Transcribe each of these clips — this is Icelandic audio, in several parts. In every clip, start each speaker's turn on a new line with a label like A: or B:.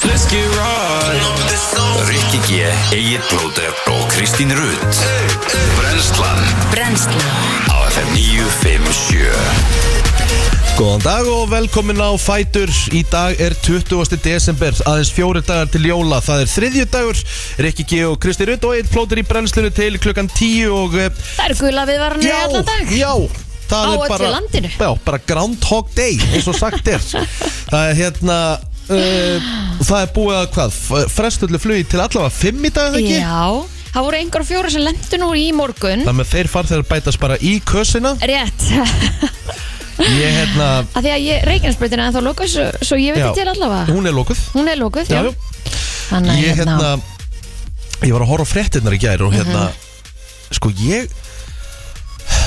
A: kannski ráð
B: Rikki G, Egil Blóter og Kristín Rutt Brenslan
C: Brennslan
B: á FM 957
D: Góðan dag og velkomin á Fætur Í dag er 20. desember aðeins fjóri dagar til jóla Það er þriðju dagur Rikki G og Kristi Rutt og einn plótur í brennslunni til klukkan 10 og eh,
C: Það eru gula viðvaranir í allan dag
D: já það
C: Á
D: er
C: öllu
D: bara,
C: landinu.
D: Já, bara Groundhog Day eins og sagt er Það er hérna uh, Það er búið að hvað Frestullu flugi til allavega 5 í dag eða ekki
C: Já, það voru einhver og fjóra sem lendu nú í morgun
D: Þannig að þeir farþegar bætast bara í kösina
C: Rétt,
D: Ég hérna
C: af því að ég, Reykjanesbreytin er ennþá lokuð svo, svo ég veit
D: já,
C: ekki til allavega
D: Hún er lókuð
C: Hún er lokuð,
D: Já,
C: já,
D: já.
C: Þannig
D: ég
C: að
D: hérna
C: hérna, Mhm.
D: ég var að horfa á fréttinnar í gæri og hérna sko ég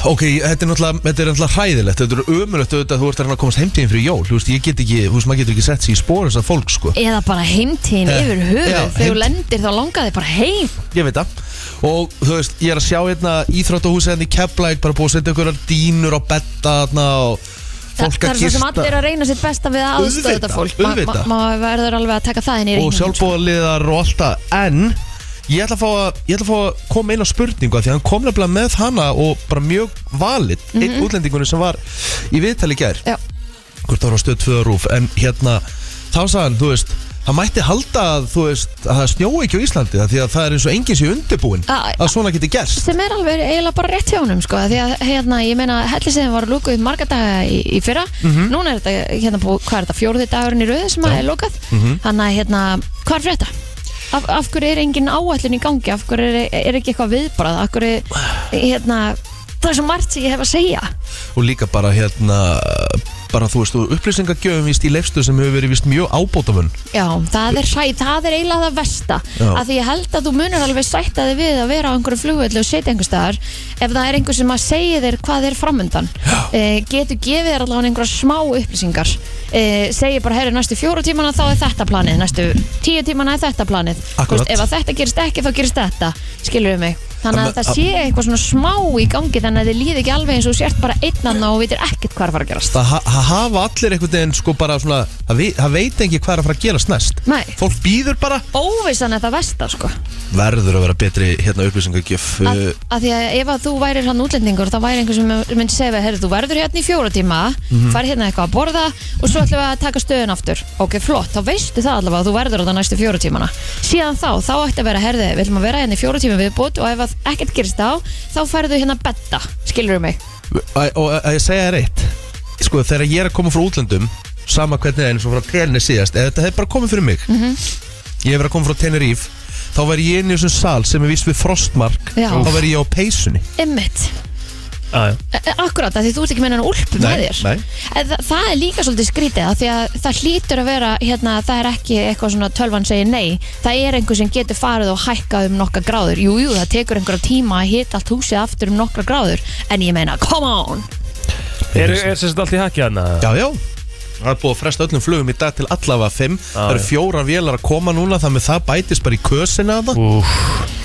D: ok, þetta er náttúrulega, þetta er náttúrulega hræðilegt þetta er ömulegt auðvitað að þú ert að reyna að komast heimtíðin fyrir jól, þú veist, ég get ekki, þú veist, maður getur ekki sett sér í spór þessar fólk, sko
C: Eða bara heimtíðin
D: Eh,
C: yfir höfuð
D: já,
C: Þegar
D: heimtíð.
C: þú lendir þá langar þig bara heim
D: ég veit það og þú veist, ég er að sjá hérna íþróttahúsið hérna í Keflæk, bara búið að setja einhverjar dínur á betta þarna og
C: Þa,
D: fólk
C: það
D: að
C: er svo sem
D: gista
C: allir að reyna sitt besta við að aðstöða
D: Auðvitað,
C: þetta fólk Ma- ma-
D: auðvitað.
C: Maður verður alveg að taka það inn í
D: og
C: reyningin
D: sjálfbóðaliðar og alltaf en ég ætla að fá að, ég ætla að, fá að koma inn á spurningu af því að hann kom nefnilega með hana og bara mjög valid
C: Mhm.
D: einn útlendingunni sem var í viðtali í gær
C: Já,
D: hvort það var á stöð 2 rúf en hérna þá sagði hann þú veist Það mætti halda að, þú veist, að það snjói ekki á Íslandi það því að það er eins og enginn sé undirbúin
C: A-
D: að svona geti gerst.
C: sem er alveg eiginlega bara rétt hjá honum sko, því að hérna, ég meina, hellisegin var lúkuð marga daga í, í fyrra núna er þetta, hérna, bú, hvað er þetta, fjórði dagurinn í röðu sem að er lúkað, þannig að hérna, hvað er frétta? Af, af hverju er engin áætlun í gangi, af hverju er, er ekki eitthvað viðbrað, af hverju hérna, það er svo margt sem ég hef að segja
D: og líka bara hérna bara þú veist, og upplýsingagjöfum víst í leifstu sem hefur verið víst mjög ábótavunn
C: já, það er hræð, það er eiginlega það versta,
D: Já.
C: að því ég held að þú munur alveg sætta þig við að vera á einhverju flugvöldu og setja einhver staðar, ef það er einhver sem að segja þér hvað er framundan e, getur gefið þér allavega einhverja smá upplýsingar e, segir bara, herri, næstu fjóru tímana þá er þetta planið, næstu tíu tímana er þetta planið, Þú
D: Akkurat.
C: veist, ef að þetta gerist ekki þá gerist þetta, skilur við mig þannig
D: Amma-
C: að það sé eitthvað svona smá í gangi þannig að þið líði ekki alveg eins og þú sért bara einnan og vitir ekkert hvað er að fara að gerast
D: það ha- það hafa allir einhvern veginn sko bara svona, það vi- það veit ekki hvað er að fara að gerast næst
C: Nei.
D: fólk býður bara
C: óvissan er það versta sko
D: verður að vera betri hérna upplýsingagjöf
C: að, að því að ef að þú værir hann útlendingur þá væri einhver sem myndi segja við herri, þú verður hérna í fjóra tíma, mm farið hérna eitthvað að borða og svo ætlum við að taka stöðun aftur ok, flott, þá veistu það allavega að þú verður á næstu fjóra tímana, síðan þá þá ætti að vera herði, við ætlum að vera hérna í fjóra tíma viðbútt og ef að ekkert gerist á, þá færðu hérna betta, skilur mig
D: Eh, Að- og að að ég segja þér eitt sko þegar ég er að koma frá útlöndum sama hvernig það er eins og frá tenni síðast eða þetta hefði bara komið fyrir mig
C: Mhm.
D: ég hefur að koma frá Teneríf þá væri ég inn í þessum sal sem er vist við frostmark
C: Já.
D: þá væri ég á peysunni
C: Ymmit,
E: Já, já.
C: Eh, akkurat, af því þú ert ekki með hennan úlp með
D: Nei,
C: þér
D: nei.
C: En það, það er líka svolítið skrítið af því að það hlýtur að vera hérna, það er ekki eitthvað svona tölvan segir nei það er einhver sem getur farið og hækkað um nokkra gráður jújú, jú, það tekur einhverja tíma að hita allt húsið aftur um nokkra gráður en ég meina, come on
E: Er, er sem sagt allt í hakið hana?
D: já já Það er búið að fresta öllum flugum í dag til allavega 5 Það eru
E: já.
D: fjórar vélar að koma núna Þannig það bætist bara í kösina að það
E: Úf,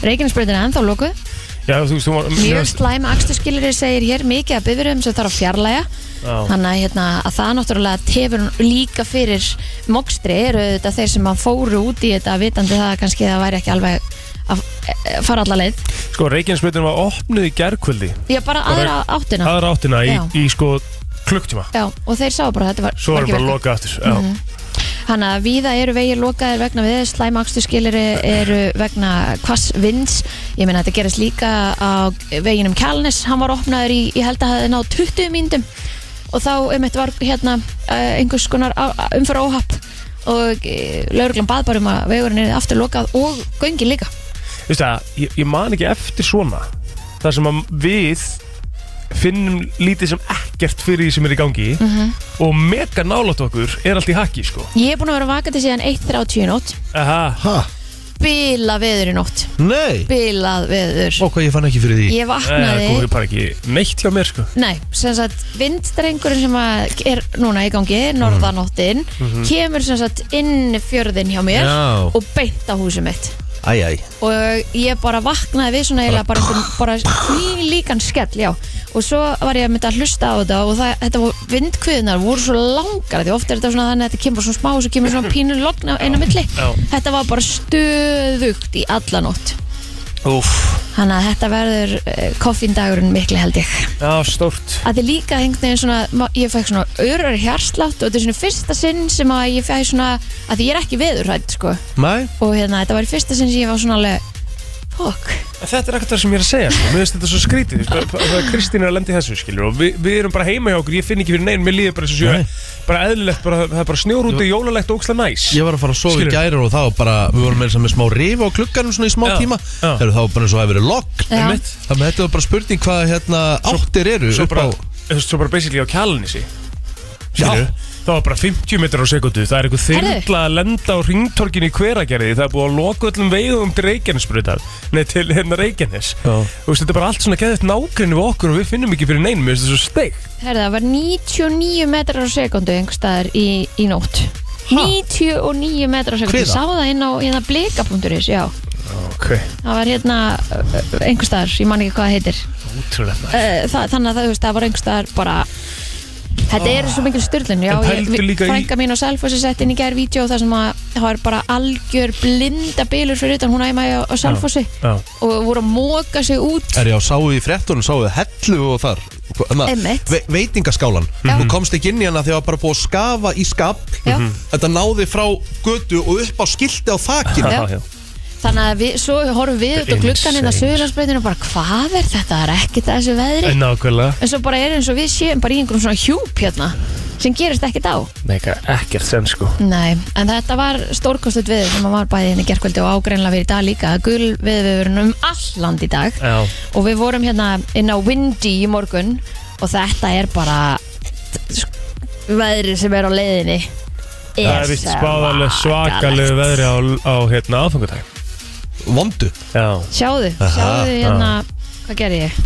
C: Reykjanesbreytin er ennþá lókuð
E: já, þú veist, þú var
C: Mjög slæm aksturskilir segir hér mikið að bifurðum sem þarf að fjarlæga
E: Já.
C: þannig að, hérna, að það náttúrulega tefur líka fyrir mokstri eru þetta þeir sem að fóru út í þetta vitandi það að kannski það væri ekki alveg að eh, fara alla leið
E: Sko, Reykjanesbreytin var opnuð í gerkvöldi
C: Já, bara aðra áttina
E: aðra áttina í,
C: Já.
E: í sko klukktíma
C: Já, og þeir sá bara að þetta var
E: Svo var
C: var ekki
E: bara
C: verkefni.
E: að loka aftur Já,
C: Mhm. Þannig að víða eru vegir lokaðir vegna við slæmaksturskilir eru vegna hvass vins ég meina þetta gerist líka á veginum Kjálnes, hann var opnaður í, ég held að hafði náð 20 mínutum og þá um eitt var hérna eh, einhvers konar umfara óhapp og lauruglan bað bara um að vegurinn er aftur lokað og göngin líka
E: þú veist það, ég, ég man ekki eftir svona þar sem að við finnum lítið sem ekkert fyrir því sem er í gangi
C: Mhm.
E: og mega nálat okkur er allt í hakið, sko
C: Ég er búin að vera vakandi síðan 1.30 í nótt
E: Aha,
D: Ha?
C: bila veður í nótt,
D: Nei?
C: bilað veður
D: Og hvað ég fann ekki fyrir því
C: Ég
E: það
C: vaknaði
E: Eh, komið bara ekki neitt hjá mér, sko
C: Nei, sem sagt, vindstrengurinn sem að er núna í gangi, norðanóttin kemur sem sagt inn fjörðin hjá mér
D: Já.
C: og beint á húsum mitt
D: Æ, æ
C: og ég bara vaknaði við svona eiginlega bara, bara, bara því líkan skell, já og svo var ég að mynda að hlusta á þetta og það, þetta voru, vindkviðnar voru svo langar því ofta er þetta svona þannig að þetta kemur bara svona smá og svo kemur svona pínur logn á einu milli
E: Já.
C: þetta var bara stöðugt í alla nótt
E: Úf,
C: þannig að þetta verður uh, koffindagurinn mikli held ég
E: já, stórt
C: að þið líka hengt neginn svona ma- ég fæk svona örur hjarslátt og þetta er svona fyrsta sinn sem að ég fæk svona að því ég er ekki veðurrætt sko
D: Nei,
C: og hérna þetta var í fyrsta sinn sem ég var svona alveg fokk
E: Þetta er ekkert það sem ég er að segja sko. Mér finnst þetta svo skrítið þú veist, bara- bara Kristín er að lendi þessu skilur Og við, við erum bara heima hjá okkur Ég finn ekki fyrir neinn Mér líður bara þessu sjö
D: Nei.
E: Bara eðlilegt bara, Það er bara snjór úti Jólalegt og ókslega næs
D: ég var að fara að sofa í
E: Skilur.
D: gæri og það var bara, við vorum með, með smá rif á klukkanum svona í smá
E: Já,
D: tíma
E: já.
D: Heru, Það var bara eins og það hefur verið lokk
C: Já.
E: Einmitt.
D: Þannig að þetta var bara spurning hvað hérna áttir eru
E: Svo
D: upp
E: bara
D: á
E: þú veist, Svo bara basically á kjalanissi
D: Skilur.
E: Það var bara 50 metrar á sekundu Það er einhver
C: Heyrðu.
E: þyrla að lenda á ringtorkinu í hveragerði Það er búið að loka öllum veiðum til Reykjanesbrutar Nei, til hérna Reykjanes
D: Já.
E: Þú veist, Þetta er bara allt svona geðið nágrinni við okkur Og við finnum ekki fyrir neinum Mér finnst þetta svo steikt
C: Herði, það var 99 metrar á sekundu einhverstaðar í, í nótt 99 metrar á sekundu
D: Hviða?
C: Ég sá það inn á hérna, blika.is já.
E: okay.
C: það var hérna einhverstaðar, ég man ekki hvað það heitir
E: Útrúlega
C: Eh, það, þannig að það, þú veist, það var einhverstaðar bara Þetta eru svo mikil styrlun Já,
E: En
C: ég-
E: pældu
C: vi-
E: líka í-
C: frænka mín og Selfossi sett inn í gær vídeo þar sem að það var bara algjör blinda bilur fyrir utan, hún æma á, á Selfossi
E: Já.
C: og voru að móka sig út
D: Er ég á sáu í frettunum, sáu hellu og þar hana,
C: Einmitt.
D: ve Veitingaskálan
C: Já.
D: Þú komst ekki inn í hana þegar var bara búið að skafa í skap
C: Já.
E: Mhm.
D: Þetta náði frá götu og upp á skilti á þakinu
C: Já.
E: já.
C: Þannig að við, svo horfum við út á gluggan inn á
E: Insane.
C: Suðurlandsbreytinu og bara hvað er þetta, það er ekkert að þessu veðri
E: En Nákvæmlega
C: En svo bara er eins og við séum bara í einhverjum svona hjúp hérna sem gerist ekkert á
E: Mega ekkert sem sko
C: Nei, en þetta var stórkostut veður sem að var bæði henni gerkvöldi og ágreinlega verið í dag líka Gul veðurinn um all land í dag
E: Já
C: og við vorum hérna inn á Windy í morgun og þetta er bara veðri sem er á leiðinni
E: Það er
C: uh,
E: vist spáðarlega svakalegu veðri á, á hérna aðfangudag
D: Vondu
E: Já
C: Sjáðu,
D: Aha.
C: sjáðu hérna, hvað gerði ég?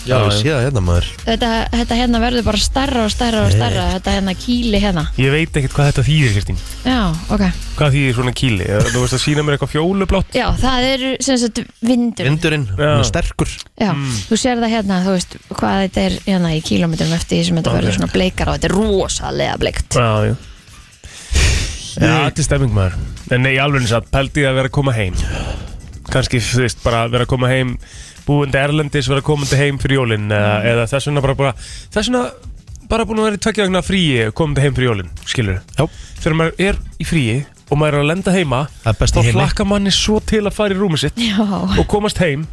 D: Já, ég sé það hérna maður
C: Þetta, þetta hérna verður bara starra og starra og starra Þetta hérna kýli hérna
E: Ég veit ekkert hvað þetta þýðir Kristín
C: Já, ok
E: Hvað þýðir svona kýli? Þú veist að sína mér eitthvað fjólublátt
C: Já, það eru sem sagt vindur
D: Vindurinn,
E: Já.
D: hann er sterkur
C: Já,
E: Mm.
C: þú sér það hérna, þú veist hvað þetta er hérna í kílómetrum eftir því sem þetta
E: Ok.
C: verður svona bleikar og þetta er rosalega bleikt
E: Já, já Já, þetta er stemming maður En nei, alveg eins að pældi ég að vera að koma heim Kanski, þú veist, bara vera að koma heim Búandi Erlendis, vera komandi heim fyrir jólin eða,
D: Mm.
E: eða þess vegna bara, bara Þess vegna bara búin að vera í tveggja vegna fríi Komandi heim fyrir jólin, skilur
D: Já.
E: Þegar maður er í fríi og maður er að lenda heima
D: Það er best í
E: Þá
D: heimi.
E: hlakka manni svo til að fara í rúmi sitt
C: Já,
E: og komast heim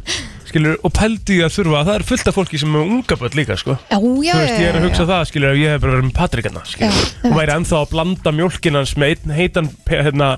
E: skilur, og pældi ég að þurfa það er fullt af fólki sem er með unga börn líka sko.
C: já, já
E: þú veist, ég er að hugsa
C: já.
E: það skilur, ef ég hef bara verið með Patrikanna
C: Já,
E: og væri ennþá að blanda mjólkin hans með einn heitan pe- hérna,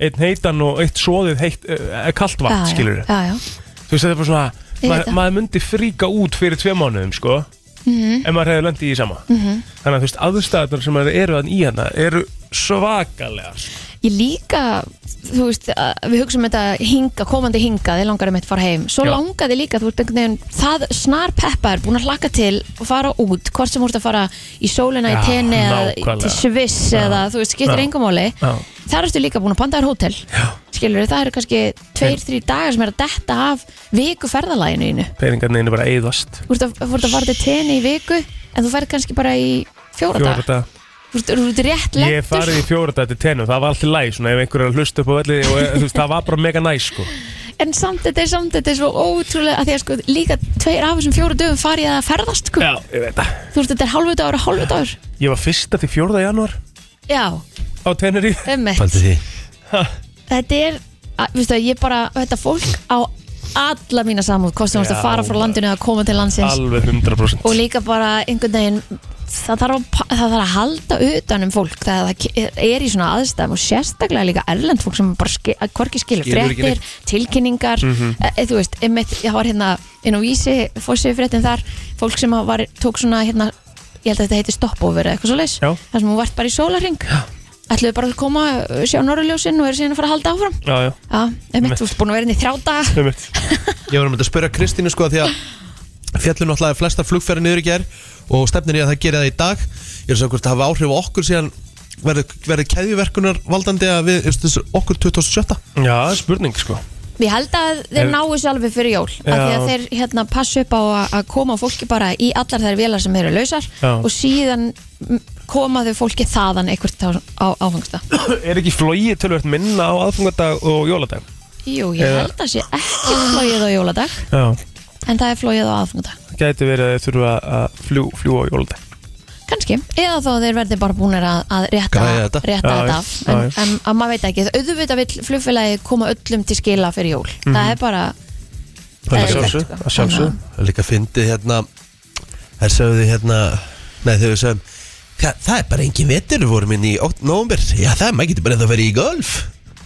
E: einn heitan og eitt svoðið heitt, uh, kallt vatn,
C: Já,
E: skilur
C: Já, já,
E: þú veist, þetta er bara
C: Ég
E: svona
C: veit
E: maður
C: það.
E: maður myndi fríka út fyrir tve mánuðum sko,
C: Mhm.
E: ef maður hefði lendið í því sama -hmm. þannig að þú veist, aðstæðunar sem maður eru þann í hana eru svakalega sko.
C: Ég líka, þú veist, að- við hugsaum þetta hinga, komandi hinga, þið langar um eitt fara heim. Svo
E: Já.
C: langaði líka, þú ert einhvern veginn, það snar peppa er búin að hlakka til og fara út, hvort sem þú ert að fara í sólina, í
E: Já,
C: tenni eða
E: nákvæmlega.
C: til Sviss eða þú veist, skiptir
E: Já.
C: engamáli.
E: Já.
C: Þar ertu líka búin að panta þér hótel. Já. Skilur, það eru kannski tveir, þrjir dagar sem er að detta af viku ferðalaginu innu.
E: peningarnir eru bara eigðast
C: Þú ert að, þú ert að fara til tenni í viku, en þú ferð kannski bara í fjóra daga.
E: fjórða
C: Þú ert, þú ert rétt
E: Ég hef farið
C: lentur,
E: í fjóra dagar til tennu, það var allt í læg svona ef einhver er að hlusta upp á velli og eh, þú veist, það var bara mega næs sko
C: en samt þetta er samt þetta er svo ótrúlega að því að sko líka tveir af þessum fjóru dögum farið að ferðast sko.
E: ég veit það
C: Þú veist þetta er halvu dagur og halvu dagur.
E: Ég var fyrsta til fjórða janúar
C: Já,
E: á tennur í
C: ummitt.
D: Pældi því
C: Þetta er, að, veistu það, ég bara, þetta fólk á alla mína samúð, hvort sem þú ert
E: Já,
C: að fara frá landinu eða koma til landsins
E: Alveg 100%
C: og líka bara einhvern veginn það þarf, að, pa- það þarf að halda utan um fólk þegar það ke- er í svona aðstæðum og sérstaklega líka erlend fólk sem bara ske, að hvorki skilur
D: Skilur ekki
C: fréttir, tilkynningar mm þú veist, einmitt, ég var hérna inn á vísi, fórsið fréttin þar fólk sem að var, tók svona hérna ég held að þetta heiti stoppover eða eitthvað svo leis
E: Já.
C: þar sem hún vart bara í sólarring ætluðu bara að koma, sjá norrljósin og eru síðan að fara að halda áfram
E: Já, já,
C: Já, einmitt, þú ert búin að vera inn í þrjá daga
E: ummitt
D: Ég var um þetta að spyrja Kristínu sko því að fjallu náttúrulega flestar flugferði niður í ger og stefnir í að það gera það í dag ég er að segja hvort það hafa áhrif á okkur síðan verður verði keðjuverkunar valdandi að við þú veist, þessu- okkur 2017
E: Já, spurning sko
C: Ég held að þeir
E: Er-
C: náu þessu alveg fyrir jól af því að
E: Já.
C: þeir hérna, passu upp á að- að koma fólki bara í allar þær vélar sem eru lausar
E: Já.
C: og síðan mm, koma þau fólki þaðan eitthvað á, á áfangsta
E: Er ekki flogið tölvöld minna á aðfungardag og jóladag?
C: Jú, ég
E: Eða-
C: held að sé ekki flóið á jóladag
E: Já
C: en það er flóið á aðfangadag
E: Gæti verið að þeir þurfa að fljú, fljú á jóladag
C: kannski, eða þá þeir verði bara búinir að, að rétta,
D: Græja þetta.
C: rétta
E: Já,
C: þetta
E: já,
C: af
E: já,
C: en, en að maður veit ekki, auðvitað vill flugfélagi koma öllum til skila fyrir jól það er bara
D: Það er
C: eðlilegt,
E: sjálfsögðu,
C: sko.
E: Mhm. að sjálfsögðu.
C: Þannig
D: Það er líka fyndið hérna Það sögðu hérna Nei þegar við sögum Það, það er bara engin vetur við vorum inn í nómber Já það, maður getur bara eða að vera í golf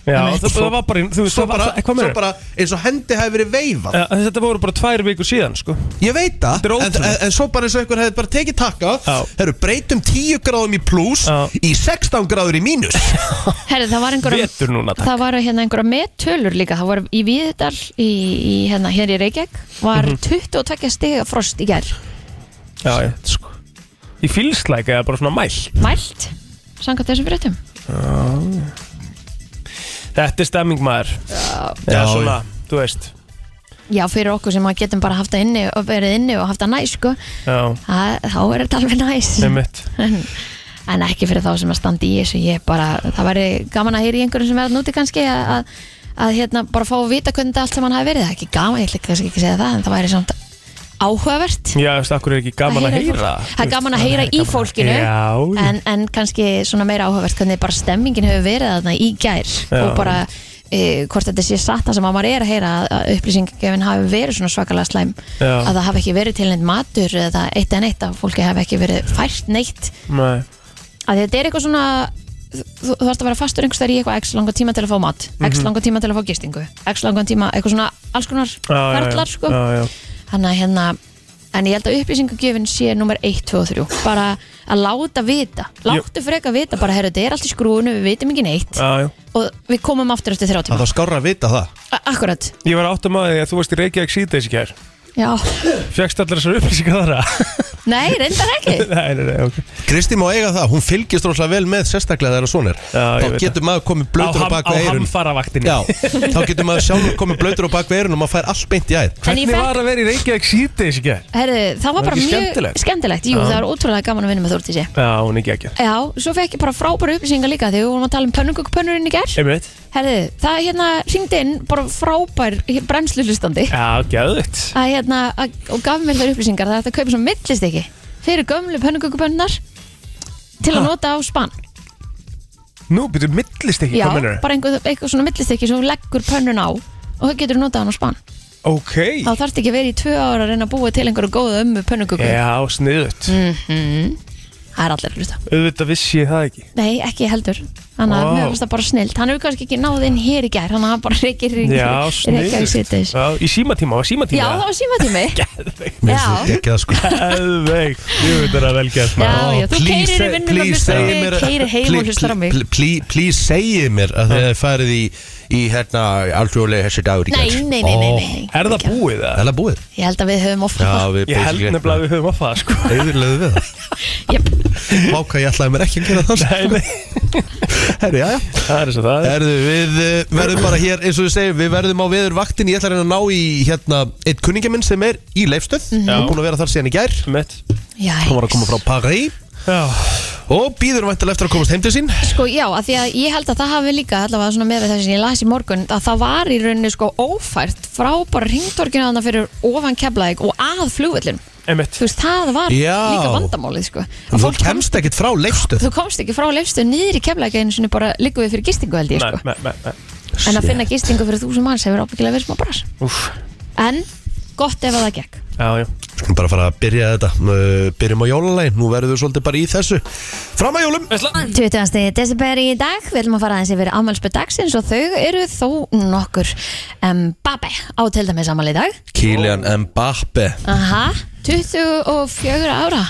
E: Já,
C: Nei.
E: það, það var bara, þú
D: Svo
E: veist, það var
D: bara,
E: alltaf-
D: svo
E: hvað meira?
D: bara eins og hendi hafi verið veifað
E: Ja, Þetta voru bara tvær vikur síðan, sko
D: Ég veit það,
E: Þetta er
D: en,
E: ótrúlegt.
D: en, en svo bara eins og einhver hefði bara tekið takka
E: Já.
D: Herru, breytum 10 gráðum í pluss
E: Já.
D: Í 16 gráður í mínus
C: Herri, það var einhverjum
E: Vetur núna, takk
C: Það var hérna einhverja mettölur líka Það var í Víðdal í, í, hérna, hér í Reykjavík Var
E: Mhm.
C: 22 stiga frost í gær
E: Já, já, sko Í fylslæk eða bara svona mæl
C: Mælt, samkvæmt þessum fréttum
E: Þetta er stemming maður Já,
D: Já,
E: svona, þú veist
C: Já, fyrir okkur sem að getum bara haft það inni og verið inni og haft það næs sko
E: Já,
C: það, Þá er þetta alveg næs
E: einmitt
C: En ekki fyrir þá sem að standa í þessu Ég bara, það væri gaman að heyra í einhverjum sem verða núti kannski að, að, að hérna bara fá að vita hvernig þetta allt sem hann hafi verið Það er ekki gaman, ég ætla kannski ekki að segja það en það væri samt áhugavert
E: Já, þú veist, akkur er ekki gaman að heyra
C: fólk. Það er gaman að heyra í fólkinu
E: Já, já.
C: en, en kannski svona meira áhugavert hvernig bara stemmingin hefur verið þarna í gær
E: Já.
C: og bara e, hvort þetta sé satt það sem að maður er að heyra að, að upplýsingafin hafi verið svona svakalega slæm
E: Já.
C: að það hafi ekki verið til neitt matur eða eitt en eitt að fólki hafi ekki verið fært neitt
E: Nei,
C: að þetta er eitthvað svona þú, þú þarfst að vera fastur einhvers þar í eitthvað x langan tíma til að fá mat x langan tíma til að fá gistingu x langan tíma, eitthvað svona alls konar
E: Mhm. já, já, já.
C: ferlar sko
E: Já, já
C: Þannig að hérna En ég held að upplýsingugjöfin sé nummer 1, 2 og 3 Bara að láta vita Láttu freka vita, bara herru, þetta er allt í skrúinu Við vitum ekki neitt
E: Já, já.
C: Og við komum aftur eftir þrjá
D: Það
C: tíma
D: þá skárra að vita það
C: A- Akkurat,
E: Ég var áttum að því að þú varst í Reykjavík síðdeis í kær
C: já
E: Fjöxt allar þessar upplýsingar þar að
C: Nei, reyndar ekki
E: Nei, nei, nei, ok
D: Kristi má eiga það, hún fylgist rosalega vel með sérstaklega þegar svona er
E: Já, ég
D: Þá
E: veit
D: getur maður komið blöytur á
E: ham-
D: bak við eyrun
E: hamfaravaktinni
D: Já, þá getur maður sjálfur komið blöytur á bak við eyrun og maður fær allt beint í æð
C: En ég
E: Hvernig
C: fekk-
E: var að vera í Reykjavík síðdeis í kær?
C: Herru, það var
E: Var
C: bara
E: ekki
C: mjög
E: skemmtilegt?
C: Jú,
E: Já.
C: það var ótrúlega gaman að vinna með Þórtísi
E: Já, hún er geggjað
C: Já, svo fekk ég bara frábæra upplýsingar líka Þegar við vorum að tala um pönnungukpönnurinn í ger
E: Einmitt
C: Herru, það hérna hringdi inn Bara frábær brennslu hlustandi
E: Já, gæðvitt
C: að, hérna, að, og gaf mér þær upplýsingar það er hægt að kaupa svona millist ekki fyrir gömlu pönnukökupönnar til að nota á spann
E: Nú, byrju, millist ekki,
C: Já,
E: hvað mennur?
C: bara einhver, einhver svona millist ekki sem þú leggur pönnun á og þú getur notað hann á spann
E: Ok
C: þá þarfst ekki að vera í tvö ára að reyna að búa til einhverju góðu ömmu pönnuköku
E: Já, sniðut
C: Mm. það er allir að hlusta
E: Auðvitað vissi ég það ekki
C: nei, ekki heldur þannig að
E: Vá.
C: mér finnst það bara snilt hann hefur kannski ekki náð inn hér í gær þannig að hann bara reykir reykir-
E: Já,
C: reykir í
E: sniðut
C: sittis
E: Já, í símatíma, var símatíma
C: Já, það var símatími
D: Mér
C: Já.
D: finnst þetta ekki það sko
E: Æðveik, ég veit það vel gert
C: Já,
E: maður.
C: já, þú
D: Please
C: keyrir í
D: say-
C: vinnum og
D: please
C: hlustar á
D: segið
C: mig,
D: mér-
C: keyrir heim
D: please-
C: og hlustar á mig.
D: pl- pl- Please segið mér að þið hefði farið í, í hérna alþjóðlega þessi dagur í
C: Nei,
D: gær.
C: nei, nei, nei, nei, nei.
E: Er það
D: Ó,
E: búið
D: Er
E: það?
D: það búið?
C: Ég held að við höfum ofta
D: Já, við
E: Ég held nefnilega að við höfum að faða sko
D: Eðurlega við það
C: yep.
D: Vá hvað ég ætlaði mér ekki að gera það
E: Nei, nei,
D: Herru, já, já
E: það er eins og það er
D: Herðu, við eh, verðum bara hér, eins og við segjum, við verðum á veður vaktin Ég ætla að reyna að ná í hérna eitt kunningja minn sem er í Leifstöð
E: Já.
D: Og búin að vera þar síðan í gær
E: Mitt
D: Hún var að koma frá Paris
E: Já,
D: Og býður væntalega eftir að komast heim til sín
C: Sko já, af því að ég held að það hafi líka allavega svona með þess að ég las í morgun að það var í rauninni sko ófært frá bara ringtorkinu aðna fyrir ofan keflaðik og að flugvöllin
E: emitt
C: þú veist, það var
D: Já.
C: líka vandamálið sko
D: En
C: að
D: Þú
C: fólk komst,
D: kemst ekkert frá Leifstöð
C: þú komst ekki frá lefstu niður í keflaðik einu sinni bara líku við fyrir gistingu held ég
E: Nei,
C: sko
E: nei, nei, nei
C: en að finna gistingu fyrir þúsund manns hefur ábyggilega verið smá bras
E: Úff,
C: en gott ef að það gekk
E: já, já
D: Skulum bara fara að byrja þetta Uh, Byrjum á jólalegin, nú verður við svolítið bara í þessu Fram að jólum
C: 20. desember í dag við viljum að fara aðeins yfir afmælspöð dagsins og þau eru þó nokkur um, Babe á til dæmis afmæli í dag
D: Kylian Mbappe
C: Aha, 24 ára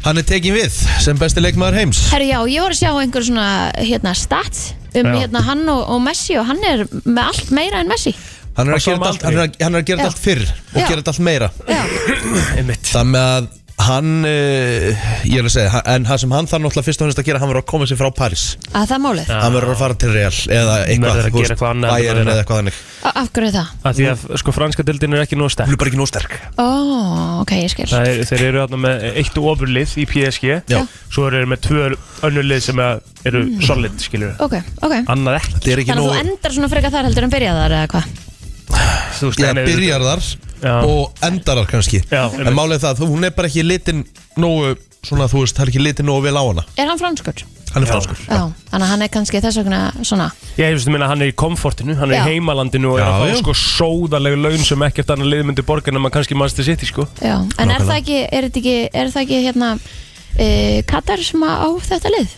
D: Hann er tekin við sem besti leikmaður heims
C: Herru já, ég var að sjá einhver svona hérna stats um
E: Já.
C: hérna hann og, og Messi og hann er með allt meira en Messi
D: Hann er að
E: Á
D: gera
E: sama
D: þetta allt, hann er að- hann er að gera þetta
C: Já.
D: allt fyrr og
C: Já.
D: gera þetta allt meira
C: Já,
E: Emitt
D: Það með að hann, uh, ég er að segja hann- en það sem hann þarf náttúrulega fyrst og finnst að gera hann verður að koma sér frá Paris
C: að það er málið
D: hann verður að fara til Real eða eitthvað, þú
E: verður að gera
D: veist,
E: eitthvað annað en að
D: Bayern
E: vera-
D: eða eitthvað þannig
C: A- af hverju er það?
E: Af Því að sko franska dildin er ekki nóg sterk
D: hann er bara ekki nóg sterk
C: ó, ok, ég skil
E: Það er, þeir eru þarna með eitt ofurlið í PSG
D: Já.
E: Svo eru þeir með tvö önnur lið sem að eru solid, skilur
C: Mm. ok, ok
E: Annað ekki,
D: þetta er ekki
C: Þannig að
D: nóg
C: þú endar svona frekar þar heldur en byrja þar eða hvað?
E: þú veist
D: Já,
E: en ef-
D: byrjar þar
E: Já.
D: og endar þar kannski
E: Já,
D: En
E: einmitt.
D: málið er það, hún er bara ekki litin nógu Svona þú veist, það er ekki litin nógu vel á hana
C: Er hann franskur?
D: Hann er franskur
C: Já, þannig að hann er kannski þess vegna svona
E: Ég hefist að minna hann er í komfortinu, hann er
C: Já.
E: í heimalandinu og
D: Já,
E: er að
D: já.
E: fá sko sóðalegu laun sem ekkert annar liðmyndi borgar nema kannski mannstu sitt sko.
C: Já, en er það ekki, er þetta ekki, er það ekki hérna e, Katar sem að á þetta lið?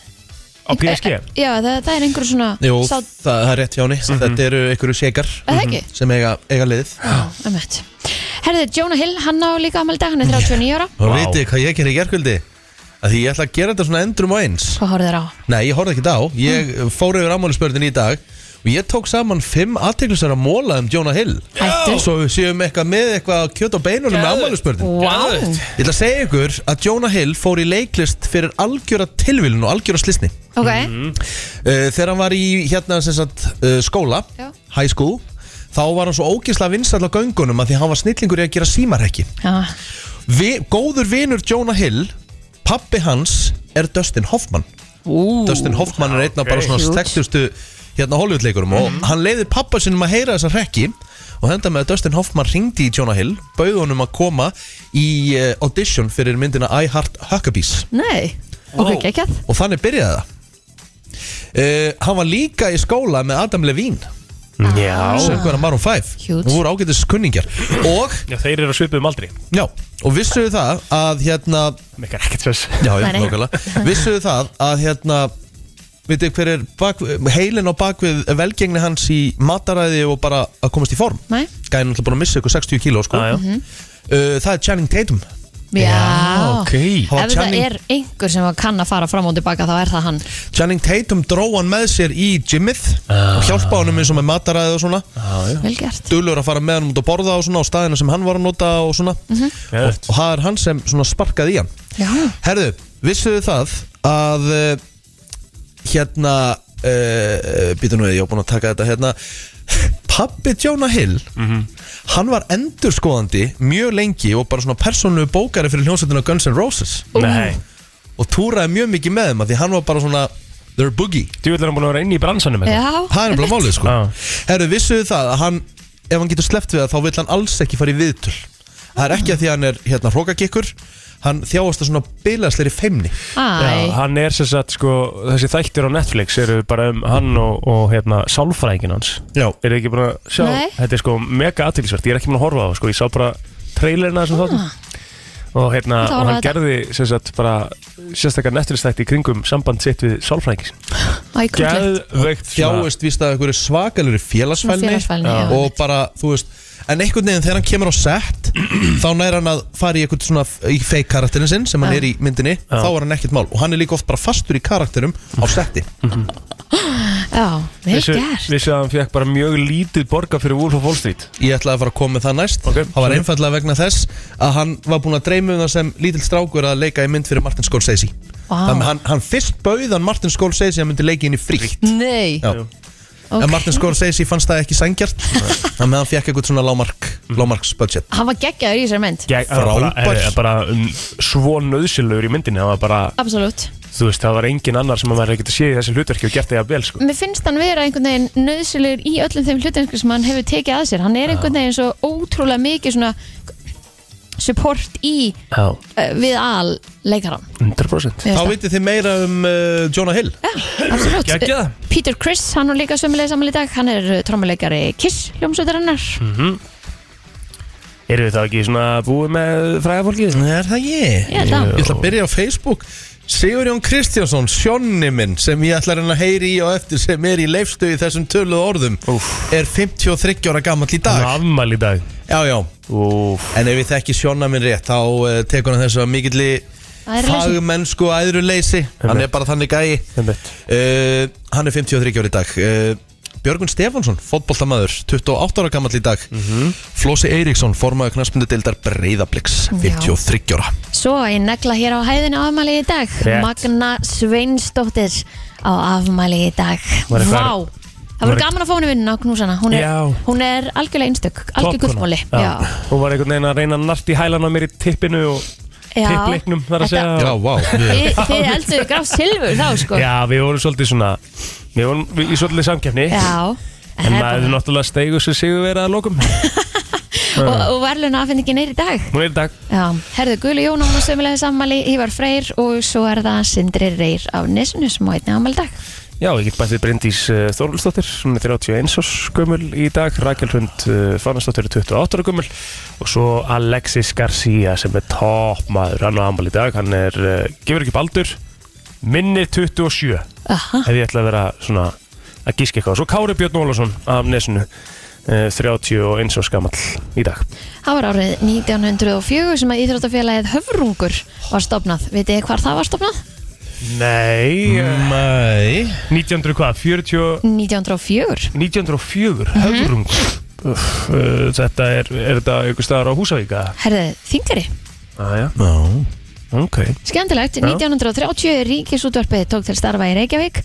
E: Á PSG.
C: Já, það, það er einhver svona
D: Jú,
C: sá, Eh.
D: það, það er rétt hjá henni
E: Mhm.
D: Þetta eru einhverju sékar
C: Er það ekki?
D: sem eiga, eiga liðið
C: Já, um Herðið, Jonah Hill, hann á líka ámæli dag, hann er 39 ára
D: Og
E: Vá.
D: vitið þið hvað ég gerði í gerkvöldi Að því ég ætla að gera þetta svona endrum og eins
C: Hvað horfðu þér á?
D: Nei, ég horfði ekki á Ég
C: Hmm.
D: fór yfir afmælisbörðin í dag Og ég tók saman fimm aðteglisar að móla um Jonah Hill
C: Hættur
D: Svo við séum eitthvað með eitthvað kjöt og beinunum með afmælisbörðin
C: Vá,
D: Ég ætla að segja ykkur að Jonah Hill fór í leiklist fyrir algjöra tilvílun og algjöra slisni
C: ok,
D: uh, Þegar hann var í hérna sem sagt, uh, skóla,
C: Já.
D: high school Þá var hann svo ógeðslega vinsall á göngunum að því hann var snillingur í að gera símarhekki
C: já,
D: Vi, Góður vinur Jonah Hill, pappi hans er Dustin Hoffman
C: ú
D: Dustin Hoffman er einn af bara svona
C: Huge. Mhm.
D: stektustu hérna Hollywoodleikurum og hann leiði pappa sinum að heyra þessa hrekki og þetta með að Dustin Hoffman ringdi í Jonah Hill bauð honum að koma í eh, audition fyrir myndina I Heart Huckabees
C: Nei, ok, geggjað
D: og þannig byrjaði það Uh, hann var líka í skóla með Adam Levine
E: Já.
D: söngverðan Maroon 5
C: Huge.
D: og voru ágætis kunningjar og,
E: Já, þeir eru að svipum aldrei.
D: já, og vissuðu það að hérna
E: Mekkar ekkert þess.
D: Já, já,
C: Nei, nei.
D: nákvæmlega Vissuðu það að hérna Vitið þið hver er bak, heilin á bakvið velgengni hans í mataræði og bara að komast í form
C: Nei. Mhm.
D: Gæði náttúrulega búin að missa ykkur 60 kíló sko.
E: Já, já.
D: uh, Það er Channing Tatum
C: Já,
E: ok.
D: Það var
C: Ef það
D: Channing-
C: er einhver sem kann að fara fram og tilbaka þá er það hann
D: Channing Tatum dró hann með sér í gymmið og hjálpa honum eins og með mataræði og svona
C: Vel gert
D: Dulur að fara með hann út að borða og svona á staðina sem hann var að nota og svona
C: Mhm.
D: og, og það er hann sem svona sparkaði í hann
C: Já,
D: Herðu, vissuðu það að uh, hérna uh, býta nú við, ég var búin að taka þetta hérna Pabbi Jonah Hill hann var endurskoðandi mjög lengi og bara svona persónlu bókari fyrir hljómsveitina Guns N' Roses
E: Nei.
D: og túraði mjög mikið með þeim af því hann var bara svona their boogie
E: Djúvill er hann búin að vera inn í bransanum
C: já
D: það er bara málið sko
E: Já.
D: Herru, vissuðu það að hann ef hann getur sleppt við það þá vill hann alls ekki fara í viðtöl það er ekki að því að hann er hérna hrókagikkur hann þjáast að svona bilaðsleiri feimni
E: Já,
C: Æ,
E: hann er sem sagt sko, þessi þættir á Netflix eru bara um hann og, og hérna, sálfræðingin hans.
D: Já.
E: Er ekki búin að sjá?
C: Nei.
E: Þetta er sko mega aðtilsvært, ég er ekki búin að horfa á það sko, ég sá bara trailerina þessum þáttum. Og
C: Ah.
E: hérna,
C: Ég ætla að
E: og
C: horfa
E: hann
C: á þetta.
E: gerði sem sagt bara sérstakar Netflix þætti í kringum samband sitt við sálfræðingin.
C: æ,
E: Gæðveikt svona-
D: þjáist víst að einhverju svakalur
C: Svona
D: félagsfælni,
C: félagsfælni, já.
D: og bara, þú veist en einhvern veginn þegar hann kemur á sett þá næra hann að fara í einhvern svona í fake karakterin sinn sem hann
C: Já.
D: er í myndinni þá er hann ekkert mál og hann er líka oft bara fastur í karakterum á setti
C: Já, vel
E: Vissu-
C: gert
E: Vissu að hann fekk bara mjög lítið borga fyrir Wolf of Wall Street
D: ég ætlaði að fara að koma með það næst
E: Ok.
D: það var einfallega vegna þess að hann var búin að dreyma um það sem lítill strákur að leika í mynd fyrir Martin Scorsese
C: Vá.
D: þannig að hann, hann fyrst bauðan Martin Scorsese að hann myndi leika inn í frítt
C: Nei,
D: Já.
C: ok
D: en Martin Scorsese fannst það ekki sangjart þannig að hann fekk eitthvað svona lámark, lámarks budget
C: Hann var geggjaður í þessari mynd
E: Ég- það var bara-
D: Frábær.
E: er- er bara um, svo nöðsilögur í myndinni það var bara,
C: Absolutt
E: þú veist, það var engin annar sem að maður hefði getið séð í þessi hlutverki og gert það jafnvel sko.
C: Mér finnst hann vera einhvern veginn nöðsilegur í öllum þeim hlutenskir sem hann hefur tekið að sér Hann er einhvern veginn svo ótrúlega mikið svona support í
E: Já,
C: uh, við al leikarann
E: 100%
D: Þá vitið þið meira um uh, Jonah Hill
C: Absolutt.
E: Geggjað.
C: Peter Criss, hann er líka sömulegis saman í dag Hann er uh, trommuleikari Kiss, hljómsveitarinnar
E: Hmm. Eru við þá ekki svona búið með fræða fólkið?
D: Er það ég?
C: Ég held að.
D: Ég ætla að byrja á Facebook Sigurjón Kristjánsson, Sjónni minn sem ég ætla að reyna að heyri í og eftir sem er í leifstu í þessum töluðu orðum
E: Úff.
D: er 53 ára gammal í
E: Það
D: dag
E: er afmæli í dag
D: Já, já,
E: Úf,
D: en ef ég þekki Sjónna minn rétt þá uh, tekur hann þessu að mikilli
C: Æðruleysi.
D: fagmennsku æðruleysi Hann er bara þannig gæi
E: einmitt
D: uh, Hann er 53 ára í dag uh, Björgun Stefánsson, fótboltamaður 28 ára gamall í dag Flósi Eiríksson, formaður knarsmyndudeildar Breiðabliks, 53 ára
C: Svo ég negla hér á hæðinu afmæli í dag
D: Rétt.
C: Magna Sveinsdóttir á afmæli í dag
E: Var eitthvað-
C: Vá Það
E: var
C: verður
E: eitt-
C: gaman að fá henni vinnuna á knúsana Hún er,
E: Já.
C: hún er algjörlega einstök Algjör gullmóli
E: Já. Hún var einhvern veginn að reyna að nart í hælan á mér í tippinu og
C: Já.
E: tippleiknum þar að
C: Þetta-
E: segja
D: Já, vá
C: Þið, þið elduðu grátt silfur þá sko
E: Já, við vorum svolítið svona Við vorum í svolítið samkefni
C: Já.
E: En maður er náttúrulega steigur sem sigur verið að lokum
C: Og, og verðlun aðfinningin er í dag
E: Nú er í dag
C: Já, herðu Guli Jón hún á sömulega sammæli Ívar Freyr og svo er það Sindri Reyr á Nesunu sem á einni afmæli í dag
E: Já, ég get bættið Bryndís uh, Þorvaldsdóttir hún er 31 árs gömul í dag Rakel Hund uh, Fannastóttir er 28 ára gömul og svo Alexis Garcia sem er toppmaður hann á amal í dag, hann er uh, gefur ekki baldur, minni 27
C: Aha.
E: ef ég ætla að vera svona að gíska eitthvað svo Kári Björn Ólafsson af Nesunu uh, 31 árs gamall í dag
C: Það var árið 1904 sem að Íþróttafélagið Höfrungur var stopnað Vitið þið hvar það var stopnað?
E: Nei,
D: eh.
E: mm.
D: Nei
E: 1900 hvað, 40
C: 1904
E: 1904, höfrung Uff, uh, Þetta er, er þetta einhver staðar á Húsavíka?
C: Herðu, þingari
E: Aja,
D: Já,
E: ok
C: Skemmtilegt,
E: Já.
C: 1930 ríkisútvarpið tók til starfa í Reykjavík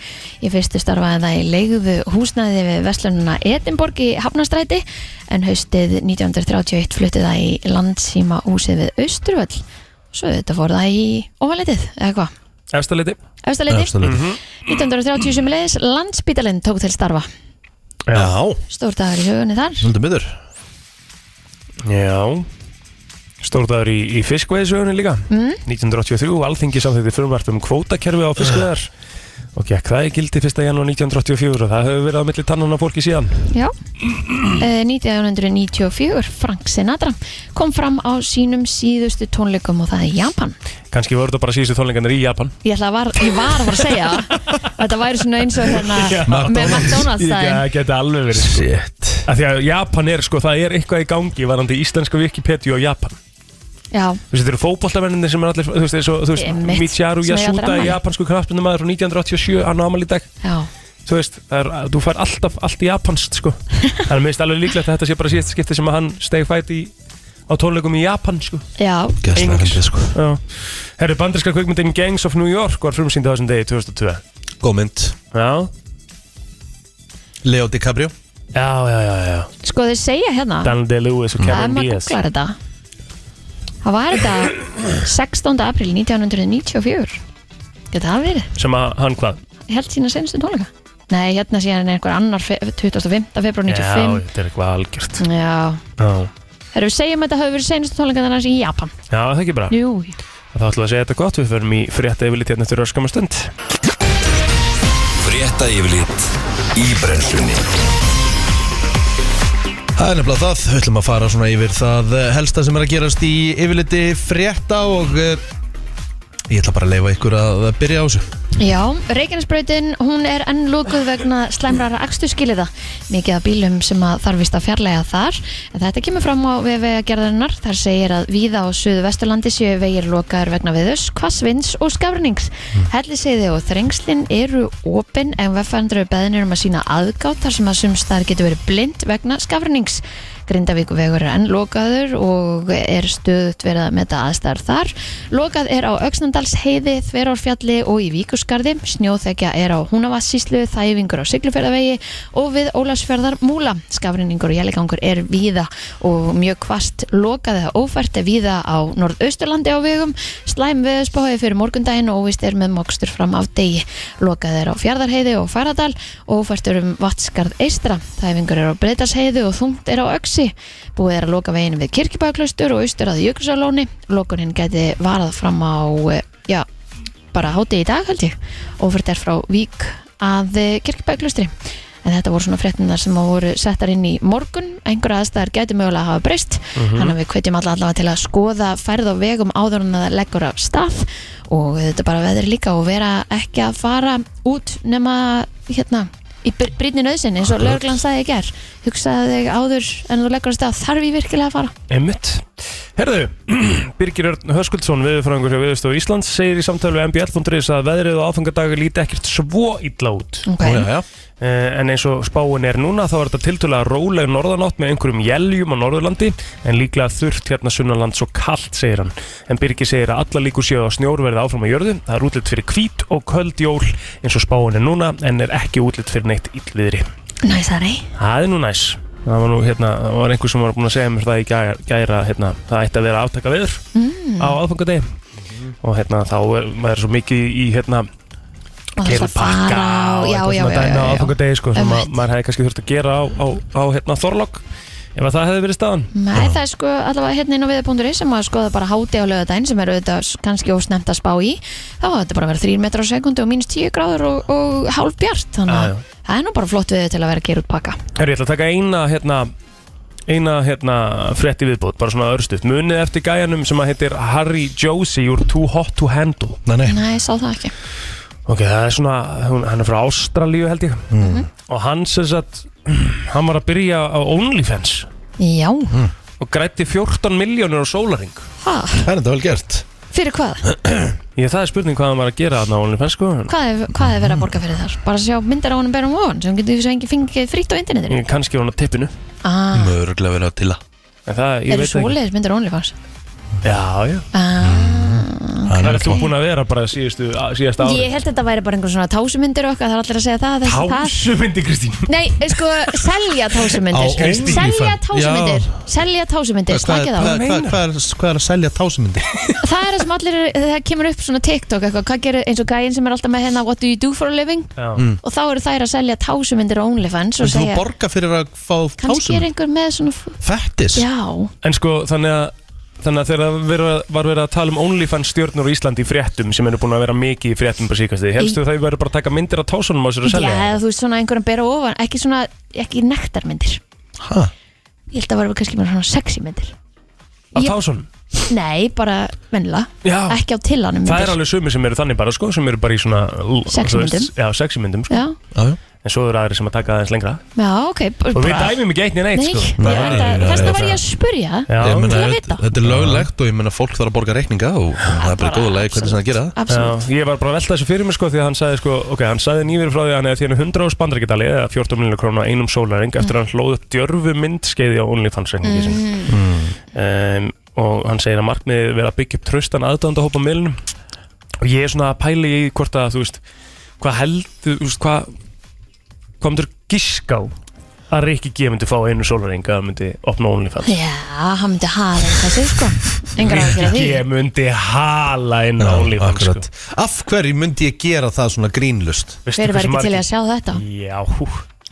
C: Í fyrstu starfaði það í leiguðu húsnæði við Vestlununa Edinborg í Hafnastræti en haustið 1931 fluttið það í landsíma húsið við Austurvöll Svo þetta fór það í óvalitið, eða hvað?
E: Efstaleiti
C: Östaliti,
D: efsta leiti.
C: 1930 sem leðis, landsbítalinn tók til starfa
D: Já,
C: Stór dagar í hugunni þar
D: heldur miður
E: Já Stórdaður í, í fiskveiðisögunni líka mm. 1983, alþingi samþýtti frumvart um kvótakerfi á
C: Ah.
E: fiskveiðar og gekk það í gildi 1. janúar 1984 og það hefur verið á milli tannana fólki síðan
C: Já, Eh, 1994 Frank Sinatra kom fram á sínum síðustu tónleikum og það er Japan.
E: Kanski voru þetta bara síðustu tónleikarnir í Japan
C: Ég, ætla að var, ég var að fara að segja það. þetta væri svona eins og hérna
E: Já.
C: með McDonalds daginn.
E: Ég geti alveg verið sko.
D: Shit
E: Af því að Japan er, sko, það er eitthvað í gangi varandi íslenska Wikipedia og Japan
C: Já,
E: Þú veist, þetta eru fótballtamenninni sem er allir, þú veist, eins og, þú
C: Einmitt.
E: veist, Michiaru
C: Sem eiga allir
E: Yasuda,
C: afmæli.
E: japansku kraftbundumæður frá 1987, hann á amal í dag.
C: já,
E: Þú veist, það er, þú fær alltaf allt japanst, sko. Þannig að mér finnst alveg líklegt að þetta sé bara síðast skipti sem að hann steg fætt í, á tónleikum í Japan, sko.
C: já,
D: Gæslega
E: Einungis.
D: hendið sko
E: Já. Herri, banderska kvikmyndin Gangs of New York var frumsýnd á þessum degi 2002.
D: Góð mynd
E: Já.
D: Leo DiCaprio
E: Já, já, já, já.
C: sko þau segja hérna
E: Daniel Day-Lewis og
C: að ef
E: Cameron
C: maður
E: Diaz.
C: googlar þetta það var þetta 16. april 1994 Geta það verið?
E: Sem að hann hvað?
C: Ég held sína senstu tónleika Nei, hérna síðan er einhver annar fe- 25. februar
E: Já,
C: 95
E: þetta er eitthvað algjört.
C: Já,
E: Já.
C: Herru, við segjum að þetta hafi verið senstu tónleika þannig í Japan
E: Já, það er ekki bara.
C: Jú, jú.
E: Þá ætlum við að segja þetta gott, við förum í frétta yfirlit hérna eftir örskamma stund.
B: Frétta yfirlit í brennslunni
D: Það er nefnilega það, við ætlum að fara svona yfir það eh, helsta sem er að gerast í yfirliti frétta og eh, ég ætla bara að leifa ykkur að byrja á þessu.
C: Já, Reykjanesbrautin, hún er enn lókuð vegna slæmrara aksturskiliða mikið af bílum sem að þarfist að fjarlæga þar, en þetta kemur fram á vegagerðarinnar, þar segir að víða á suðu vesturlandi séu vegir lokaður vegna viðus, hvassvins og skafrnings Helliseiði og þrengslin eru opin en veffandröðu beðinir um að sína aðgátt þar sem að sumstar getur verið blind vegna skafrnings Grindavíkuvegur er enn lokaður og er stöðut verið að meta aðstæðar þar. Lokað er á Öxnandals heiði, Þverárfjalli og í Víkusgarði. Snjóþekja er á Húnavassíslu, Þæfingur á Siglufjörðavegi og við Ólafsfjörðar múla. Skafrinningur og jæligangur er víða og mjög kvast lokað eða ófært er víða á norðausturlandi á vegum. Slæm veðusbáði fyrir morgundaginn og óvist er með mokstur fram af degi. Lokað er á Fjardarheiði og Færadal og ófært er um Vatskarð eistra. Þæfingur er á Breitarsheiði og þungt er á Öksi. Búið er að loka veginn við Kirkjubæklaustur og austur að Jökulsalóni. Lokunin gæti varað fram á, eh, já, bara háti í dag held ég. Ófært er frá Vík að Kirkjubæklaustri. En þetta voru svona fréttinar sem að voru settar inn í morgun. Einhverja aðstæðar gæti mögulega að hafa breyst.
E: Mhm.
C: Þannig að við hvetjum alla allavega til að skoða færð á vegum áður en að það leggur af stað og þetta bara veður líka og vera ekki að fara út nema hérna í brýtni nöðsinn eins og lögreglan sagði ég ger hugsaði þig áður en þú leggur að stað þarf ég virkilega að fara
E: Einmitt. Herðu, Birgir Örn Höskuldsson, viðurfræðingur hjá Viðurstofu Íslands, segir í samtölu MBL.is að veðrið og áfangadag líti ekkert svo illa út.
C: okay.
D: já, já.
E: Eh, en eins og spáin er núna þá er þetta tiltölulega róleg norðanátt með einhverjum jæljum á Norðurlandi en líklega þurft hérna sunnaland svo kallt segir hann en Birgi segir að alla líkur séu að snjór verði áfram á jörðu það er útlitt fyrir hvít og köld jól eins og spáin er núna en er ekki útlitt fyrir neitt illviðri
C: Næsari
E: það er nú næs það var nú hérna það var einhver sem var búin að segja mér það í gæra, gæra hérna, það ætti að vera aftaka viður
C: mm.
E: á aðfangadegi og hérna þá er maður er svo mikið í hérna
C: Og það er
E: keira
C: svo að
E: pakka
C: fara
E: og
C: og- Já,
E: eitthvað
C: já,
E: svona
C: já, já,
E: dæmi
C: já,
E: á
C: já.
E: aðfangadegi sko, sem að
C: Einmitt.
E: maður hefði kannski þurft að gera á, á, á hérna, Þorlokk ef að það hefði verið staðan
C: Nei, það er sko allavega hérna inn á viða.ri sem að skoða bara háti á lögadaginn sem er auðvitað s- kannski ósnemt að spá í þá er þetta bara að vera 3 metrar á sekundu og mínus 10 gráður og, og hálf bjart þannig
E: Já,
C: að
E: já.
C: það er nú bara flott viður til að vera að gera út pakka
E: Herru, ég ætla að taka eina hérna, eina hérna, frétti viðbót bara svona örstuð, munið eftir gæjanum sem að heitir Harry Josie úr Too Hot to Handle
D: Nei, nei
C: Nei, ég sá það ekki
E: ok, það er svona, hún, hann er frá Ástralíu held ég
C: Mhm.
E: og hann sem sagt hann var að byrja á OnlyFans
C: Já,
E: og grætti 14 miljónur á sólaring
C: ha,
D: Það er þetta vel gert
C: fyrir hvað?
E: ég það er spurning hvað hann var að gera þarna á OnlyFans sko, en
C: Hvað er, hvað er verið að borga fyrir þar? Bara að sjá myndar á honum berum ofan sem getur svo engi fengið frítt á internetinu
E: kannski var hann á tippinu
C: ah,
D: Mörglega verið að til að
E: en það, ég
C: Eru
E: veit það ekki
C: svoleiðis myndir OnlyFans?
E: já, já,
C: Ah,
E: það er þú búin að vera bara síðustu, á- síðasta
C: ég
E: ári
C: held að þetta væri bara einhver svona tásumyndir og eitthvað, það er allir að segja það, þessi, það.
E: Tásumindi Kristín
C: Nei, sko, selja
D: Á
C: tásumyndir
D: Instagram.
C: Selja tásumyndir
D: Já.
C: Selja tásumyndir,
D: Hvað
C: slakið
D: er-
C: á
D: hvað- hvað- hvað er hvað er að selja tásumindir?
C: Það er það sem allir, eru- það kemur upp svona TikTok eitthvað, hvað gerir eins og gæinn sem er alltaf með hérna What do you do for a living?
E: Já.
C: Og þá eru þær að selja tásumyndir á OnlyFans og
D: Þú
C: segja,
D: borga fyrir að fá
C: kannski er
D: tásumindir
C: einhver með svona f-
D: Fettis
C: Já,
E: En sko, þannig að Þannig að þegar það vera- var verið að tala um OnlyFans stjórnur á Íslandi í fréttum sem eru búin að vera mikið í fréttum bara síkast því Helstu það verður bara að taka myndir af tásunum á sér að
C: já,
E: selja
C: eða þú veist svona einhverjum bera ofan Ekki svona, ekki nektarmyndir
D: Ha?
C: Ég held að vera kannski með svona sexy myndir
E: Af
C: ég-
E: tásunum
C: Nei, bara vennilega,
E: Já.
C: ekki á tillanum
E: Það er
C: myndir
E: alveg sumir sem eru þannig bara sko sem eru bara í svona
C: Sexy
E: þú veist,
C: myndum.
E: Já, sexymyndum sko
C: Já,
D: Já, já.
E: En svo eru aðri sem að taka aðeins lengra
C: já, ok b-
E: Og við
C: bara-
E: dæmum ekki eitt nýja neitt
C: Nei,
E: sko
C: ég veit að,
D: Nei,
C: þess
D: nei,
C: vegna var ég að spurja
D: Ég
E: Já,
C: til að
D: þetta-
C: vita.
D: þetta er löglegt og ég meina fólk þarf að borga reikninga og það er bara góða leið hvernig sem það gera það
E: Já,
C: Absolutt
E: ég var bara að velta þessu fyrir mig sko því að hann sagði sko, ok, hann sagði nýverið frá því að hann hefði þjónu 100 ás bandarækjadali eða 14 miljonar krónu á einum sólaring eftir að hann hlóð upp djörfu myndskeiði á OnlyFans reikningi sinni um, og hann segir að markmiðið vera að byggja upp tröstan aðdönda hópa miðlunum og ég er svona að pæli í hvort að þú veist, hvað heldur, þú veist, hvað hvað myndur gíská að Rikki G myndi fá einu sólaring að hann myndi opna OnlyFans
C: Já, hann myndi hafa eitthvað sig sko Engar áhyggjur af
E: Rikki
C: því
E: G myndi hala inn á OnlyFans sko.
D: akkurat. Af hverju myndi ég gera það svona grínlust?
E: Veistu
C: Hver var
E: hversu
C: ekki til í
E: margir- Mm.
C: að sjá þetta?
E: Já, hú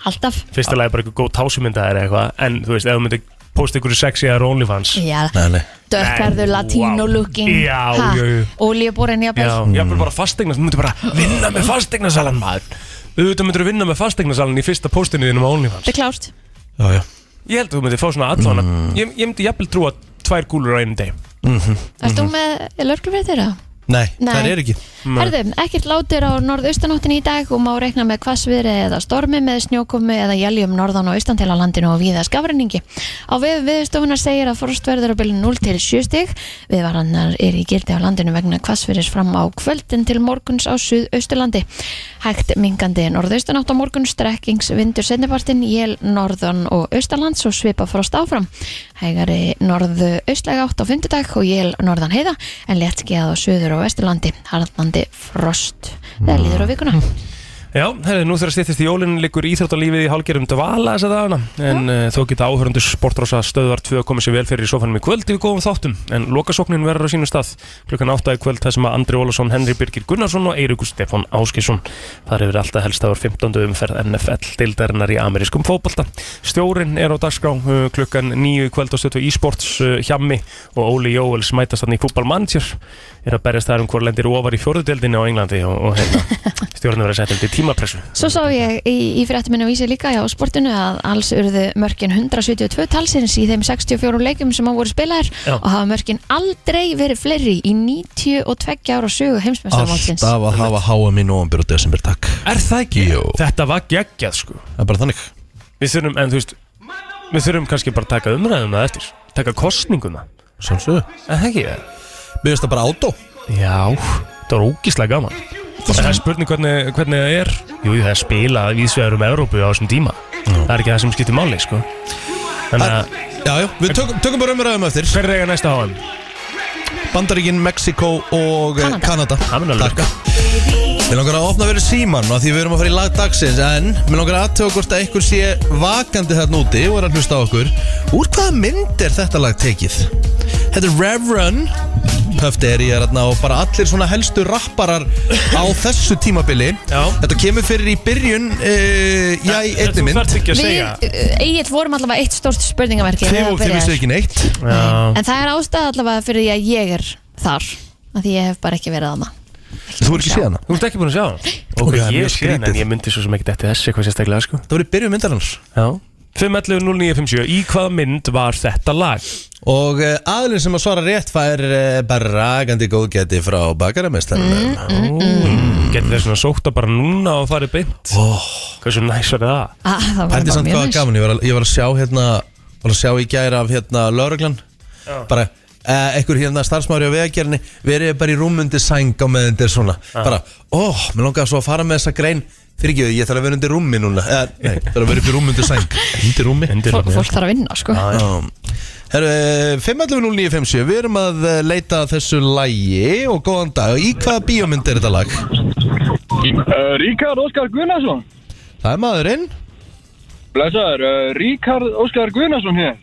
C: Alltaf
E: fyrsta lagi bara eitthvað góð tásumynda eða eitthvað en þú veist, ef þú myndir posta ykkur sexy eða OnlyFans
C: Já,
D: Nei, nei
C: dökkarður,
E: Nei,
C: latino
E: wow.
C: looking
E: Já, já, já.
C: Ólíuborinn, jafnvel
E: Já, jafnvel bara fasteignas, þú myndir bara vinna með fasteignasalan maður Auðvitað myndir þú vinna með fasteignasalan í fyrsta postinu þínum á OnlyFans
C: Þetta er klárt
D: Já, já
E: Ég held að þú myndir fá svona allan ég, ég myndi jafnvel trúa tvær gúlur á einu deg
C: Erst
E: Mhm.
C: þú með lörglufréttir það?
D: Nei,
C: Nei.
D: það er ekki
C: Herðu, ekkert látir á norðaustanóttinni í dag og má reikna með hvassviðri eða stormi með snjókomi eða jæljum norðan og austan til á landinu og víða skafræningi. Á við viðstofunar segir að frost verður á bylun 0 til 7 stig. Viðvarannar er í gildi á landinu vegna hvassviðris fram á kvöldin til morguns á suðausturlandi. Hægt mingandi norðaustanátt á morgun, strekkings vindur sendipartin, jél norðan og austalands og svipa frost áfram. Hægari norðaustlega átt á fymtudag og jél norðan heiða en léttskjað á suður og vesturlandi. Harðnandi frost. Það líður á vikuna.
E: Já, herri, nú þegar stýttist í jólinn liggur íþróttalífið í hálgerum dvala þess að dagana en uh, þó geta áhörundur sportrósa stöðvar 2 komið sér vel fyrir í sofanum í kvöld við góðum þáttum en lokasóknin verður á sínum stað klukkan 8 í kvöld þar sem að Andri Ólason, Henry Birgir Gunnarsson og Eiríkur Stefán Áskisson þar hefur alltaf helst áur 15. umferð NFL dildarinnar í amerískum fótbolta Stjórin er á dagskrá uh, klukkan 9 í kvöld á stöðtu e-sports uh, Hjammi og Óli Jóels mætast hann í fútbal mannsjör er að berjast þar um hvort lendir ofar í fjórðudeldinni á Englandi og, og hérna, stjórnum verið að setja til tímapressu
C: Svo sá ég í, í fréttum minna vísi líka á sportinu að alls urðu mörkin 172 talsins í þeim 64 leikum sem á voru spilaðir
E: Já.
C: og hafa mörkin aldrei verið fleiri í 92 ára sögu heimsmeistarmálsins.
D: Alltaf að hafa HM í november og desember, takk
E: Er það ekki?
D: Jú.
E: Þetta var geggjað sko
D: Það er bara þannig
E: Við þurfum, en þú veist Við þurfum kannski bara að taka umræðum það eftir Taka kostninguna
D: Sjálfsögðu
E: Er það ekki?
D: Mér finnst það bara átó
E: Já, það var ógíslega gaman En Það er spurning hvernig, hvernig það er Jú, jú, það er spilað viðsvegar um Evrópu á þessum tíma Það er ekki það sem skiptir máli, sko Þannig að
D: Já, já, við tökum, tökum bara umræðum eftir
E: hver er eiga næsta háan?
D: Bandaríkin, Mexiko og eh, Kanada
C: Kanada.
E: Það mun alveg.
D: Takka Mér langar að opna verið síman og því við erum að fara í lag dagsins en mér langar að aðtöga hvort að einhver sé vakandi þarna úti og er að hlusta á okkur Úr hvaða mynd er þetta lag tekið? Þetta er Reverend Puff Derry er þarna og bara allir svona helstu rapparar á þessu tímabili
E: Já.
D: Þetta kemur fyrir í byrjun uh, Já, í einni
E: Þú
D: mynd
E: þarft ekki að
C: Við,
E: segja
C: Egil, vorum allavega eitt stórt spurningamerki
D: Þið
C: þegar
D: og þið
C: byrjaði.
D: vissu ekki neitt
E: Já,
C: En það er ástæð allavega fyrir því að ég er þar af Því ég hef bara ekki verið þarna
D: Þú er ekki séð hana
E: Þú ert ekki búin að sjá hann?
D: Ok,
E: Ok,
D: það er mjög
E: ég sé hann en
D: skrítið.
E: ég myndi svo sem ekki eftir þessi eitthvað sérstaklega sko
D: Það voru í byrjun myndarannars
E: Já 5.11.09.57 Í hvaða mynd var þetta lag?
D: Og uh, aðlun sem að svara rétt fær uh, bara ragandi góðgæti frá bakaramestarinn mm.
E: Getið þess svona sóta bara núna og farið beint
D: oh,
E: Hversu næs var það?
C: ah, Það var
D: Þetta er
C: bara
D: samt
C: mjög
D: hvað
C: næs.
D: gaman, ég var, að, ég var að sjá hérna var að sjá í gæra af hérna lauruglan bara uh, einhver hérna starfsmári á vegagerni verið bara í rúmundi sæng á meðan þetta er svona bara, ó, oh, mér langaði svo að fara með þessa grein fyrir ekki, ég þarf að vera undir rúmi núna eh, nei, þarf að vera upp í rúmundi sæng undir rúmi
E: Endur
C: Fólk, fólk þarf að vinna, sko
D: Herru, 5.11.09.50 Við erum að eh, leita að þessu lægi og góðan dag, í hvaða bíómynd er þetta lag?
F: Uh, Ríkard Óskar Gunnarsson
D: Það er maðurinn
F: Blesaður, uh, Ríkard Óskar Gunnarsson hér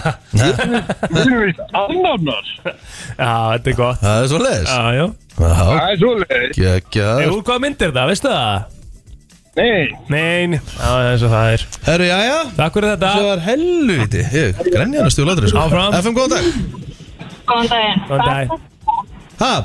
F: Við erum við annafnar
E: Já, þetta er gott
D: Það er svo leiðis
E: Já, já
D: Já,
F: Það er svolítið
E: Jú,
D: geggjað
E: hvað mynd er það, veistu það?
F: Nei,
E: Nein, já, eins og það er
D: Herru, jæja
E: Takk fyrir þetta
D: Það var helviti Ég grenja hann að stjóla aldrei sko.
E: Áfram.
D: FM, góðan dag
G: Góðan daginn.
E: Góðan dag.
D: Ha?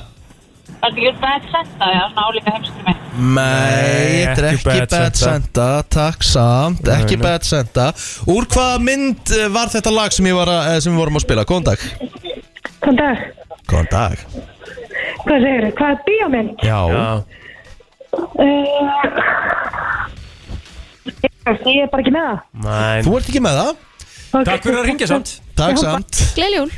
G: Þetta er ekki bad senda, já, svona álíka heimskrimi.
D: Nei, þetta er ekki bad senda Takk samt, ekki bad senda Úr hvaða mynd eh, var þetta lag sem, ég var að, eh, sem við vorum að spila? Góðan dag
H: Góðan dag,
D: Góðan dag
H: hvað segir þið? Hvað er bíómynd?
D: Já,
E: Já,
H: Uh, ég er bara ekki með það.
E: næn
D: þú ert ekki með það
H: Okay.
E: Takk fyrir að ringja samt
D: Takk samt
C: Gleðiljól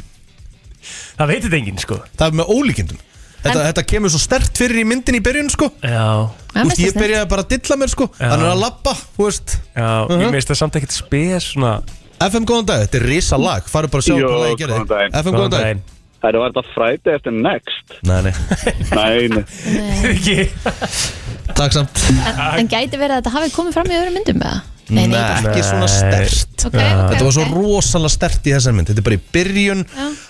E: Það veitir þetta enginn sko
D: Það er með ólíkindum Þetta,
C: En-
D: þetta kemur svo stert fyrir í myndin í byrjun sko
E: Já,
C: Já,
D: Þú veist,
C: mest
D: ég
C: snill.
D: byrjaði bara að dilla mér sko
E: Já.
D: Hann er að labba, þú veist
E: já, ég meist það samt ekkert spes svona
D: FM góðan dag, þetta er risa lag Farðu bara að sjá
I: Jó,
D: hvað lagi gerði
I: góðan daginn.
D: FM góðan dag
I: Það var þetta fræti eftir next
D: Nei, nei
I: Nei, nei.
E: Ekki
D: Takk samt
C: en, en gæti verið að þetta hafi komið fram í öðrum myndum með það Nei, nei, ekki.
D: ekki svona
E: Nei.
D: stert
C: Ok, ok,
D: Þetta var svo
C: ok.
D: rosalega stert í þessar mynd Þetta er bara í byrjun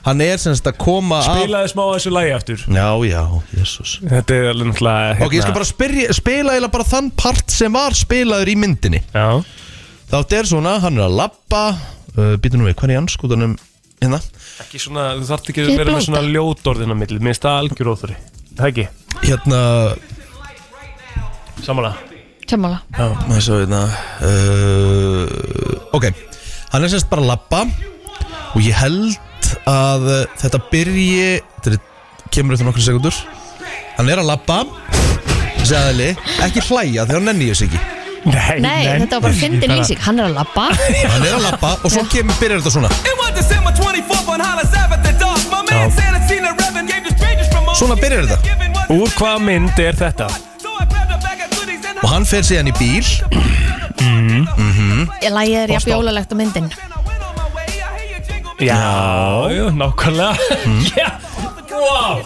D: Hann er sem sagt að koma af
E: Spilaði smá að þessu lagi aftur
D: Já, já, jésús
E: Ah. Þetta er alveg náttúrulega
I: Hérna.
E: hérna-
D: Ok, ég skal bara spyrja, spila eða bara þann part sem var spilaður í myndinni
E: Já,
D: Þátt er svona, hann er að labba uh, Býtu nú við, hvað er í anskotanum hérna?
E: ekki svona, þú þarft ekki að
C: Ég
E: vera með
C: blóta.
E: svona ljótorðina milli Mér finnst það algjör óþurri Það ekki,
D: Hérna,
E: samanlega
C: Sammála
D: maður svo hérna uh, Ok, hann er semst bara að labba Og ég held að uh, þetta byrji Þetta er, kemur eftir nokkru sekundur Hann er að labba Þessi aðli, ekki hlæja þegar hann nenni ég þess ekki
E: Nei,
C: Nei, þetta var bara fyndin lýsing Hann er að labba
D: Hann er að labba og svo kemur, byrjar þetta svona
J: Svona byrjar þetta
E: Úr hvaða mynd er þetta?
D: Og hann fer síðan í bíl
C: Lægið er jafn jólalegt á myndin
E: Já, já, Mm. nákvæmlega Já, wow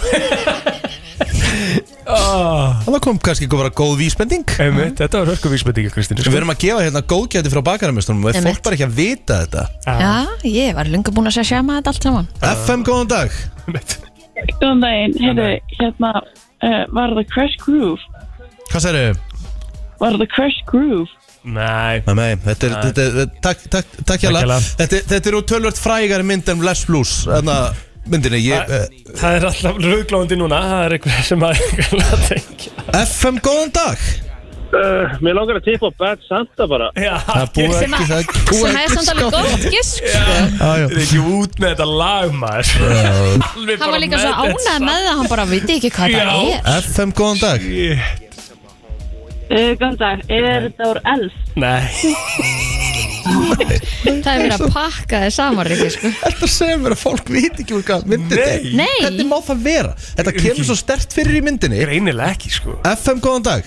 E: Ah.
D: Það kom kannski bara góð vísbending
E: Einmitt, Þetta var hörkuvísmyndingi, Kristín sko.
D: Við erum að gefa hérna góðgæti frá bakaramestunum Og ef
C: Einmitt.
D: fólk bara ekki að vita þetta
C: Já, ég var lunga búin að segja sjama þetta allt saman
D: FM, góðan dag
G: Góðan daginn, heyrðu, hérna, uh, var það Crash Groove?
D: Hvað sérðu?
G: Var það Crash Groove?
E: Nei,
D: Nei, nei, þetta er, þetta er, þetta- takk, takk, takk hjá
E: hérlega.
D: Þetta, þetta er úr tölvört frægari mynd en Les Blues Þannig að myndinni, ég, eh,
E: það er alltaf rauglóðandi núna Það er eitthvað sem að að tengja
D: FM, góðan dag
F: uh, mér langar að tippa á Bad Santa bara
E: Já,
D: Það búið
C: Sem að-
D: ekki það búið
C: Sem er
D: ekki
C: samt alveg
D: skapað.
C: gott sko. gisk
D: Já, já.
E: Þetta er ekki út með þetta lag maður
C: Hann
E: Alveg bara
C: var líka svo
E: með þetta
C: ánægð með það Hann bara viti ekki hvað það
E: Já.
C: er
D: FM, góðan dag
G: Uh, góðan dag, er þetta úr Elf?
E: Nei
C: Það er verið að pakka þið saman, Rikki, sko.
D: Þetta segir mér að fólk veit ekki úr hvað myndið
E: Nei.
D: er
C: Nei.
D: Hvernig má það vera? Þetta kemur svo stert fyrir í myndinni
E: Greinilega ekki sko
D: FM, góðan dag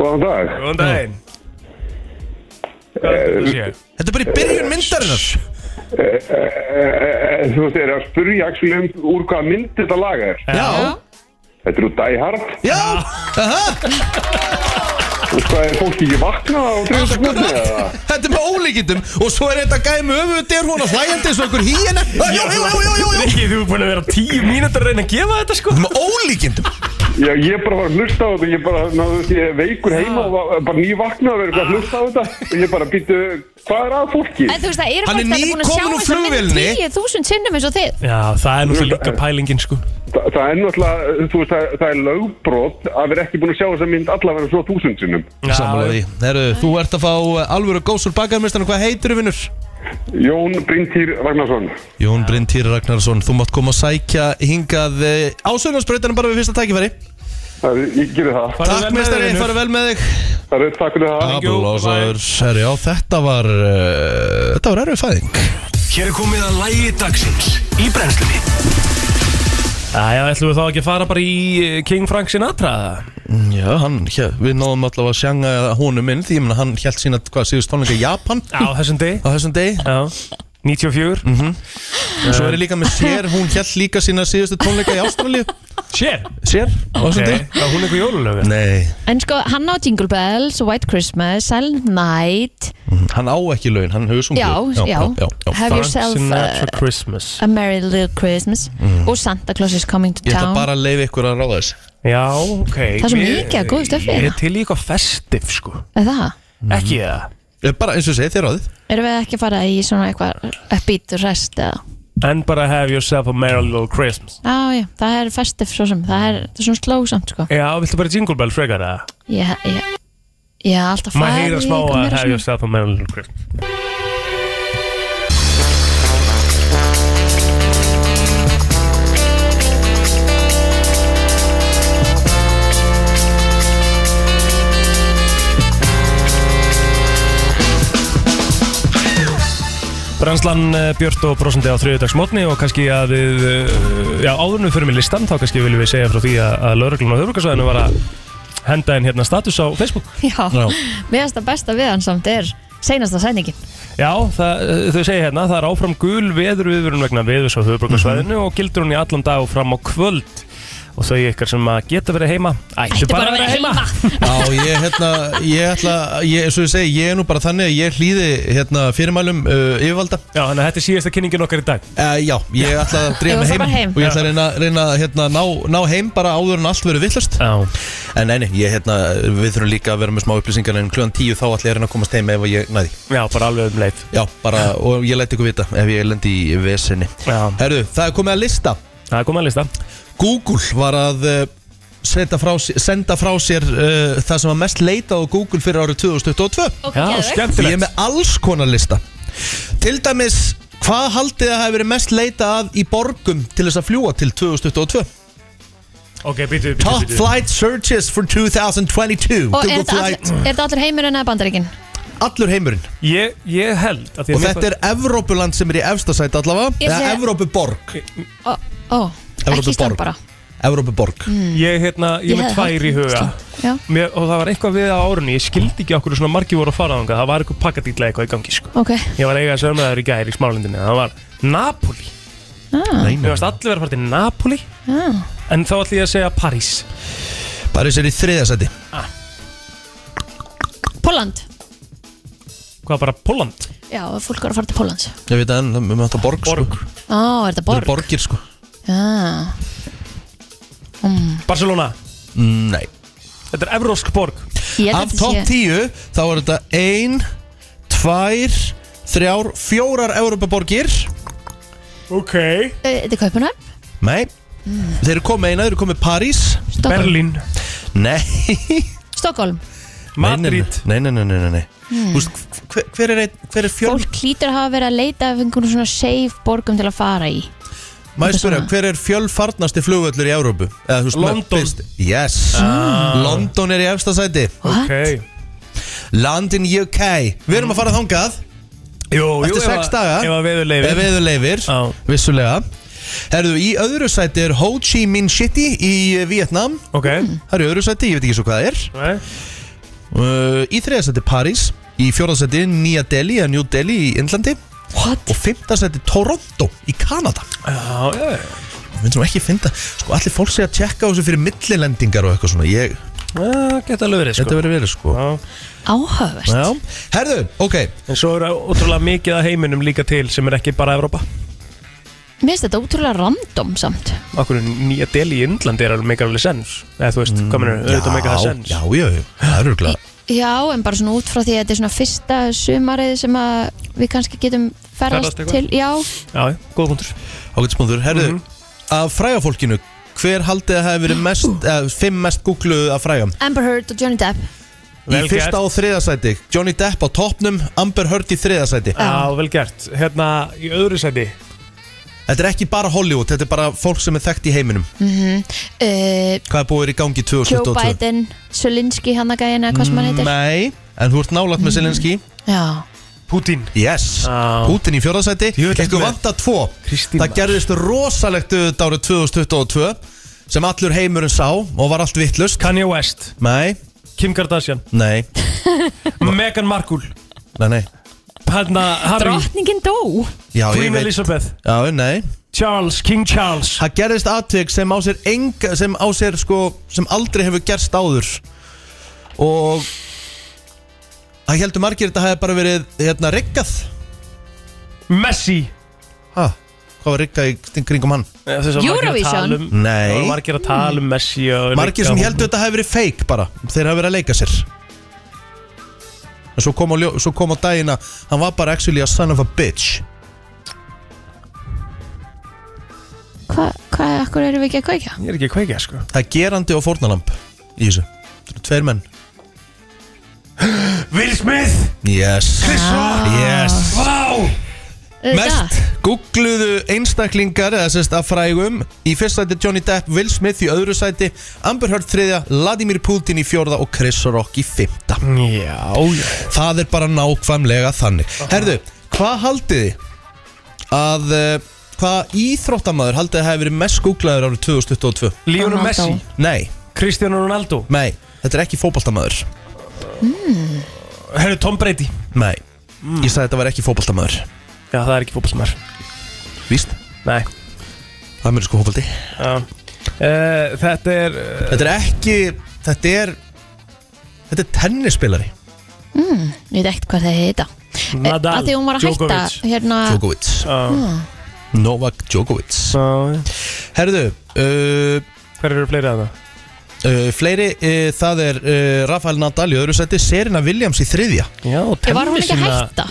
I: Góðan dag.
E: Góðan daginn Hvað er þetta að sé?
D: Þetta er bara í byrjun myndarinnar
I: Eh, Þú veist, er að spurja Axel um úr hvaða mynd þetta lag er.
D: Já,
I: Þetta er úr Die Hard.
D: já, aha,
I: Og hvað er fólk ekki vaknað á 30 sekundinu eða?
D: þetta er með ólíkindum Og svo er þetta gæmi með öfuð er hún að hlægjandi eins og einhver híin Jú, jú, jú, jú, jú, jú
E: Rikki, þú er búin að vera tíu mínútur að reyna að gefa þetta sko
D: Þetta er með ólíkindum
I: Já, ég er bara var að hlusta á þetta, ég er bara, ná, þú veist, ég er veikur heima og var- bara nývaknað og verið að hlusta á þetta. Og ég bara býtu, hvað er að fólki?
C: En þú veist, það eru
D: Hann er
C: fólk það búin að sjá
D: nýkominn úr
C: þess að mynd
D: flugvélinni.
C: 10.000 sinnum eins og þið.
E: Já, það er náttúrulega líka pælingin sko
I: Þa, það er náttúrulega, þú veist, það, það er lögbrot að vera ekki búin að sjá þessa mynd allavega svo þúsundsinnum.
D: Samanlega því, Heru, þú ert að fá uh, alvöru gósur bakarmistan Hvað heitir þú vinnur?
I: Jón Bryntýr Ragnarsson.
D: Jón Brynntýr Ragnarsson, þú mátt koma að sækja hingað ásögnarsbreytanum bara við fyrsta tækifæri.
I: Það er, ég gerir það.
D: Takk meistari, fara vel með þig.
I: Það er takk fyrir það.
E: Thank you,
D: Applausaður. Herri, já, þetta var, uh, þetta var erfið fæðing.
B: Hér er komið að lægi dagsins í brennslunni
E: Æja, ætlum við þá ekki að fara bara í eh, King Frank Sinatra
D: Já, hann, hér, við náðum allavega að sjanga honum inn því, ég meina, hann held sína, hvað, síðust tónleika í Japan
E: á þessum deg
D: á þessum degi.
E: Já 94
D: Svo er ég líka með sér, hún held líka sína síðustu tónleika í Ástralíu.
E: Sér
D: Sér, á þessum
E: okay.
D: degi.
E: Var hún eitthvað jólulöfi?
D: Nei,
C: En sko, hann á Jingle Bells, White Christmas, Silent Night,
D: hann á ekki laun, hann hefur sungið.
C: já, já,
D: já, já.
C: Have Yourself uh,
E: Sinatra Christmas
C: a Merry Little Christmas og Santa Claus is Coming to
D: Mm. Ég ætla
C: Town.
D: bara að leifa ykkur að ráða þess.
E: Já, ok
C: Það er svo
E: Mér-
C: mikið af góðu stöffi
E: Ég er
C: hérna.
E: til í eitthvað festif sko
C: Er það?
E: Ekki það
D: Ég Eh, Bara eins og segið þér ráðið.
C: Erum við ekki að fara í svona eitthvað uppbít og rest eða?
E: En bara have yourself a merry little Christmas
C: Já, já, það er festif svo sem, það er, það er svona slóðsamt sko.
E: Já, viltu bara jingle bell frekar það?
C: Ég, ég, ég er alltaf
E: Maður
C: farið í
E: heyra smá
C: eitthvað meira
E: að have
C: svona.
E: yourself a merry little Christmas Brænslan eh, Björt og brosandi á þriðudagsmótni og kannski að við, eh, já áðurnum fyrir mig listan þá kannski viljum við segja frá því að, að lauruglun á höfurkasvæðinu var að henda inn hérna status á Facebook
C: Já,
D: Já.
C: mér finnst það besta við hann samt er seinasta sæningin
E: Já, það, eh, þau segja hérna það er áfram gul veðurviðurinn vegna veðurs á höfurkasvæðinu og gildur hún í allan dag og fram á kvöld og þau ykkar sem að geta verið heima ættu, bara að vera heima,
D: Já, ég, hérna, ég ætla, ég, svo ég segi, ég er nú bara þannig að ég hlýði hérna, fyrirmælum uh, yfirvalda.
E: Já, þannig að þetta er síðasta kynningin okkar í dag
D: Uh, já, ég ætla að
C: Ég
D: drefa
C: ætla
D: heim,
C: bara heim.
D: og ég ætla að reyna, reyna að, hérna, ná, ná heim bara áður en allt verið villast.
E: Já,
D: En neini, ég, hérna, við þurfum líka að vera með smá upplýsingar en kljóðan tíu þá ætla ég að reyna að komast heim ef ég næði.
E: já bara alveg um leið
D: Já, bara, og ég læti ykkur vita ef ég lendi í vesenni.
E: Já,
D: Herru, það er komið að lista.
E: það er komið að lista
D: Google var að uh, senda frá, sér- senda frá sér uh, það sem var mest leitað á Google fyrir árið 2022.
E: Já,
D: Ég er
E: skemmtilegt
D: með alls konar lista Til dæmis, hvað haldið að hafi verið mest leita að í borgum til þess að fljúa til 2022?
E: Ok, býtu, býtu,
D: Top
E: býtu
D: flight searches for 2022
C: Og
D: Google
C: er þetta all,
D: flight
C: er þetta allir heimurinn eða bandaríkin?
D: Allur heimurinn
E: Ég, ég held að því að
D: Og þetta er Evrópuland sem er í efstasæti allavega
C: Ég
D: Eða
C: sé-
D: Evrópuborg
C: Ó, ó
D: Evrópu
C: ekki Ísland
D: borg.
C: bara
D: Evrópuborg
E: Ég, hérna, ég,
C: Ég
E: ég með
C: hefði
E: tvær í
C: haldið
E: huga
C: Ísland. Já,
E: Mér, og það var eitthvað við á árunni, ég skildi ekki okkur svona margir voru að fara þangað, það var eitthvað pakkadýtla eitthvað í gangi sko.
C: ok
E: Ég var eiga að sögum með það í gæri í smálindinni, það var Napoli
C: ah,
E: Mér varst allir verið að fara til Napoli
C: ah.
E: En þá ætlum ég að segja París
D: Paris er í þriðasæti
C: Póland
E: Hvað bara Póland?
C: Já, fólk var að fara til Pólans
D: Ég veit að við mögum þetta borg,
E: Borg
D: Sko.
C: Ó, er
D: Þetta eru
C: þetta borg?
D: borgir sko
C: Já,
E: Barcelona
D: Nei
E: Þetta er evrósk borg
C: ég
D: Af
C: held
D: top
C: að þetta sé
D: 10 þá er þetta 1, 2, 3, 4 Evrópuborgir
E: Ok
C: Eh, Þetta er Kaupunöf
D: Nei
C: Hmm.
D: Þeir eru komið eina, þeir eru komið París
C: Stokkólm
E: Berlín
D: Nei
C: Stokkólm
E: Madrid
D: Nei, nei, nei, nei, nei, nei.
C: Hmm.
D: Mm. Úst, hver, hver er, einn- hver er fjörn
C: Fólk hlýtur að hafa verið að leita af einhvern svona safe borgum til að fara í
D: Maður spyrja, hver er fjölfarnasti flugvöllur í Evrópu? Eða, þú veist, með
E: London. Ah.
D: fyrst- Yes London er í efsta sæti
C: What?
E: Ok
D: Land in UK Við erum að fara þangað
E: Jú, jú,
D: Eftir
E: ef
D: sex
E: að-
D: daga
E: ef að veður leyfir.
D: Ef veður leifir,
E: Já.
D: vissulega Herðu, í öðru sæti er Ho Chi Minh City í eh, Vietnam
E: Ok
C: Mm.
D: Það er í öðru sæti, ég veit ekki svo hvað það er
E: Nei.
D: uh, Í þriða sæti París Í fjóra sæti Nýja Delhi eða New Delhi í Indlandi
C: What?
D: Og fymta sæti Toronto í Kanada
E: Já, já, já.
D: Við finnst nú ekki að finna Sko, allir fólk sé að tjekka á þessu fyrir millilendingar og eitthvað svona ég,
E: Já, Geta alveg verið
D: Þetta
E: sko
D: verið verið, sko
E: Já.
C: Áhugavert
D: Já. Herðu, ok
E: En svo er ótrúlega mikið að heiminum líka til sem er ekki bara Evrópa
C: Mér finnst þetta ótrúlega random samt
E: Akkur nýja deli í Indlandi er alveg meikar alveg sens Eða þú veist, mm, hvað mennur, auðvitað meikar það sens
D: já, já, já, það er örgulega
C: Já, en bara svona út frá því að þetta er svona fyrsta sumarið sem að við kannski getum ferðast
E: Ferðast eitthvað?
C: til Já,
E: Já, já, góð punktur
D: Ágættisbúndur, herðu
E: Mhm.
D: Af frægafólkinu, hver haldið að hafi verið mest uh, Fimm mest googluð af frægam
C: Amber Heard og Johnny Depp
D: Í
E: Vel
D: fyrsta
E: gert.
D: og þriða sæti Johnny Depp á toppnum, Amber Heard í þriða sæti
E: Já, vel gert Hérna, í öðru seti
D: Þetta er ekki bara Hollywood, þetta er bara fólk sem er þekkt í heiminum
C: uh,
D: Hvað er búið að vera í gangi
C: Joe
D: 2022?
C: Biden, Zelensky, hann að gæina hvað sem hann
D: Mm,
C: heitir
D: Nei, en þú ert nálægt með Selinski
C: Já,
E: Putin
D: Yes,
E: Á.
D: Putin í fjórðasæti
E: Jú, þetta er
D: Ekkur
E: með-
D: vanta tvo
E: Kristín
D: Það
E: Mar.
D: gerðist rosalegt auðvitað árið 2022 sem allur heimurinn sá og var allt vittlust
E: Kanye West
D: Nei,
E: Kim Kardashian
D: nei,
E: Meghan Markle
D: nei, nei
E: Hérna, Harry
C: drottningin dó
D: Já, ég
E: Queen
D: veit-
E: Elizabeth
D: Já, nei
E: Charles, King Charles
D: Það gerðist atvik sem á sér enga, sem á sér sko, sem aldrei hefur gerst áður og það heldur margir þetta hefði bara verið hérna riggað
E: Messi
D: ha, hvað var riggað í kring- kringum hann?
C: Eurovision?
E: um- Það
D: Nei,
E: var margir að tala um Messi og
D: margir sem heldur þetta hefði verið fake bara, þeir hefði verið að leika sér en svo kom á, ljó, svo kom á dagina hann var bara actually a son of a bitch
C: Hvað, hva, akkur erum við ekki að kveika?
E: Ég er ekki að kveika, sko
D: það er gerandi og fórnalamb í þessu, þetta eru tveir menn
E: Will Smith
D: yes, yes
E: Vá
D: Mest googluðu einstaklingar eða sérst að frægum Í fyrsta sæti Johnny Depp, Will Smith í öðru sæti Amber Heard þriðja, Vladimir Putin í fjórða og Chris Rock í fymta
E: Já, já
D: Það er bara nákvæmlega þannig Herðu, hvað haldið þið að uh, hvað íþróttamaður haldið þið hafi verið mest googlaður árið 2022?
E: Lionel
C: Ronaldo.
E: Messi
D: Nei,
E: Cristiano Ronaldo
D: nei, þetta er ekki fótbaltamaður
E: Herru, Tom Brady
D: Nei, ég sagði þetta var ekki fótbaltamaður
E: Já, það er ekki fótbolsmar
D: Víst,
E: Nei
D: það er mér sko fótbalti
E: uh, Þetta er
C: Eh,
E: uh,
D: Þetta er ekki, þetta er Þetta er tennisspilari
C: Ég veit ekkert hvað það heita
E: Nadal,
C: Að því hún var að hætta
E: Djokovic.
C: hérna
D: Djokovic
E: uh,
D: Novak Djokovic
E: uh,
D: Herðu, uh,
E: Hver eru fleiri að það?
D: uh, fleiri uh, það er uh, Rafael Nadal í öðru sæti Serena Williams í þriðja
E: Já,
C: Ég var hún ekki að hætta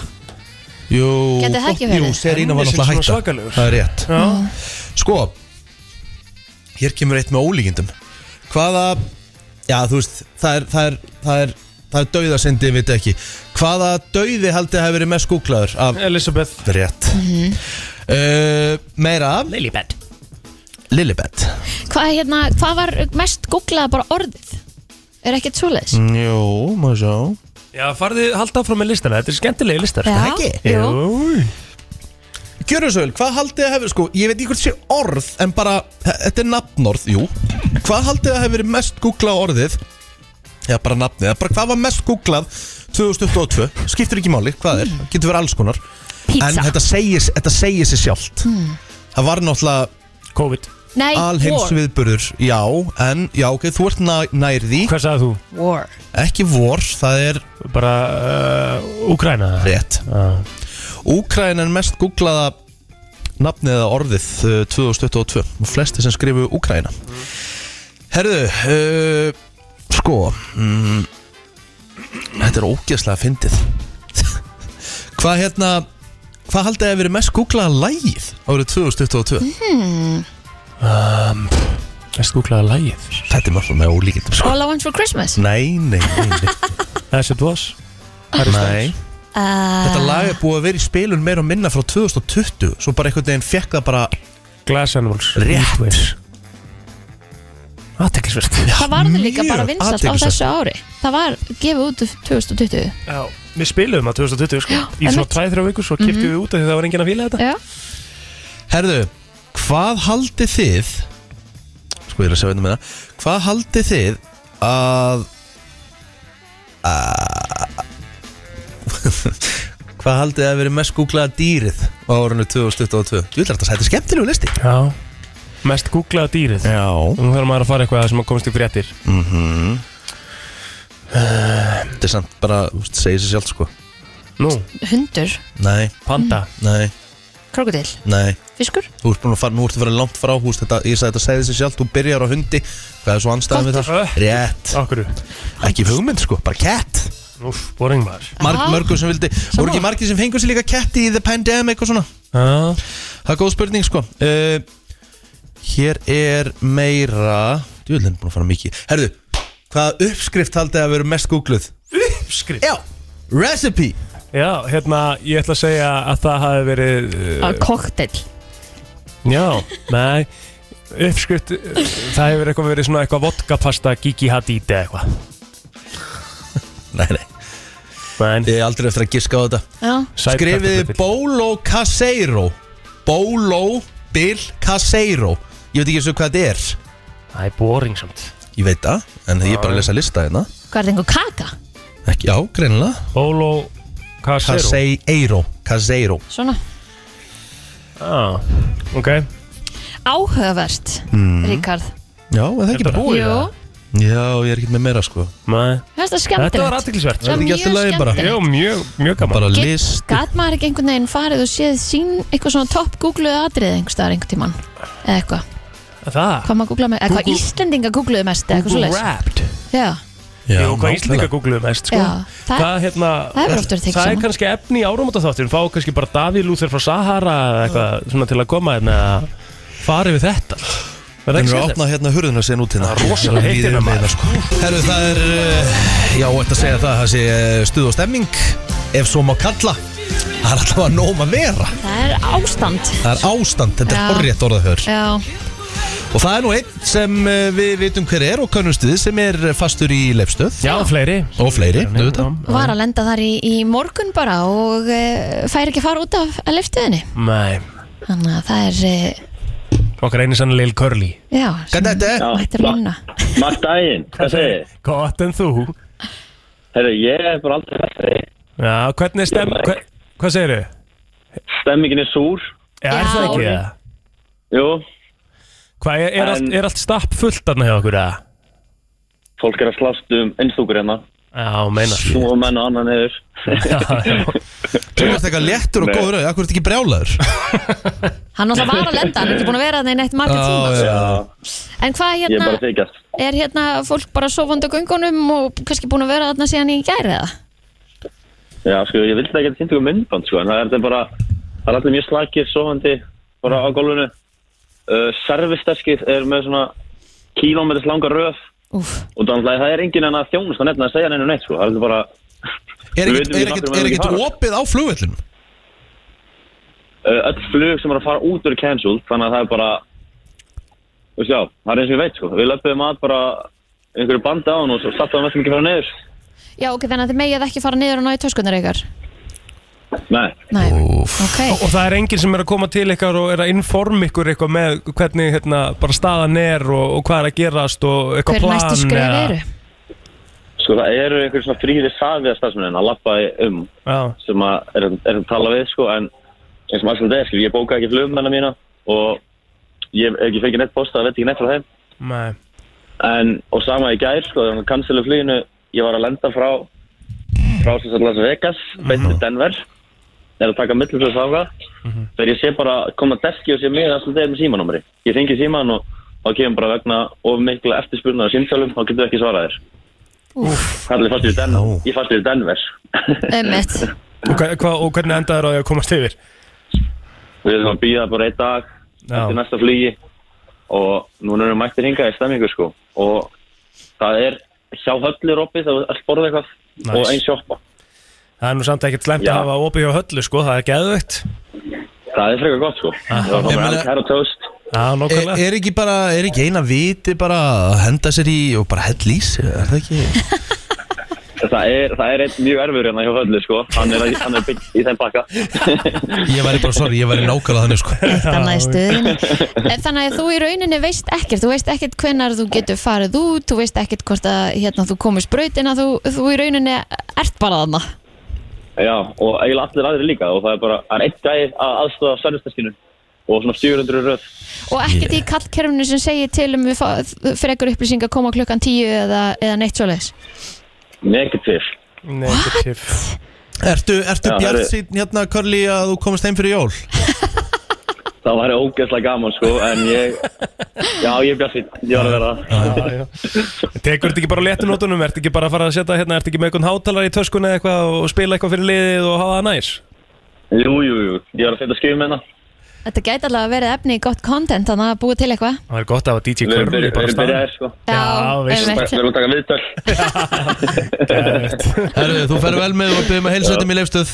D: Jú,
C: Gæti það ekki verið?
D: jú Serena var náttúrulega hætta
E: Tennis er svona svakalegur.
D: Það er rétt
E: Já
D: Sko, hér kemur eitt með ólíkindum Hvaða, já þú veist, það er, það er, það er, það er dauðasendi, ég veit ekki Hvaða dauði haldið hafi verið mest googlaður af
E: Elizabeth
D: Rétt
C: Mhm.
D: uh, Meira
E: Lilibet
D: Lilibet
C: Hvað hérna, hvað var mest googlað bara orðið? Er ekkert svoleiðis?
D: Mm. Jú, maður sjá
E: Já, farðu, halda áfram með listana Þetta er skemmtilegi listar
C: Já,
D: ekki?
C: jú.
D: Gjörðu svo vel, hvað haldið að hefur, sko, ég veit ekki hvort sé orð en bara, þetta er nafnorð, jú Hvað haldið að hefur verið mest googlað orðið Já, bara nafnið, eða bara hvað var mest googlað 2022, skiptir ekki máli, hvað er, getur verið alls konar En
C: Pizza
D: þetta segir, þetta segir sér sjálft Það var náttúrulega
E: COVID
C: Nei, war
D: alheimsviðburður, já, en, já, ok, þú ert næ, nær því
E: Hvað sagði þú?
C: War
D: Ekki vor, það er
E: Bara uh, Úkraina
D: rétt
E: Já.
D: Úkræn er mest googlaða nafnið eða orðið uh, 2022 og flesti sem skrifu Úkræna Herðu uh, sko mm, þetta er ógeðslega fyndið hvað hérna hvað haldið að verið mest googlaða lægið árið 2022
E: Mest googlaða lagið
D: þetta er mjög með ólíkindum sko
C: All I want for Christmas
D: nei, nei, nei, nei,
E: As it was Harry
D: nei.
E: Styles
C: uh,
D: þetta lag er búið að vera í spilun meira og minna frá 2020 svo bara einhvern veginn fekk það bara
E: Glass Animals
D: Rétt.
E: Heatwaves. Aðteklisvert
C: Það varði líka bara
D: mjög
C: vinsalt á
D: athyglisvert.
C: þessu ári Það var gefið út 2020
E: Já, við spilum að 2020 sko.
C: Já,
E: Í svona
C: einmitt. Mhm.
E: 2-3 vikur, svo kiptum við út af því það var enginn að fíla þetta
C: Já,
D: Herðu, hvað haldið þið Sko ég er að sjá einnig með það Hvað haldið þið að, að Hvað haldið þið að verið mest googlaða dýrið á árunni 2022 Þú vil þetta sæti skemmtilegu listi
E: Já Mest googlaða dýrið
D: Já
E: Nú þarf maður að fara eitthvað sem að komast í fréttir
D: Þetta er samt bara, þú veist, segir sér sjálf sko
E: Nú,
C: hundur,
D: Nei,
E: panda
C: Mhm.
D: nei,
C: krokodil,
D: nei
C: fiskur
D: Þú ert búin að fara, nú ertu að fara langt frá hús þetta, Ég sagði þetta segði sér sjálf, þú byrjar á hundi Hvað er svo anstæðan við það?
E: Köttur.
D: Rétt,
E: Akkur
D: ekki hugmynd sko, bara cat
E: Úf, boring maður
D: Marg,
C: Aha.
D: mörgum sem vildi voru ekki margir sem fengur sér líka ketti í the pandemic og svona
E: Já,
D: það er góð spurning sko uh, hér er meira djúðlinn búin að fara mikið herðu hvaða uppskrift haldið að vera mest googluð
E: uppskrift
D: já recipe
E: Já, hérna, ég ætla að segja að það hafi verið
D: Eh.
E: uh,
C: að koktel
E: Já, nei Uppskrift, uh, það hefur eitthvað verið svona eitthvað vodkapasta Gigi Hadid eða eitthvað
D: nei nei
E: Men,
D: ég er aldrei eftir að giska á þetta
C: Já,
E: sæt
D: skrifiði
E: kartöflupill.
D: bolo casero bolo bill casero ég veit ekki eins og hvað þetta er
E: Það er boring samt
D: ég veit það en ég er bara að lesa lista hérna
C: hvað er það einhver kaka?
D: ekki já greinilega
E: Bolo Casero
D: casero casero
C: Svona
E: ah, Ok,
C: áhugavert, Ríkard
D: Mm. já er það ekki bara
E: búið
C: Jú,
E: það?
D: Já, ég er ekkert með meira sko
E: Nei.
C: þetta er
E: Þetta var
C: skemmtilegt
E: aðtiklisvert
D: Þetta er ekki allt í lagi bara.
E: Jú, mjög, mjög gaman
D: Bara
C: Get-
D: list
C: Gat maður ekki einhvern veginn farið og séð sín eitthvað svona topp googluðu atrið einhver staðar einhvern tímann eða eitthvað,
E: Það
C: hvað maður googlaði með eða hvað
E: Google-
C: Íslendinga googluðu mest eða eitthvað
E: Google
C: svoleiðis
E: Wrapped
C: Já,
D: Já,
E: Jú, hvað
D: nákvæmlega.
E: Íslinga googluðu mest sko.
C: já, það,
E: Það, hérna,
C: það hefur oft verið tekið
E: það er
C: saman.
E: kannski efni í árumóta þáttir Fá kannski bara Davíð Lúþur frá Sahara eða eitthvað, svona til að koma hérna að fara yfir þetta Það er
D: Þannig
E: ekki
D: er að
E: sérlega
D: opna hérna hurðina sér út hérna
E: Það er rosalega heitt hérna, maður.
D: sko. Herru það er, uh, já ætti að segja það, það sé uh, stuð og stemming Ef svo má kalla Það er alltaf að nóma vera
C: það er ástand
D: Það er ástand, þetta er
C: Já.
D: horrið orðað hör
C: Já,
D: Og það er nú einn sem uh, við vitum hver er og kannumst við sem er eh, fastur í lefstöð
E: Já, fleiri
D: Og fleiri, auðvitað
C: var að lenda þar í, í morgun bara og e, fær ekki að fara út af að liftuðinni
E: Nei,
C: Þannig að það er, e,
E: okkar einu sann Lil Curly
C: já,
D: Hvað er þetta?
C: mættir luna
F: Mark daginn, hvað segir þið?
E: Gott en þú
F: Herru, ég er bara aldrei fætt þig.
E: Já, hvernig er stem...
F: Ég-
E: Hva, hvað segirðu?
F: Stemmingin er súr.
E: Já, er það
C: Já.
E: ekki það?
F: Jú,
E: Hvað, er, er,
F: En-
E: allt, er allt stapp fullt þarna hjá okkur, eða?
F: fólk er að slást um einnstúkur hérna.
E: Já, meina
F: Nú og menn og annan hefur.
D: Þú ert eitthvað léttur og
F: Nei.
D: góður eh, auðvitað, akkur ert ekki brjálaður
C: Hann alltaf var að lenda, hann er ekki búin að vera þannig neitt margir tíma
D: Já,
C: En hvað
F: Ég er bara að
C: hérna,
F: þykjast.
C: er hérna fólk bara sofandi á göngunum og kannski búin að vera þarna síðan í gæri eða?
F: Já, sko, ég vildi ekki að sýnda ykkur myndband, sko, en það er þetta bara, það er allir mjög slakir, sofandi, bara á gólfinu. Uh, Servisteskið er með svona kílómetris langa röð
C: Úf,
F: og þannig að það er enginn en að þjónust að nefna að segja neinu neitt, sko, það er þetta bara,
D: Er
F: Við
D: ekkert-
F: vitum ekki
D: er ekkert
F: náttúrulega
D: er
F: ekki
D: ekkert
F: fara.
D: opið á flugvellinum?
F: uh, öll flug sem er að fara út er cancelled, þannig að það er bara, þú veist já, það er eins og ég veit, sko, við löpum að bara einhverju bandi á hann og svo sattaðum öllum ekki að fara niður.
C: já ok, þannig að þið megið ekki fara niður og ná í töskunar ykkar
F: Nei,
C: Nei,
D: Úff.
C: ok
E: Og það er enginn sem er að koma til ykkar og er að informa ykkur eitthvað með hvernig hérna, bara staðan er og, og hvað er að gerast og eitthvað
C: Hver
E: plan
C: næstu skref
E: eða-
C: eru?
F: sko, það eru einhverju svona fríði safiða starfsmennin að lappa um
E: Já,
F: sem að er, er að tala við sko, en eins og maður sem þetta er, skilur, ég bóka ekki flugmennar mína og ég hef ekki fengið neitt posta, það veit ekki neitt frá þeim
E: nei
F: en, og sama í gær, sko, þannig að kansilu fluginu ég var að lenda frá frá sem sagt Las Vegas, beint til Denver er að taka millum fyrir sáka þegar ég sé bara, koma deski og sé mig það sem þetta er með símanúmeri, ég fengi síman og þá kemur bara vegna of mikla eftirspurnar og símtjálum, þá getur við ekki svarað þér Það er alveg fastur í Denver ég fastur í Denver
C: Ömmett,
E: og, hva, hva, og hvernig endaður á því að komast yfir?
F: við erum að býða bara einn dag
E: Já,
F: til næsta flugi og núna erum við mættir hingað í stemmingu sko og það er hjá höllir opið það er allt borðið eitthvað
E: Nice.
F: og einn sjoppa
E: það er nú samt ekkert slemt
F: Já.
E: að hafa opið hjá höllu sko, það er geðveitt
F: það er frekar gott sko það er
D: Ég
F: bara
D: meina-
F: allt herra tóst
D: Er,
E: Já,
F: Eh,
E: nákvæmlega
D: er ekki bara, er ekki eina viti bara að henda sér í og bara hell í sig, er það ekki?
F: Það er, það er einn mjög erfur hérna hjá höllu sko Hann er, hann er byggt í þeim bakka
D: Ég væri bara, sorry, ég væri nákvæmlega þannig sko
C: Eitt annað í stöðinni En Þannig að þú í rauninni veist ekkert Þú veist ekkert hvenar þú getur farið út Þú veist ekkert hvort að hérna, þú komist brautina þú, þú í rauninni ert bara þarna
F: Já, og eiginlega allir aðrir líka og það er bara, hann er einn gæði að aðstofa sörnusteskinu og svona 700 röð
C: Og ekkert í kallkerfinu sem segir til um við fá- frekar upplýsing að koma klukkan 10 eða, eða neitt svoleiðis
F: negativ
E: Negativ
D: Ertu, ertu
F: Já,
D: bjart sín hérna, Körli, að þú komist heim fyrir jól?
F: Það væri ógeðslega gaman sko en ég, já ég er bjartfýtt, ég var að vera það
E: Tekur þetta ekki bara á léttum nótunum Ertu ekki bara að fara að setja hérna Ertu ekki með einhvern hátalar í töskunni eða eitthvað Og spila eitthvað fyrir liðið og hafa það næs
F: Jú, jú, jú, ég var að setja skjöfum hérna
C: Þetta gæti allavega að vera efni í gott content Þannig að búa til eitthvað
E: Það er gott að hafa DJ
F: Við erum
E: Körli
F: byrja- við
E: bara á
F: erum byrjaðir sko
E: Já, veist.
F: Bara- Við
C: einmitt.
F: erum
E: staðnum
F: að taka viðtöl
D: Herðu, þú ferð vel með og byrjum að heilsa þetta mér leifstöð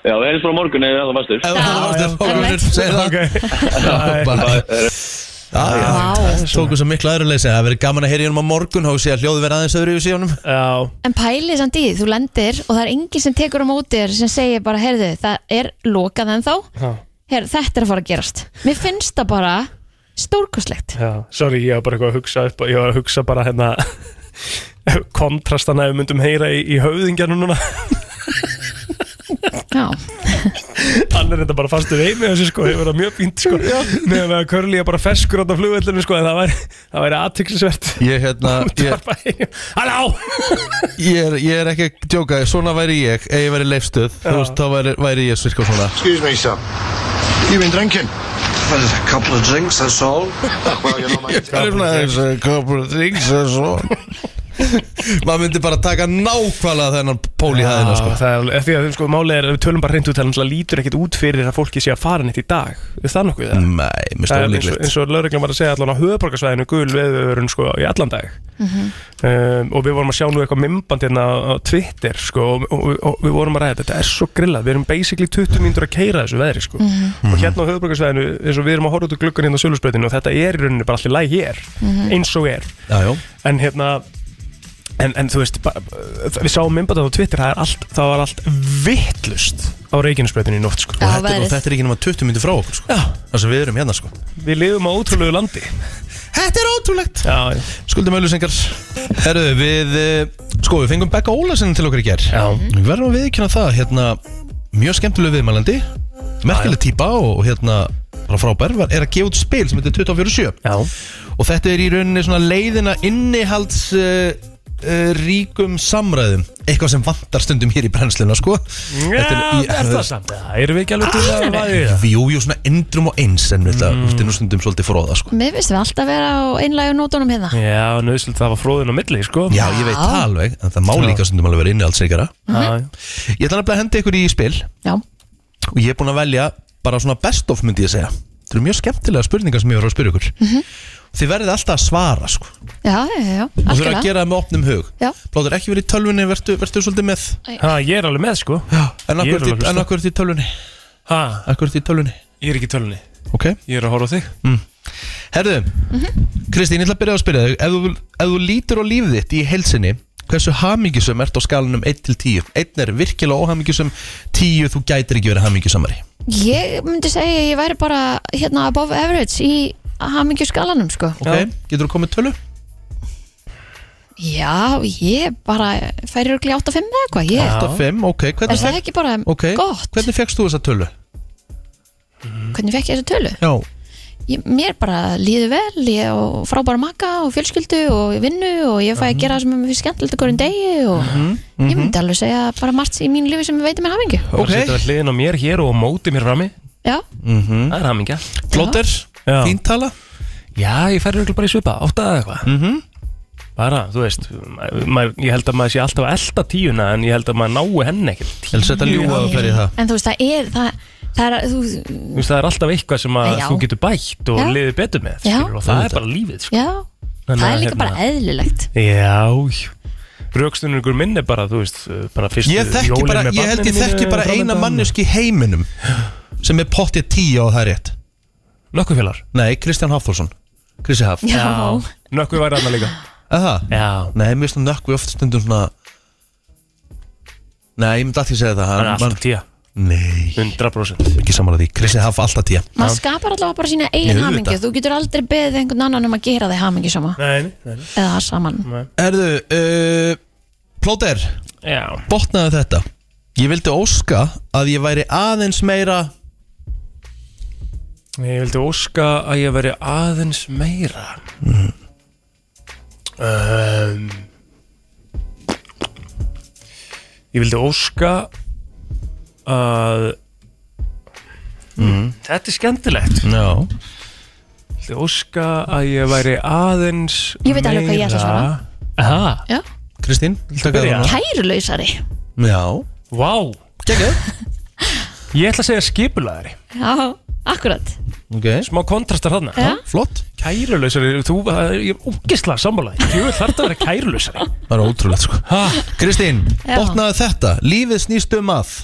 F: Já, við erum frá morgun eða það fastur
D: Ef þú varst
C: já,
D: þér,
C: einmitt.
D: segð það Já, bara- Já,
C: Vá.
D: já, tóku svo miklu aðruleysi Það verið gaman að heyra í honum á morgun og sé að hljóði verið aðeins öðru í síðanum
E: Já,
C: En pælið samt í, því, þú lendir og það er enginn sem tekur á móti þér sem segir bara, heyrðu, það er lokað ennþá
E: já,
C: Her, þetta er að fara að gerast Mér finnst það bara stórkoslegt
E: já Sorry, ég var bara eitthvað að hugsa upp Ég var að hugsa bara hérna kontrastana ef við myndum heyra í, í höfðingjarnu núna
C: Já,
E: hann er þetta bara fastur einu þessu sko, það verða mjög fínt sko með að Curly er bara feskur átta flugvellinu sko, en það væri, það væri aðtyklisvert
D: Ég, hérna, ég,
E: Halló!
D: Ég er, ég er ekki að djóka, svona væri ég ef ég væri leifstöð, þú veist, þá væri, væri ég svirka svona
A: Excuse me, sir. You've been drinking? Well, a couple of drinks, that's all. well, you know, mate.
D: a uh, couple of things uh, and so Maður myndi bara taka nákvæmlega þennan pól í hæðina sko.
E: það er því að sko, málið er, ef við tölum bara hreint út það náttúrulega lítur ekkit út fyrir að fólki sé að fara nýtt í dag er það nokkuð það?
D: Nei, mér
E: Það er
D: stóð
E: eins og,
D: líklegt
E: eins og lögreglum var að segja allan á höfuborgarsvæðinu gul veðurun sko í allan dag um, og við vorum að sjá nú eitthvað mymband hérna á Twitter sko og, og, og við vorum að ræða þetta, þetta er svo grillað við erum basically 20 mínútur að keira þessu veðri sko og hérna á höfuborgarsvæðinu eins og við erum að horfa út úr gluggan hérna á sölusbreytinu og þetta er í rauninni bara allir læg hér eins og er
D: Já, já,
E: en hérna En, en þú veist, bara, við sáum mymbandað á Twitter, það, er allt, það var allt vittlust á reikinsbreytinu í nótt sko.
D: og
C: Já,
D: þetta, er- og
C: veðrið.
D: þetta er ekki nema 20 myndir frá okkur sko.
E: Já.
D: Það sem við erum hérna sko
E: Við lifum á ótrúlegu landi
D: Þetta er ótrúlegt
E: Já, já.
D: Skuldum auðlusengar Herðu, við, eh, sko, við fengum Becca Ólasen til okkur í ger
E: Já.
D: Við verðum að viðkjöna það, hérna, mjög skemmtileg viðmælandi Merkileg típa og, og hérna, bara frábær var- Er að gefa út spil sem heitir 24-7
E: Já.
D: og þetta er í rauninni svona leiðina innihalds uh, uh, ríkum samræðum eitthvað sem vantar stundum hér í brennsluna sko
E: Já,
D: Þetta
E: er,
D: í-
E: það samt eða? Erum við ekki alveg til að vaða í það?
D: Jú, jú, svona endrum og eins en við þetta, þetta er nú stundum svolítið fróða sko
C: mér finnst við alltaf vera á einlægu nótunum hérna
E: Já, nöðslega það var fróðin á milli, sko
D: Já, ég veit það alveg, en það má líka stundum alveg vera innihaldsríkara
E: Já,
D: Ég ætla nefnilega að henda ykkur í spil
C: Já,
D: og ég er búin að velja bara svona best of myndi ég segja Þetta eru mjög skemmtilega spurningar sem ég var að spyrja ykkur Þið verðið alltaf að svara sko og
C: já, já, já,
D: þurfa að
C: algjörlega
D: gera það með opnum hug
C: Já.
D: Plóður ekki verið í tölvunni, verður, verður svolítið með
E: ha, ég er alveg með, sko
D: En
E: Ég er alveg að hlusta.
D: akkur er þetta í tölvunni?
E: ha,
D: Akkur er þetta í tölvunni?
E: Ég er ekki í tölunni,
D: Ok
E: ég er að horfa á þig
D: Herðu, Kristín, ég ætla að byrja að spyrja þig Ef þú, ef þú lítur á lífið þitt í heilsinni Hversu hamingjusum ert á skalanum 1 til 10? 1 er virkilega óhamingjusum 10 þú gætir ekki verið hamingjusamari
C: Ég myndi segja að ég væri bara hérna above average í hamingju skalanum sko
D: Ok, getur þú komið tölu?
C: Já, ég bara færi röglega 8-5 eða eitthvað ég,
D: 8 og 5, ok,
C: Er
D: hvernig,
C: það ekki bara
D: okay.
C: gott?
D: hvernig fegst þú þessa tölu?
C: Hvernig fekk ég þessa tölu?
D: Já,
C: ég, mér bara líður vel ég og frábæra maka og fjölskyldu og ég vinnu og ég fæ að gera það sem er mér finnst skemmtilegt að hverjum degi og ég myndi alveg segja bara margt í mínu lífi sem um veitir mér hafingju
E: Það
D: Ok.
E: setur að hliðin á mér hér og á móti mér frammi
C: já,
E: Það er hamingja
D: flóter,
E: Já.
D: Mhm. fín tala Mhm.
E: Já, ég færi bara í svipa, átta eða eitthvað mm -hmm. Bara, þú veist maður, Ég held að maður sé alltaf að elta tíuna En ég held að maður nái henni ekkert
D: Vel setta ljúga og ferði það
C: en þú veist það er það, það er, þú,
E: Þú veist, það er alltaf eitthvað sem að
C: Já.
E: þú getur bætt Og
C: Já.
E: liðið betur með,
C: Já.
E: skilur Og það er bara lífið, sko
C: já það er
E: Þannig að,
C: líka
E: hérna,
C: bara eðlilegt
E: Já Raukstunum ykkur minn er bara, þú veist bara fyrstu
D: Ég, þekki
E: jólin
D: bara,
E: með
D: ég held ég
E: barninu
D: þekki bara
E: framundan.
D: eina manneski heiminum sem er pottið 10 og það er rétt
E: Nökkufélar
D: Nei, Kristján Hafþórsson Kristi Haf
C: Já.
E: Nökkvi væri þarna líka
D: Aha.
E: Já
D: Nei, mér finnst nökkvi oft stundum svona Nei, ég myndi alltaf segja það
E: Hann er alltaf tíja
D: Nei,
E: 100%
D: ekki samanlega því Kristi Haf alltaf tíja
C: maður skapar allavega bara sína eigin
D: Ég auðvitað.
C: hamingju þú getur aldrei beðið einhvern annan um að gera þig hamingi sama
E: Nei, nei, nei
C: eða saman
D: Erðu, uh, plóter
E: Já
D: Botnaðu þetta Ég vildi óska að ég væri aðeins meira
E: Ég vildi óska að ég veri aðeins meira
D: Ehm.
E: um, Ég vildi óska að Þetta er skemmtilegt Ég
D: Mhm. Já
E: vildi óska að ég væri aðeins
C: Ég veit alveg hvað ég ætla að svara.
E: Aha,
C: Já.
D: Kristín, viltu taka
E: byrja?
D: það?
C: kærulausari
D: Já
E: vá wow.
D: Gekkið
E: Ég ætla að segja skipulaðari
C: já, akkurat
D: Ok,
E: Smá kontrastar þarna
C: Já.
D: flott
E: Kærulausari, þú, það er- ég er úkislega sammálaði Jú, þarf það að vera kærulausari
D: Það er ótrúlegt sko Kristín,
C: Já.
D: botnaðu þetta Lífið snýst um að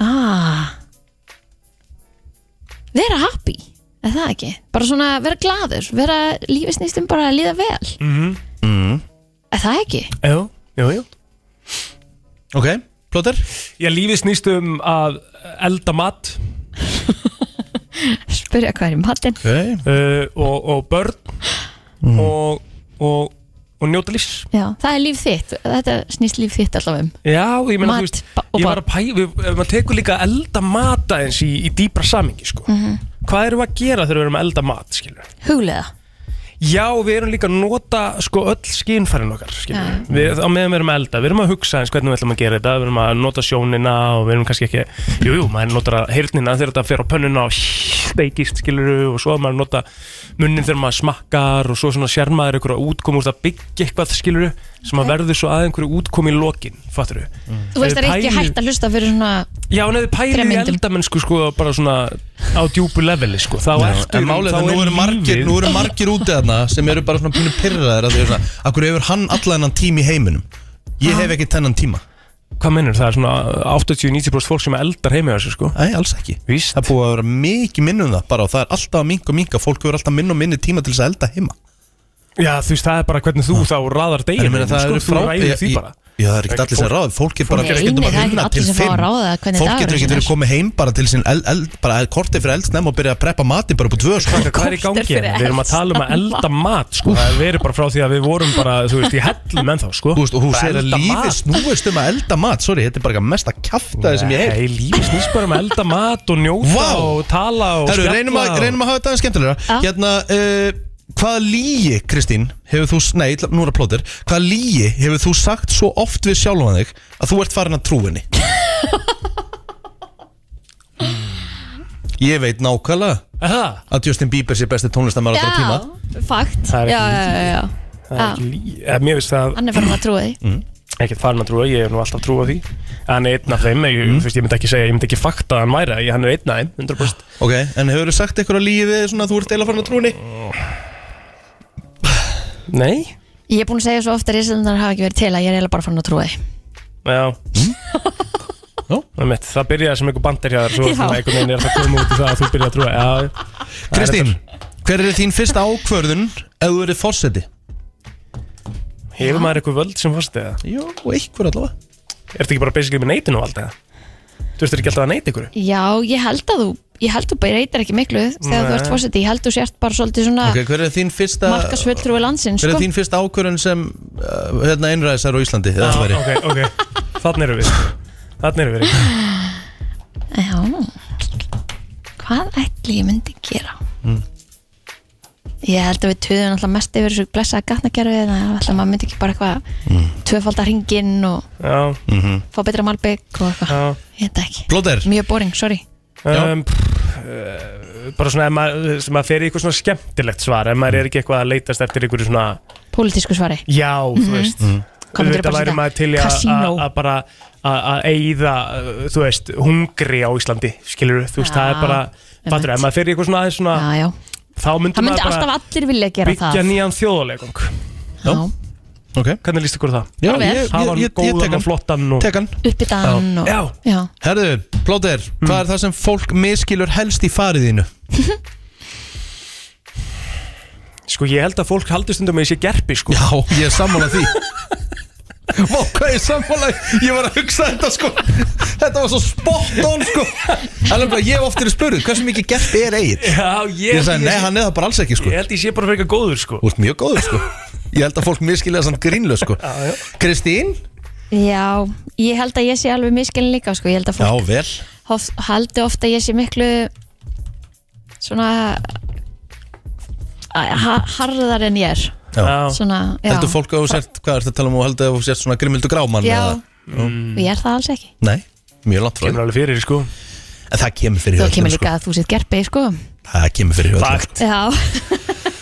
C: ah. vera happy er það ekki, bara svona vera gladur vera lífið snýst um bara að líða vel mm
D: Mhm.
C: er það ekki
E: Jú, jú, jú
D: Ok, plóter
E: Já, lífið snýst um að elda mat
C: spyrja hvað er í matinn
D: Ok
E: uh, og, og börn og, og, og njóta lífs
C: já, það er líf þitt, þetta snýst líf þitt allavega um
E: Já, ég meina,
C: Mat
E: þú veist,
C: ba- og
E: ég var að pæ, við, ef maður tekur líka að elda mat aðeins í, í dýpra samingi, sko.
C: Mhm.
E: Hvað erum við að gera þegar við erum að elda mat, skilur?
C: huglega,
E: Já, við erum líka að nota sko öll skinnfærin okkar skilur
C: Já.
E: við, á meðan við erum að elda, við erum að hugsa eins hvernig við ætlum að gera þetta, við erum að nota sjónina og við erum kannski ekki, jújú, jú, maður notar að heyrnina þegar þetta fer á pönnuna og steikist skilur og svo að maður nota munnin þegar maður smakkar og svo svona sér maður einhverja útkomu úr það byggja eitthvað skilur sem að verður svo að einhverju útkomu í lokin, fattur við
D: Mm.
C: þú veist það er ekki hægt að hlusta fyrir svona
E: Já, en ef þið pælið í
C: Þremur myndum.
E: eldamennsku sko bara svona á djúpu leveli sko þá ertu,
D: En málið
E: þá
D: er að nú
E: er
D: eru margir,
E: lífið-
D: nú eru margir úti þarna sem eru bara svona pínu pyrraðir að því svona Akkur hefur hann allan tím í heiminum Ég hef ekki tennan tíma
E: Hvað mennur það? er Svona 80-90% fólk sem eldar heimi á þessu sko
D: Nei, alls ekki
E: Víst
D: Það er búið að vera mikið minnum það bara og það er alltaf að minka og minka Fólk hefur alltaf minn og minni tíma til þess að elda heima
E: Já þú veist það er bara hvernig þú þá raðar
D: En
E: deginu
D: ég meina það eru
E: sko, Þú ræður því
D: Ég-
E: bara
D: Já, það er ekkert allir sem ráð Fólk er bara
C: Nei,
D: stundum
C: nei, það er
D: vinna
C: ekkert allir
D: til
C: sem fá að
D: fimm.
C: ráða hvernig
D: Fólk
C: dagurinn
D: getur ekki
C: er.
D: verið að koma heim bara til sín el, el, bara kortið fyrir eldsnefn og byrja að preppa mati bara upp á tvö sko.
E: Hvað er í gangi?
C: Korter fyrir
E: hérna? Við erum að tala um að
C: elda
E: elda mat sko Það er verið bara frá því að við vorum bara Þú veist, í hellum ennþá sko
D: Þú veist, og hún
E: Bara
D: segir að
E: elda
D: lífið
E: mat.
D: snúist um að elda mat Sorry, þetta er bara eitthvað mesta kjaftaði sem ég hef
E: Nei, lífið snýst bara um að elda mat og njóta
D: Vá.
E: og tala og
D: Herru,
E: spjalla
D: reynum að,
E: og-
D: reynum að hafa þetta aðeins skemmtilega
C: Já.
D: Hérna, uh, hvaða lígi, Kristín, hefur þú Nei, ætla- nú er að plótir Hvaða lígi hefur þú sagt svo oft við sjálfan þig að þú ert farin að trú henni? Ég veit nákvæmlega
E: Aha,
D: að Justin Bieber sé besti tónlistamæra á tíma
C: já, fakt
E: Það er ekki
C: já, já, já, já.
E: Það er ekki lífið Eh, Mér veist það
C: hann er farin að trúa því
D: Mm.
E: ekkert farin að trúa, ég er nú alltaf trúa því Hann er einn af þeim, ég, mm. veist, ég myndi ekki segja, ég myndi ekki fakta að hann væri það, ég- Hann er einn af þeim, 100%
D: Ok, en hefur þú sagt eitthvað að lífi svona að þú ert eila farin að trúni?
E: Nei,
C: ég er búin að segja svo ofta að Íslandar hafa ekki verið til að ég er eiginlega bara farin að trúa því
E: Já
D: Mm? Já.
E: Það, mitt, það byrjaði sem einhver bandir hjá þér Svo
C: Já.
E: svona einhvern veginn er það komið út í það að þú byrjaði að trúa Já, það er
D: Kristín,
E: þetta.
D: hver er þín fyrsta ákvörðun ef þú verið fórseti?
E: Hefur maður eitthvað völd sem fórstu eða?
D: Jó, einhver allavega
E: Er þetta ekki bara basically með neitinu og allt eða? Þú veist ekki alltaf að neita ykkur?
C: já, ég held að þú ég held þú bara reytir ekki miklu þegar þú
E: Nei.
C: ert fórseti, ég held þú sért bara svolítið svona
D: Ok, hver er þín fyrsta
C: markasvöldrúi landsins
D: Hver
C: sko.
D: er þín fyrsta ákvörðun sem uh, hérna einræðisar á Íslandi? eða þú væri?
E: ok, ok Þannig erum við Þannig erum við
C: Já Hvað ætli ég myndi gera?
E: Mm.
C: Ég held að við töðum alltaf mest yfir þessu blessaða gatnakerfi en það ætla að maður myndi ekki bara eitthvað mm. tvöfaldar hringinn og
E: Já,
C: fá betra malbygg og eitthvað
E: já
C: Ég veit það ekki
D: Blóter,
C: Mjög boring, sorry
D: Já.
E: um, pff, uh, Bara svona ef maður, sem maður fer í eitthvað svona skemmtilegt svar Ef maður er ekki eitthvað að leitast eftir ykkur svona
C: Pólitísku svari
E: Já, þú veist
D: Mhm.
C: Hvað myndirðu bara
E: Auðvitað væri
C: setja?
E: maður til í að-
C: Casino.
E: að- að bara að að eyða, uh, þú veist, hungri á Íslandi skilur þú veist, það er
C: Já,
E: bara fattur,
C: einmitt.
E: ef maður fyrir eitthvað svona aðeins svona
C: Já, já
E: þá myndir
C: Það myndi
E: maður
C: alltaf
E: bara
C: allir vilja gera
E: byggja
C: það
E: nýjan þjóðulegung
C: Já,
D: ok
E: hvernig líst ykkur á það?
D: Já,
C: Alveg.
D: ég,
E: hafa
D: ég,
E: hann
D: ég, ég tek
E: góðan og
D: hann
E: flottan og...
D: Tek hann
C: uppbyttaðan og
E: Já.
C: já.
E: Hmm.
D: Herðu, Blóter, hvað er það sem fólk miskilur helst í fariðinu?
E: Sko ég held að fólk haldi stundum að ég sé gerpi sko
D: Já, ég er sammála því Vá, hvað ég er sammála Ég var að hugsa þetta sko Þetta var svo spot on sko Það er nefnilega, ég hef oft verið spurð Hversu mikið gert er eigin?
E: Já, ég,
D: Ég sagði, nei, hann er það bara alls ekki sko
E: Ég held ég sé bara fyrir góður sko
D: Þú ert mjög góður sko Ég held að fólk miskilja samt grínlega sko Kristín?
C: Já, ég held að ég sé alveg miskilin líka sko. Ég held að
D: Já,
C: fólk
D: vel
C: hof, haldi ofta að ég sé miklu svona a- ha, harðar en ég er
E: Já,
C: svona, já,
D: Heldur fólk að þú sért, hvað er þetta að tala um og heldur að þú sért svona grimmildu grámann
C: já,
D: eða- Mm.
C: og ég er það alls ekki
D: Nei, mjög langt frá
E: kemur
D: því.
E: alveg fyrir sko
D: En það kemur fyrir
C: þá
D: öllum,
C: kemur
D: sko.
C: líka að þú sétt gerpi sko.
D: Það kemur fyrir öllum
E: Fakt.
D: sko.
C: já,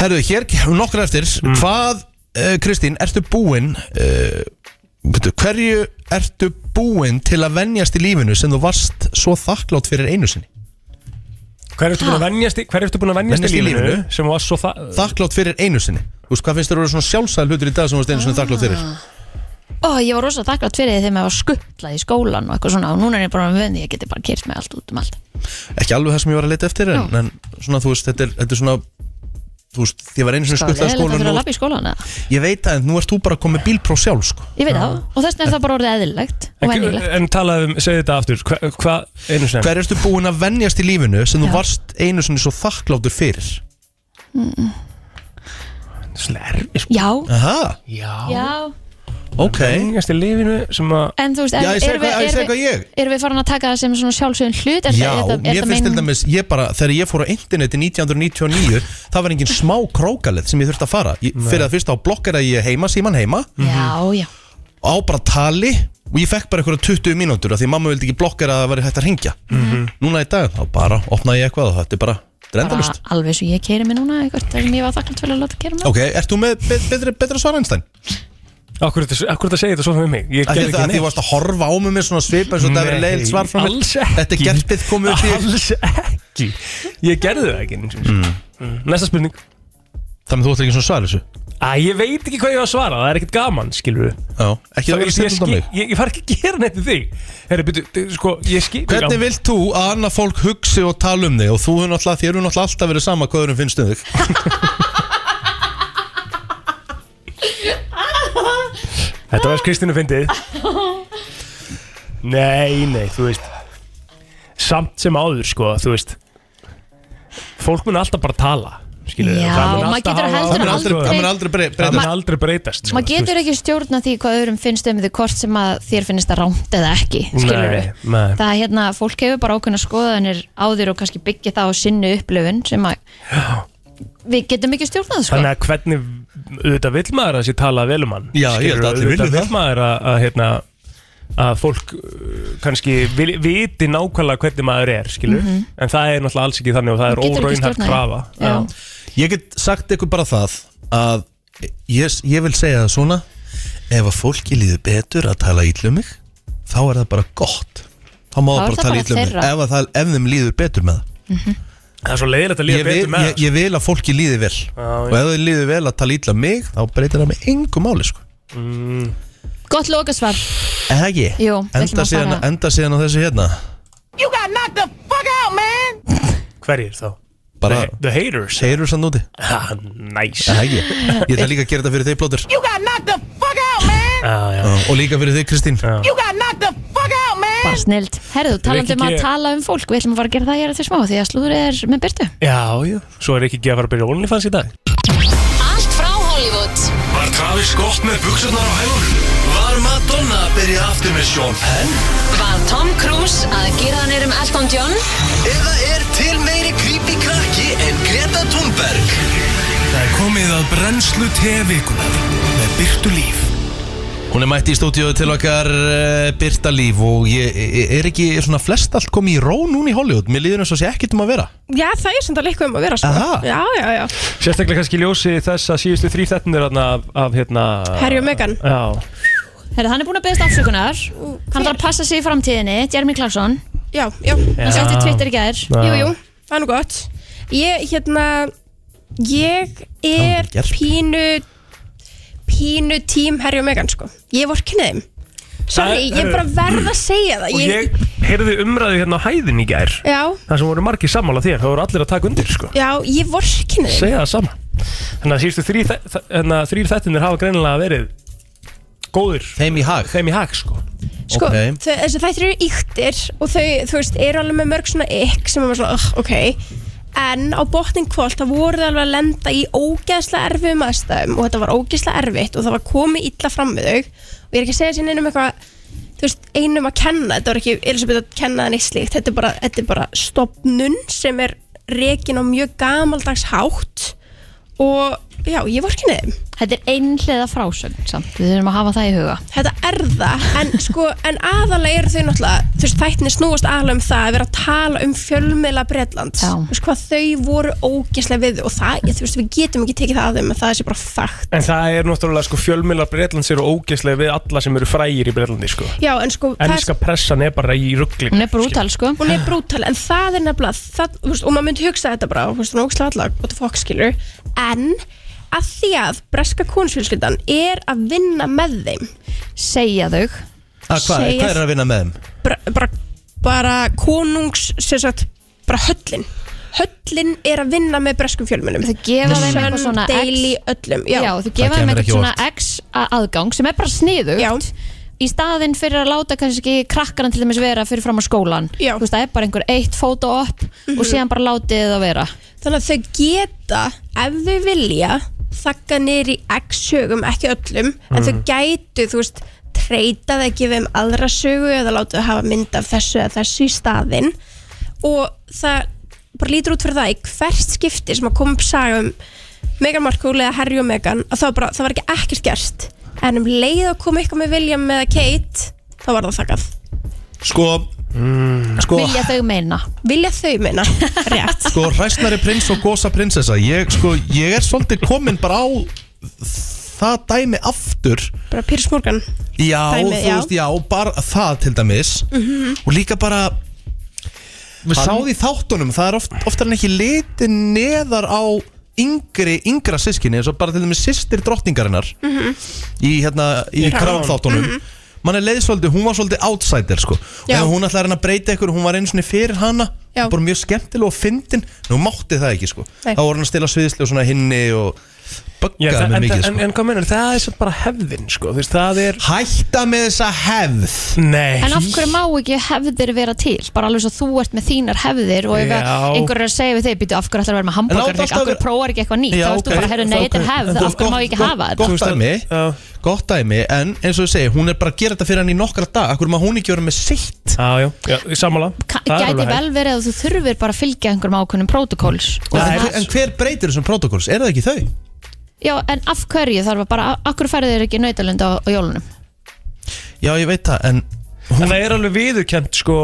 D: Herðu, hér nokkra eftir Hvað, eh, Kristín, ertu búinn uh, betur, Hverju ertu búinn til að venjast í lífinu sem þú varst svo þakklátt fyrir einu sinni?
E: Hver ertu búin að venjast í, hver ertu búin að venjast í
D: Venjast í
E: lífinu,
D: lífinu?
E: sem var svo þa
D: Þakklátt fyrir einu sinni Þú veist, hvað finnst þér að vera svona sjálfsæð hlutur í dag sem þú varst einu sinni
C: Ah.
D: þakklátt fyrir?
C: ó, ég var rosa þakklátt fyrir því þegar maður var skuttlað í skólan og eitthvað svona og núna er ég bara með vöndi, ég geti bara kyrt með allt út um allt
D: Ekki alveg það sem ég var að leita eftir en, en svona, þú veist, þetta er, þetta er svona Þú veist, ég var einu sinni
C: Hvað,
D: skuttað
C: leiðilegt að
D: skólan
C: þurfa að
D: og,
C: labba í skólan eða?
D: Ég veit að nú ert þú bara að koma með bílpróf sjálf sko.
C: ég veit það, og þess vegna er það bara orðið eðlilegt og
E: En,
C: venjulegt
E: en talaðum, segðu þetta aftur Hvað, hva, einu sinni
D: Hver ertu búinn að venjast í lífinu sem þú
C: Já.
D: varst einu sinni svo þakkláttur fyrir?
E: Slervi sko
C: já,
D: Aha,
E: Já,
C: já,
D: ok
E: venjast í lífinu sem að
C: en þú veist
D: Já, ég segi
C: erum við-
D: hvað- ég
C: erum
D: segi
C: við-
D: hvað ég-
C: erum við farin að taka það sem svona sjálfsögum hlut
D: Já,
C: er það, er það, er
D: mér
C: það
D: finnst til
C: mein-
D: dæmis, ég bara, þegar ég fór á interneti 1999, það var engin smá krókalið sem ég þurfti að fara ég, Fyrir að fyrst á blokkera ég heima, síman heima,
E: Mhm.
C: já, já
D: á bara tali og ég fekk bara einhverja 20 mínútur af Því mamma vildi ekki blokkera að það væri hægt að ringja Núna í dag, þá bara opnaði ég eitthvað og þetta er bara
C: bara
D: drendalust
C: alveg svo ég keiri mig núna eitthvað þegar ég var þakklátt fyrir að láta keira mig
D: Ok, ert þú með be- betra, betra svar einstæn?
E: Akkur þetta segir þetta svona við mig Ég
D: Af því
E: gerði
D: að að því
E: ekki
D: þú varst að horfa á mig með svona svipa eins og þetta verið leiðilt svar frá mér
E: Alls ekki
D: Þetta er gerpið komið upp í
E: Alls ekki Ég gerði það ekki einu sinni, sko. Mm. Næsta spurning
D: Þannig þú ætti ekki svona svar þessu
E: Æ, ég veit ekki hvað ég var að svara, það er ekkert gaman, skilur við
D: Já, ekki það
E: ég,
D: verið
E: ég,
D: stundum á mig
E: skil- ég, ég far ekki að gera neitt við þig Herri, byrju, sko, ég skil
D: Hvernig
E: Já.
D: vilt þú að annað fólk hugsi og tala um þig og þú hefur náttúrulega, þér hefur náttúrulega alltaf verið sama hvað öðrum finnst um þig
E: Þetta var Kristínu fyndið Nei, nei, þú veist Samt sem áður, sko, þú veist Fólk mun alltaf bara tala Skilur við
C: Já,
E: það mun
C: maður
E: alltaf
C: getur
E: hafa-
C: heldur
D: Það mun aldrei,
C: aldrei-
D: það mun aldrei bre-
E: Það
D: breytast
E: mun aldrei breytast sko,
C: maður
E: þú veist.
C: getur ekki stjórna því hvað öðrum finnst um því hvort sem að þér finnst það rámt eða ekki skilur
E: Nei,
C: við
E: nei.
C: það er hérna, fólk hefur bara ákveðna skoðanir á þér og kannski byggja það á sinni upplifun sem að við getum ekki stjórnað sko
E: Þannig að hvernig auðvitað vill maður að sé tala vel um hann
D: Já, ég held að allir vilji
E: auðvitað
D: það.
E: vill maður að, að, hérna, að fólk uh, kannski vil, viti nákvæmlega hvernig maður er skilur, en það er náttúrulega alls ekki þannig og það er
C: Þú Mhm. getur ekki
E: óraunhægt
C: stjórnað því.
E: krafa
C: Já.
D: Ég get sagt ykkur bara það að ég, ég vil segja það svona ef að fólki líður betur að tala ítlu um mig þá er það bara gott þá má það
C: er
D: bara
C: það
D: tala
C: bara
D: ítlu um mig
C: þeirra.
D: ef, að það, ef þeim líður betur með það
E: Það er svo leiðilegt að líða
D: ég vil,
E: betur með
D: ég, ég vil að fólki líði vel og ef þau líður vel að tala ítlu um mig þá breytir það með engu máli sko.
C: gott lokasvar,
D: En það ekki?
C: Jú, við ætlum
D: enda,
C: að
D: síðan,
C: fara-
D: enda síðan á þessu hérna
E: það Hverjir þá?
D: bara
E: The- The haters
D: segir þú sann úti
E: ah, Nice
D: Það ekki Ég ætla líka að gera þetta fyrir þig Plóter
E: ah, já.
D: og líka fyrir þig Kristín
C: bara snild herðu, talandi um
E: ekki
C: að
E: ég-
C: tala um fólk við ætlum að fara að gera það hér eftir smá því að slúður er með byrtu
E: já, já Svo er ekki að fara að byrja OnlyFans í dag
K: Allt frá Hollywood
B: Var Travis gott með buksurnar á hælunum? Var Madonna að byrja aftur með Sean Penn?
K: Var Tom Cruise að gera hann er um Elton John
B: Eða er til meiri creepy krakki en Greta Thunberg? Það er komið að brennslu tevikunar með byrtu líf.
D: Hún er mætt í stúdíu til okkar uh, Birta Líf og ég, ég- er ekki er svona flest allt komið í ró núna í Hollywood Mér líður eins og sé ekkert um að vera
L: Já, það er sem það líka um að vera sko.
D: Aha.
L: Já, já, já
E: Sérstaklega kannski ljósi þess að síðustu þrý þettinir af, af hérna
L: Harry og Meghan.
E: Já,
C: herðu, hann er búin að beðast afsökunar hann þarf að passa sig í framtíðinni, Jeremy Clarkson
L: Mm, Já, já,
C: hann setti Twitter í gær
L: jú, jú, það er nú gott Ég, hérna Ég er
D: Það er gerp.
L: pínu Pínu tím Harry og Meghan sko Ég vor þeim Sorry,
E: Það-
L: ég bara verð að segja það
E: Og ég heyrði umræðu hérna á hæðin í gær
L: Já,
E: Það sem voru margir sammála þér Það voru allir að taka undir sko
L: já, ég vor þeim
E: Segja það sama Þannig að síðustu þrýr, þrýr þettinir hafa greinilega verið góðir
D: Þeim í hag
E: Þeim í hag, sko
L: Sko, okay. þau, þessi þættir eru yktir og þau, þú veist, eru alveg með mörg svona ykk sem er bara svona, uh, ok en á botnin kvöld, það voru þau alveg að lenda í ógeðslega erfiðum aðstæðum og þetta var ógeðslega erfitt og það var komið illa fram við þau og ég er ekki að segja sér neinum eitthvað þú veist, einum að kenna, þetta var ekki Elisabeth að kenna það neitt slíkt, þetta er bara, þetta er bara stopnun sem er rekin á mjög gamaldags hátt og já, ég var ekki neðum
C: Þetta er einhlega frásögn samt, við þurfum að hafa það í huga
L: Þetta er það, en sko, en aðalega eru þau náttúrulega, þú veist, þættinni snúast aðalega um það að vera að tala um fjölmiðla Bretlands,
C: Já.
L: þú veist, hvað þau voru ógislega við þau og það, ég, þú veist, við getum ekki tekið það að þeim, en það er sér bara fakt.
E: En það er náttúrulega, sko, fjölmiðlar Breitlands eru ógeðslega við alla sem eru frægir í Breitlandi, sko
L: Já, en sko, það er-
E: Ennska pressan er bara í ruggling
C: Hún er brútal, sko
L: Hún er brútal, en það er nefnilega það, þú veist, og maður myndi hugsa þetta bara, þú veist, hún er ógislega allar, what the fuck, skilur, en að því að breska kónsfjölskyldan er að vinna með þeim
C: segja þau
D: Að Ah, Hvað
L: Segir-
D: hvað er að vinna með þeim?
L: bara, bara, bara konungs sem sagt, bara höllin höllin er að vinna með breskum fjölmunum
C: Þau gefa þeim eitthvað svona X.
L: daily öllum já.
C: Já, þú gefa þeim eitthvað
L: kemur ekki
C: svona X a- aðgang sem er bara sniðugt í staðinn fyrir að láta kannski krakkarna til dæmis vera fyrir fram á skólan Já. þú veist, það er bara einhver eitt fótó upp
L: Mhm.
C: og síðan bara látið það vera
L: þannig að þau geta ef þau vilja þakka niður í x sögum, ekki öllum en þau
C: Mm.
L: gætu, þú veist treytað að gefa þeim um aðra sögu eða láta þau hafa mynd af þessu eða þessu í staðinn og það bara lítur út fyrir það í hvert skipti sem að koma upp saga um Meghan Markle eða Harry og Meghan að það, var bara, það var ekki ekkert gerst en um leið að koma eitthvað með William eða Kate þá var það þakkað
D: Sko, sko
C: Vilja þau meina
L: Vilja þau meina, rétt
D: Sko, hræstnari prins og gósa prinsessa Ég, sko, ég er svolítið komin bara á Það dæmi aftur
L: Bara Pírs Morgan
D: Já,
L: Dæmið,
D: þú
L: já.
D: veist, já, bara það til dæmis
L: Mhm.
D: Og líka bara Við
L: Hann-
D: sáði í þáttunum Það er oft, oftar en ekki litið neðar á yngri, yngra sískinni eins og bara til dæmis sýstir drottningarinnar
L: Mhm.
D: í hérna, í
L: Í Crown.
D: kránþáttunum
L: Mhm.
D: mann er leið svolítið, hún var svolítið outsider sko. og
L: Já.
D: ef hún ætlaði að reyna að breyta ykkur hún var einu svona fyrir hana
L: Já.
D: bara mjög skemmtileg og fyndin nú mátti það ekki sko.
E: Nei.
D: þá voru hann að stila sviðslu og svona hinni og
E: Já,
D: böggaði
E: það,
D: mig
E: en,
D: mikið
E: en,
D: sko.
E: en hvað mennur, það er samt bara hefðin sko, þú veist, það er
D: Hætta með þessa hefð
E: Nei
C: En af hverju má ekki hefðir vera til? Bara alveg svo þú ert með þínar hefðir og ef
D: Já.
C: að einhver er að segja við þig, býtu af hverju ætlar að vera með hambúrgar af
D: alltaf
C: hverju
D: vera-
C: prófar ekki eitthvað nýtt
D: Já,
C: þá veist
D: ok.
C: þú bara, herru, nei,
D: Ok.
C: þetta er hefð
D: Gott-
C: af hverju má ég ekki
D: gott-
C: hafa þetta?
D: Gott dæmi, gott dæmi En eins og ég segi, hún er bara að gera þetta fyrir hann í nokkra dag Akkur maður hún ekki verið með sitt
E: Já, já, já sammála
C: Gæti vel verið að þú þurfir bara að fylgja einhverjum ákveðnum protokolls
D: en, hver- en hver breytir þessum protokolls? Er það ekki þau?
C: Já, en af hverju þarf að bara, af hverju færðu þér ekki nautalund á, á jólunum?
D: Já, ég veit það, en
E: hún... Það er alveg viðurkent sko,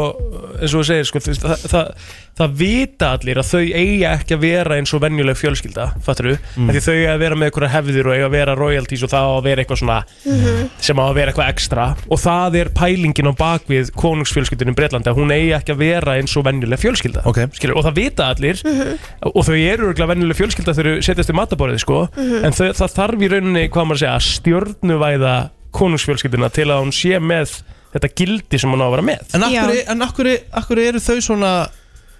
E: eins og þú segir sko, þú veist, það, það, það vita allir að þau eiga ekki að vera eins og venjuleg fjölskylda fattur þú,
D: Mm.
E: því þau eiga að vera með einhverja hefðir og eiga að vera royalties og það á að vera eitthvað svona
D: Mhm.
E: sem á að vera eitthvað ekstra og það er pælingin á bakvið konungsfjölskyldunum Breitlandi að hún eigi ekki að vera eins og venjuleg fjölskylda okay. skilur, og það vita allir
C: Mhm.
E: og þau eru örgulega venjuleg fjölskylda þegar þau setjast í mataborðið sko
D: Mhm.
E: en þau, það þarf í rauninni, hvað maður að segja, að stjórnuvæða konungsfjölskylduna til að hún sé með þetta gildi sem hún á að vera með
D: En akkur, en akkur, akkur eru þau svona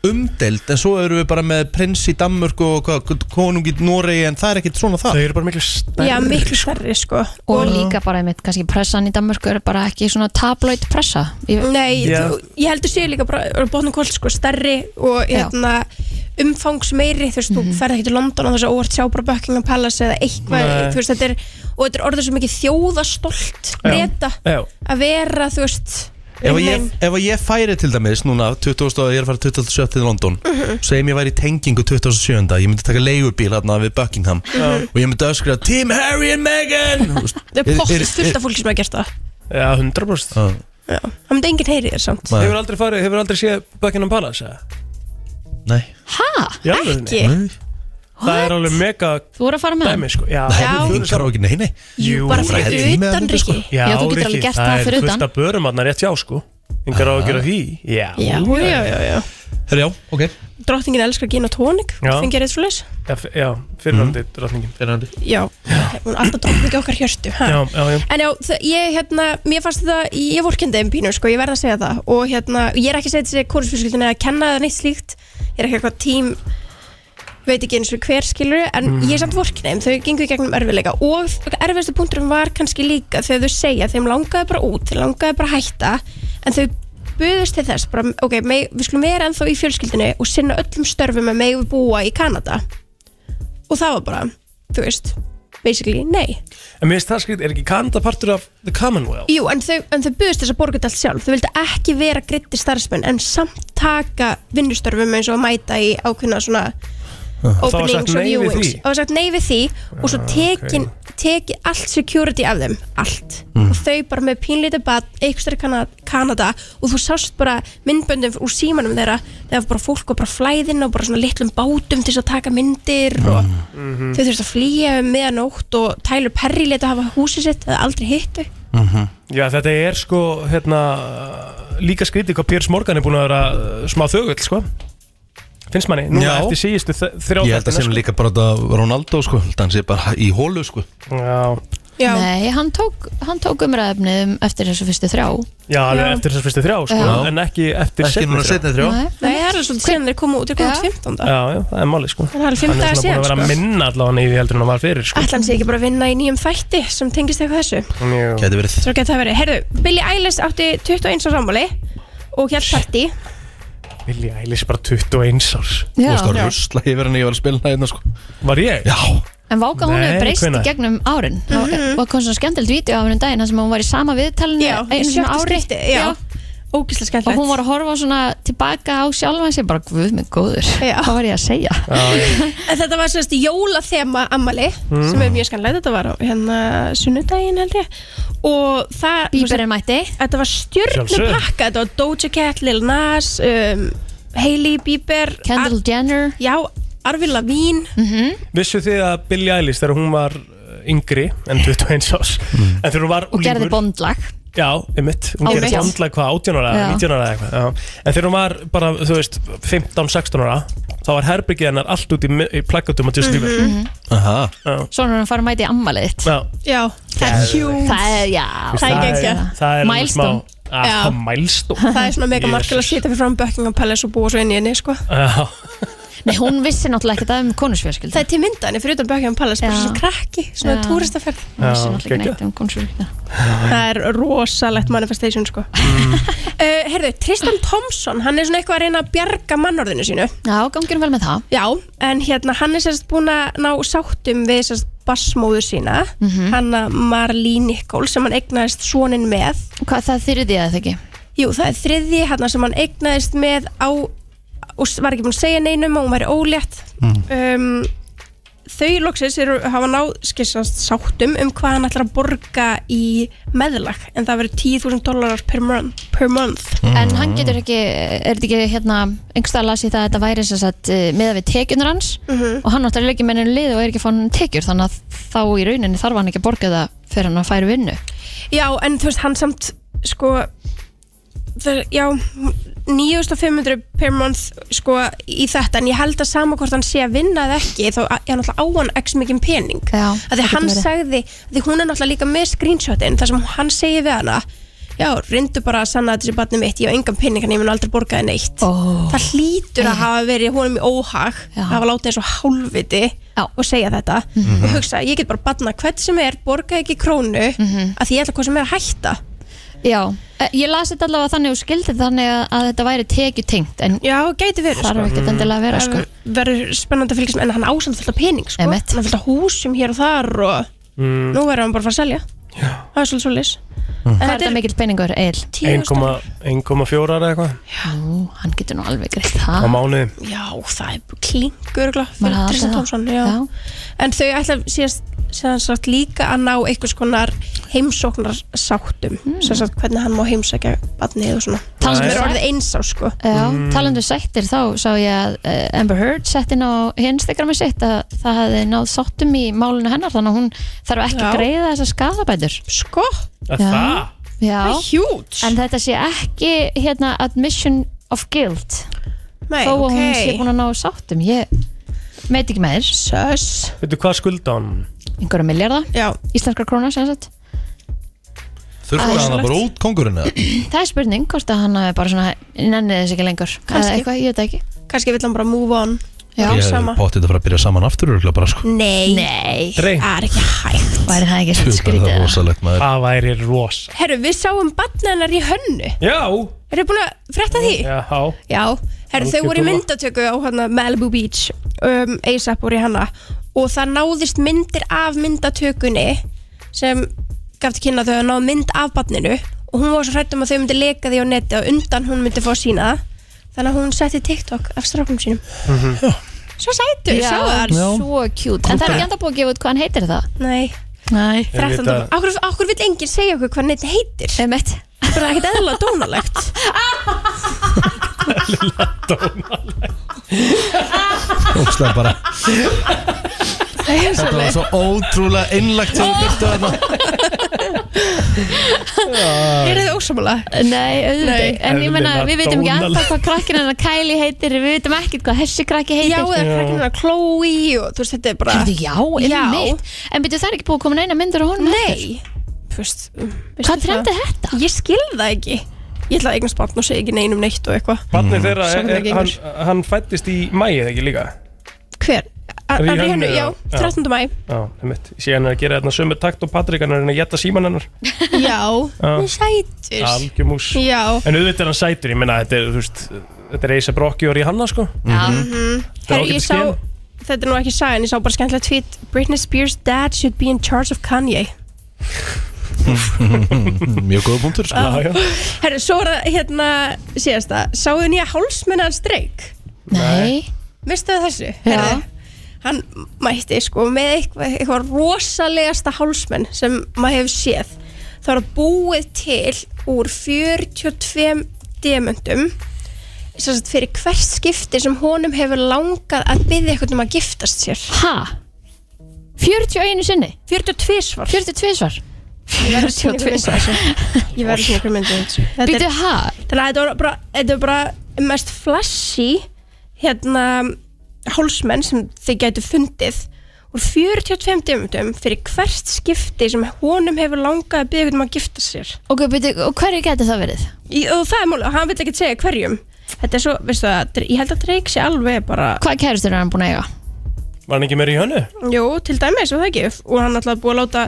D: umdelt En svo eru við bara með prins í Danmörku og hvað- konung í Noregi En það er ekkert svona það
E: Þau eru bara miklu stærri
L: Já, miklu stærri sko
C: Og líka bara einmitt, kannski pressan í Danmörku er bara ekki svona tabloid pressa Ég-
L: Nei,
C: Já.
L: þú, ég heldur séu líka bara bóðnum kvöld sko stærri og
C: Já.
L: hérna, umfangs meiri þú veist, þú ferð ekki til London og þess að óvart sjá bara Buckingham Palace eða
E: Nei.
L: eitthvað þú veist, þetta er, og þetta er orðið svo mikið þjóðastolt breyta
E: Já.
L: að vera þú veist
D: Ef að ég,
L: einhvern
D: ef að ég færi til dæmis núna 20, og ég er að fara 27 til London
L: Mhm.
D: segjum ég væri í tengingu 27 ég myndi taka leigubíl hérna við Buckingham
E: Mhm.
D: og ég myndi öskra Team Harry and Meghan Þú veist,
L: Það
D: er-
L: er
D: er-
L: pottið fullt
D: er-
L: af fólki sem hafa gert það
E: Já, 100%
D: Já.
L: Það myndi enginn heyri þér samt
E: Hefur aldrei farið, hefur aldrei séð Buckingham Palace eða?
D: Nei
C: Ha?
E: Já,
L: Ekki? Nei.
E: Það er alveg mega
C: Þú voru að fara með hann?
E: dæmi sko Já,
D: Nei, þín karaoke, nei, nei
E: Jú,
C: bara
E: þú
C: fyrir
E: ferð í með
C: utan,
E: þetta,
C: Rikki.
E: sko.
C: Já, þú getur
E: Rikki,
C: alveg gert það fyrir
E: Það er
C: utan.
E: fullt af börum hann rétt hjá sko Engar á að gera því Já,
L: Já, já, já, já.
D: Herra, já, ok
L: Drottningin elskar gin og tónik
E: Já.
L: fengið rétt svo leys
E: Já, f- Já, fyrirhandi drottningin
D: Fyrirhandi
L: Já, hún er alltaf drottningi okkar hjörtu ha?
E: Já, já, já
L: En já, þ- ég, hérna, mér fannst þetta, ég vorkendi um pínu, sko, ég verð að segja það og hérna, ég er ekki að segja þessi kórusfjölskyldin eða að kenna eða neitt slíkt ég er ekki eitthvað tím veit ekki eins og hver skilur en
E: Mm.
M: Mhm.
L: ég er samt vorkneim, þau gengu í gegnum erfiðleika og erfiðstu punkturum var kannski líka þegar þau segja, þeim langaði bara út þeim langaði bara að hætta en þau buðust til þess, bara, ok, meg, við skulum vera ennþá í fjölskyldinu og sinna öllum störfum að megum við búa í Kanada og það var bara, þú veist basically, nei
E: En mér finnst það skrið, er ekki Kanada partur af The Commonwealth?
L: Jú, en þau, en þau buðust þess að borga þetta allt sjálf þau vildi ekki vera gritti starfsmenn en samt taka vinnustörfum eins og að mæta í ákveðna svona
E: Það var sagt
L: openings og
E: nei við
L: viewings
E: því?
L: og það var sagt nei við því og svo
E: Ah,
L: tekin, tekið allt security af þeim allt
E: Mm.
L: og þau bara með pínlítið bat eitthvað í Kanada, Kanada og þú sást bara myndböndum úr símanum þeirra þegar bara fólk var bara flæðin og bara svona litlum bátum til þess að taka myndir
E: Mm.
L: og
M: Mhm.
L: þau þurftu að flýja um meðanótt og Tyler Perry leta hafa húsið sitt eða aldrei hittu
E: Já, þetta er sko, hérna, líka skrítið hvað Piers Morgan er búin að vera uh, smá þögull, sko. Finnst manni, núna
D: Já.
E: eftir síðustu þ- þrjá
D: Ég held að
E: þættina,
D: sem
E: sko.
D: líka bara þetta Ronaldo sko, held að hann sé bara í hólu sko
E: Já,
L: Já.
C: Nei, hann tók, hann tók umræðefnið um eftir þessu fyrstu þrjá
E: já, alveg
C: Já.
E: eftir þessar fyrstu þrjá, sko,
C: Já.
E: en ekki eftir
D: Ekki núna seinni þrjá.
C: Nei,
L: Nei, það er alveg svolítið síðan þeir koma út, þeir koma út 15.
E: Já, já, það er máli, sko.
L: Það er alveg fimm daga
E: Hann er svona búin að
L: síðan,
E: vera
L: sko.
E: minna allavega í því heldur en hann var fyrir, sko.
C: Ah.
L: Ætla hann sé ekki bara að vinna í nýjum þætti sem tengist eitthvað þessu.
E: Gæti verið.
L: Svo geta það verið. Herðu, Billie Eilish átti 21 á sammáli og hér partí.
E: Billie Eilish er bara 21 árs
D: Þú
L: Já.
D: veist það
L: Já.
D: rusla yfir henni, ég var að spila hérna sko
E: Var ég?
D: Já
C: En váka hún
D: Nei,
C: hefur breyst í
D: hvenær?
C: gegnum árin mm
L: Mhm.
C: -hmm. Og kom svona skemmtilegt vídeo af henni um daginn þar sem hún var í sama viðtalinu
L: Já, í
C: einu svona
L: sjötta
C: ári
L: skipti, já. Ógislega skemmtilegt.
C: Og hún var að horfa svona tilbaka á sjálfa sér bara guð mig góður,
L: Já.
C: hvað var ég að segja
L: En þetta var sérst jólathema ammali
C: Mm.
L: sem er mjög skanlega, þetta var á hérna sunnudaginn held ég og það
C: Bieberinn mætti
L: Þetta var stjörnupakka, þetta var Doja Cat, Lil Nas um, Hailey Bieber Kendall
C: Jenner
L: Já, Arvin Lavín mm -hmm.
E: Vissu þið að Billie Eilish þegar hún var uh, yngri en 21 árs
D: Mm.
E: en þegar hún var
C: og gerði
E: úlingur-
C: bondlag
E: Já, einmitt, hún gerði
C: Árið.
E: bondlag hvað, 18 ára,
C: Já.
E: 19 ára eða eitthvað já. En þegar hún var bara, þú veist, 15-16 ára þá var herbyggið hennar allt út í, mi- í plakkatum að Justin Bieber
C: Mhm.
D: Aha
E: Já,
C: Svona er hún að fara að mæta í ammalið þitt
E: já
L: Já, það er
E: Geðveikt.
L: hjúms
C: Það er, já
E: Það er- Það er alveg smá
C: Milestone.
E: Ah,
L: Já.
E: hvað Milestone
L: Það er svona mega markil að sitja fyrir fram Buckingham Palace og búa svo inn í henni, sko
E: Já,
C: Nei, hún vissi náttúrulega ekki það um konusfjörskildu
L: Það er til mynda henni fyrir utan Buckingham Palace, bara
C: Já.
L: svona krakki, svona
C: Já.
L: túristaferð
C: Hún vissi
E: Já,
C: náttúrulega ekki
E: geggjað.
C: neitt um konusfjörskildu
L: Það er rosalegt manifestation sko uh, Herðu, Tristan Thompson Hann er svona eitthvað að reyna að bjarga mannorðinu sínu
C: Já, gangirum vel með það
L: Já, en hérna hann er sérst búin að ná sáttum við sérst bassmóður sína mm
C: Mhm.
L: -hmm. Hanna Marlene Nichols sem hann eignaðist sonin með
C: Hvað það þyrði að það ekki?
L: Jú, það er þriðji hérna sem hann eignaðist með á og var ekki búin að segja neinum og hún væri ólétt um, Þau loksins eru, hafa náð skissast sáttum um hvað hann ætlar að borga í meðlag en það verður 10.000 dólarar per, mon per month
C: En hann getur ekki, er þetta ekki hérna einhverstað að lasi það að þetta væri sem sagt eh, miðað við tekjunur hans
L: Mhm.
C: og hann náttúrulega er ekki með henni lið og er ekki fann tekjur þannig að þá í rauninni þarf hann ekki að borga það fyrir hann að færa vinnu
L: Já, en þú veist, hann samt sko það, já, 9500 per month sko í þetta en ég held að sama hvort hann sé að vinna eða ekki þá er hann alltaf á hann x mikið pening
C: já,
L: að því hann sagði, af því hún er náttúrulega líka með screenshotin þar sem hann segi við hana já, reyndu bara að sanna að þessi batni mitt ég á engan pening en ég mun aldrei borgaði neitt
C: oh.
L: það hlýtur að hafa verið honum í óhag að hafa látið eins og hálfviti já. og segja þetta
M: Mhm.
L: og hugsa, ég get bara batna hvert sem er, borga ekki krónu að því ég ætla hvað sem er að hætta
C: Já, eh, ég las þetta allavega þannig og skildi þetta þannig að, að þetta væri tekjutengt en
L: Já, gæti verið
C: Þarf
L: sko.
C: ekkert endilega að vera sko
L: Það verður spennandi að fylgjast með, en hann ásand fullt af pening sko. hann er fullt af húsum hér og þar og
E: Mm.
L: nú verður hann bara að fara að selja já. það er svolítið svolítið
E: Mm.
C: Hvað er þetta mikill peningur, Egil?
E: 1,4 eða eitthvað
C: Jú, hann getur nú alveg greitt það
E: á mánuði
L: Já, það er klingur
C: Maður
L: fyrir
C: hafði
L: Tristan
C: það.
L: Thompson já.
C: Já.
L: En þau ætla síðast sem sagt líka að ná einhvers konar heimsóknarsáttum sem sagt hvernig hann má heimsækja barnið og svona Það
C: um
L: sem er orðið eins á sko
C: Já, talandu sættir þá sá ég að eh, Amber Heard sett inn á Instagrami sitt að það hefði náð sáttum í málinu hennar þannig að hún þarf ekki
L: Já.
C: að greiða þessar skadabætur
L: Sko?
E: Að það?
C: Já
L: Það er huge
C: En þetta sé ekki hérna admission of guilt
L: Nei,
C: Þó að hún
L: ok.
C: sé búin að ná sáttum Ég meit ekki með þér
L: Söss
E: Veitu hvað skulda hann?
C: Einhverja miljardar
L: Já
C: Íslenskar krónar sem sagt
D: Þurfti hann bara út kongurinn eða?
C: Það er spurning hvort að hann hafi bara svona Nenni þess ekki lengur
L: Kannski.
C: Eða eitthvað, ég veit það ekki
L: Kannski vill hann bara move on Já,
D: Ég
L: sama.
D: hefði pottið að fara að byrja saman aftur örugglega bara, sko.
L: Nei, Nei. það er ekki hægt
C: Væri það ekki
D: Tjú, bara það er rosalegt maður
E: Það væri rosa
L: Herru, við sáum batnaðinnar í hönnu
E: Já
L: Eru búin að frétta því?
E: Já,
L: Já, herru, þau
E: Algjör
L: voru í
E: dúlla.
L: myndatöku á hana, Malibu Beach um, ASAP voru í hana og það náðist myndir af myndatökunni sem gaf til kynna að þau að ná mynd af barninu og hún var svo hrætt um að þau myndi leka því á neti og undan hún myndi fá að sína það þannig að hún setti TikTok af strákum sínum
D: Mhm.
L: Svo sætur,
C: Já,
L: sá það
C: svo kjút En það er ekki enda búið að gefa út hvað hann heitir það
L: Nei,
C: Nei
L: 13.
C: Þetta-
L: Akkur, akkur vill enginn segja okkur hvað neti heitir
C: Emmett
L: Það er ekkert eðla dónalegt
D: Ókslega bara
L: Þetta
D: Þetta var svo ótrúlega innlagt sem þú byrtu þarna
L: Er þið ósamála?
C: Nei, auðvitað
L: Nei.
C: En ég menna, við veitum ekki
L: Dónaleg.
C: alltaf hvað krakkin hennar Kylie heitir Við veitum ekkert hvað hessi krakki heitir
L: Já, eða krakkinn hennar Chloe og þú veist, þetta er bara
C: Heyrðu, Já, einmitt En byrju, það er ekki búið að koma neina myndir á honum
L: Nei Fyrst,
C: Hvað trendið þetta?
L: mm, Ég skil það ekki Ég ætla að eignast barn og segja ekki neinum neitt og eitthvað
E: Barnið þeirra,
L: Sá
E: er,
L: það
E: er,
L: ekki
E: hann,
L: einhver.
E: hann fættist í mæið ekki líka
L: Hver?
E: Er í
L: Arri
E: hönnu,
L: hennu,
E: já.
L: já, 13. mæ
E: Já, það mitt Ég sé hann er að gera þarna sömu takt og Patrik hann er að reyna að geta síman hennar
L: Já,
E: Já.
L: hann er sætur
E: Algjumús
L: Já.
E: En auðvitað er hann sætur, ég meina þetta er, þú veist Þetta er Eisa Brokki og Rihanna, sko
L: Mhm. Herru, ég
E: ágætis sko.
L: sá
E: gen.
L: Þetta er nú ekki sæn, ég sá bara skemmtilega tweet Britney Spears dad should be in charge of Kanye
D: Mjög góða punktur sko.
L: Já, Herru, svo er það hérna síðasta Sáðu nýja hálsmennan streik?
C: Nei
L: Vistu það þessu? Herru, Hann mætti sko með eitthvað, eitthvað rosalegasta hálsmenn sem maður hefur séð Það var búið til úr 42 demöndum sem sagt, fyrir hvert skipti sem honum hefur langað að byggja eitthvað um að giftast sér
C: Ha? 41 sinni?
L: 42 svar
C: 42 svar?
L: verður að sýna ykkur mynd af þessu. Ég verður að sýna ykkur myndið þessu Þetta
C: Býtu,
L: er-
C: ha?
L: Þannig að þetta var bara, þetta var bara mest flashy hérna hólsmenn sem þið gætu fundið úr 45 dæmundum fyrir hvert skipti sem honum hefur langað að byggja um að gifta sér
C: Ok, býtu, og hverju getur það verið?
L: Í, og það er málið, og hann vil ekki segja hverjum þetta er svo, veistu það, ég held að Drake sé alveg bara
C: Hvað kærustur er hann búin að eiga?
E: Var hann ekki meira í hönnu?
L: Jú, til dæmis og það ekki og hann alltaf búið að láta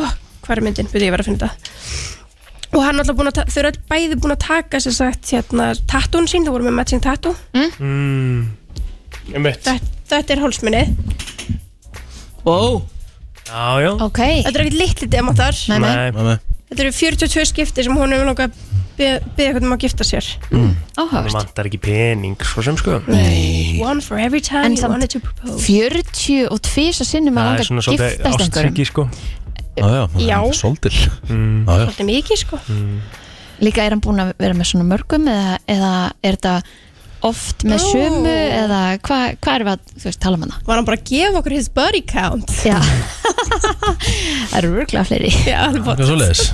L: oh, hvað er myndin, byrði ég verið að finna þetta og hann alltaf búin að, ta- þau eru all bæði búin að taka sem sagt, hérna, tattún sín þau voru með matching tattoo mm?
E: Mm. Ég mitt
L: þetta, þetta er hálsminni
E: Wow Já, já
C: okay.
L: Þetta er ekkert litli demantar
E: Nei
L: Þetta eru 42 skipti sem hún hefur langað að byggja eitthvað um að gifta sér
E: Það
C: Áhört
E: vantar ekki pening, svo sem sko Nei
L: One for every time
C: En
L: you
C: samt
L: wanted to propose
C: 42 sinni
E: Það
C: maður
E: er svona
C: langar að
E: svolítið
C: giftast einhverjum
E: ástryggi, sko
D: Já,
L: Já.
D: Svolítil Mm.
L: Þetta er mikið sko
C: Líka er hann búin að vera með svona mörgum eða, eða er þetta oft með
L: Ó.
C: sömu eða hvað hva er það, þú veist, tala um hana?
L: Var hann bara að gefa okkur his body count
C: Já Það eru röglega fleiri
L: Já, alveg
D: Það er svoleiðis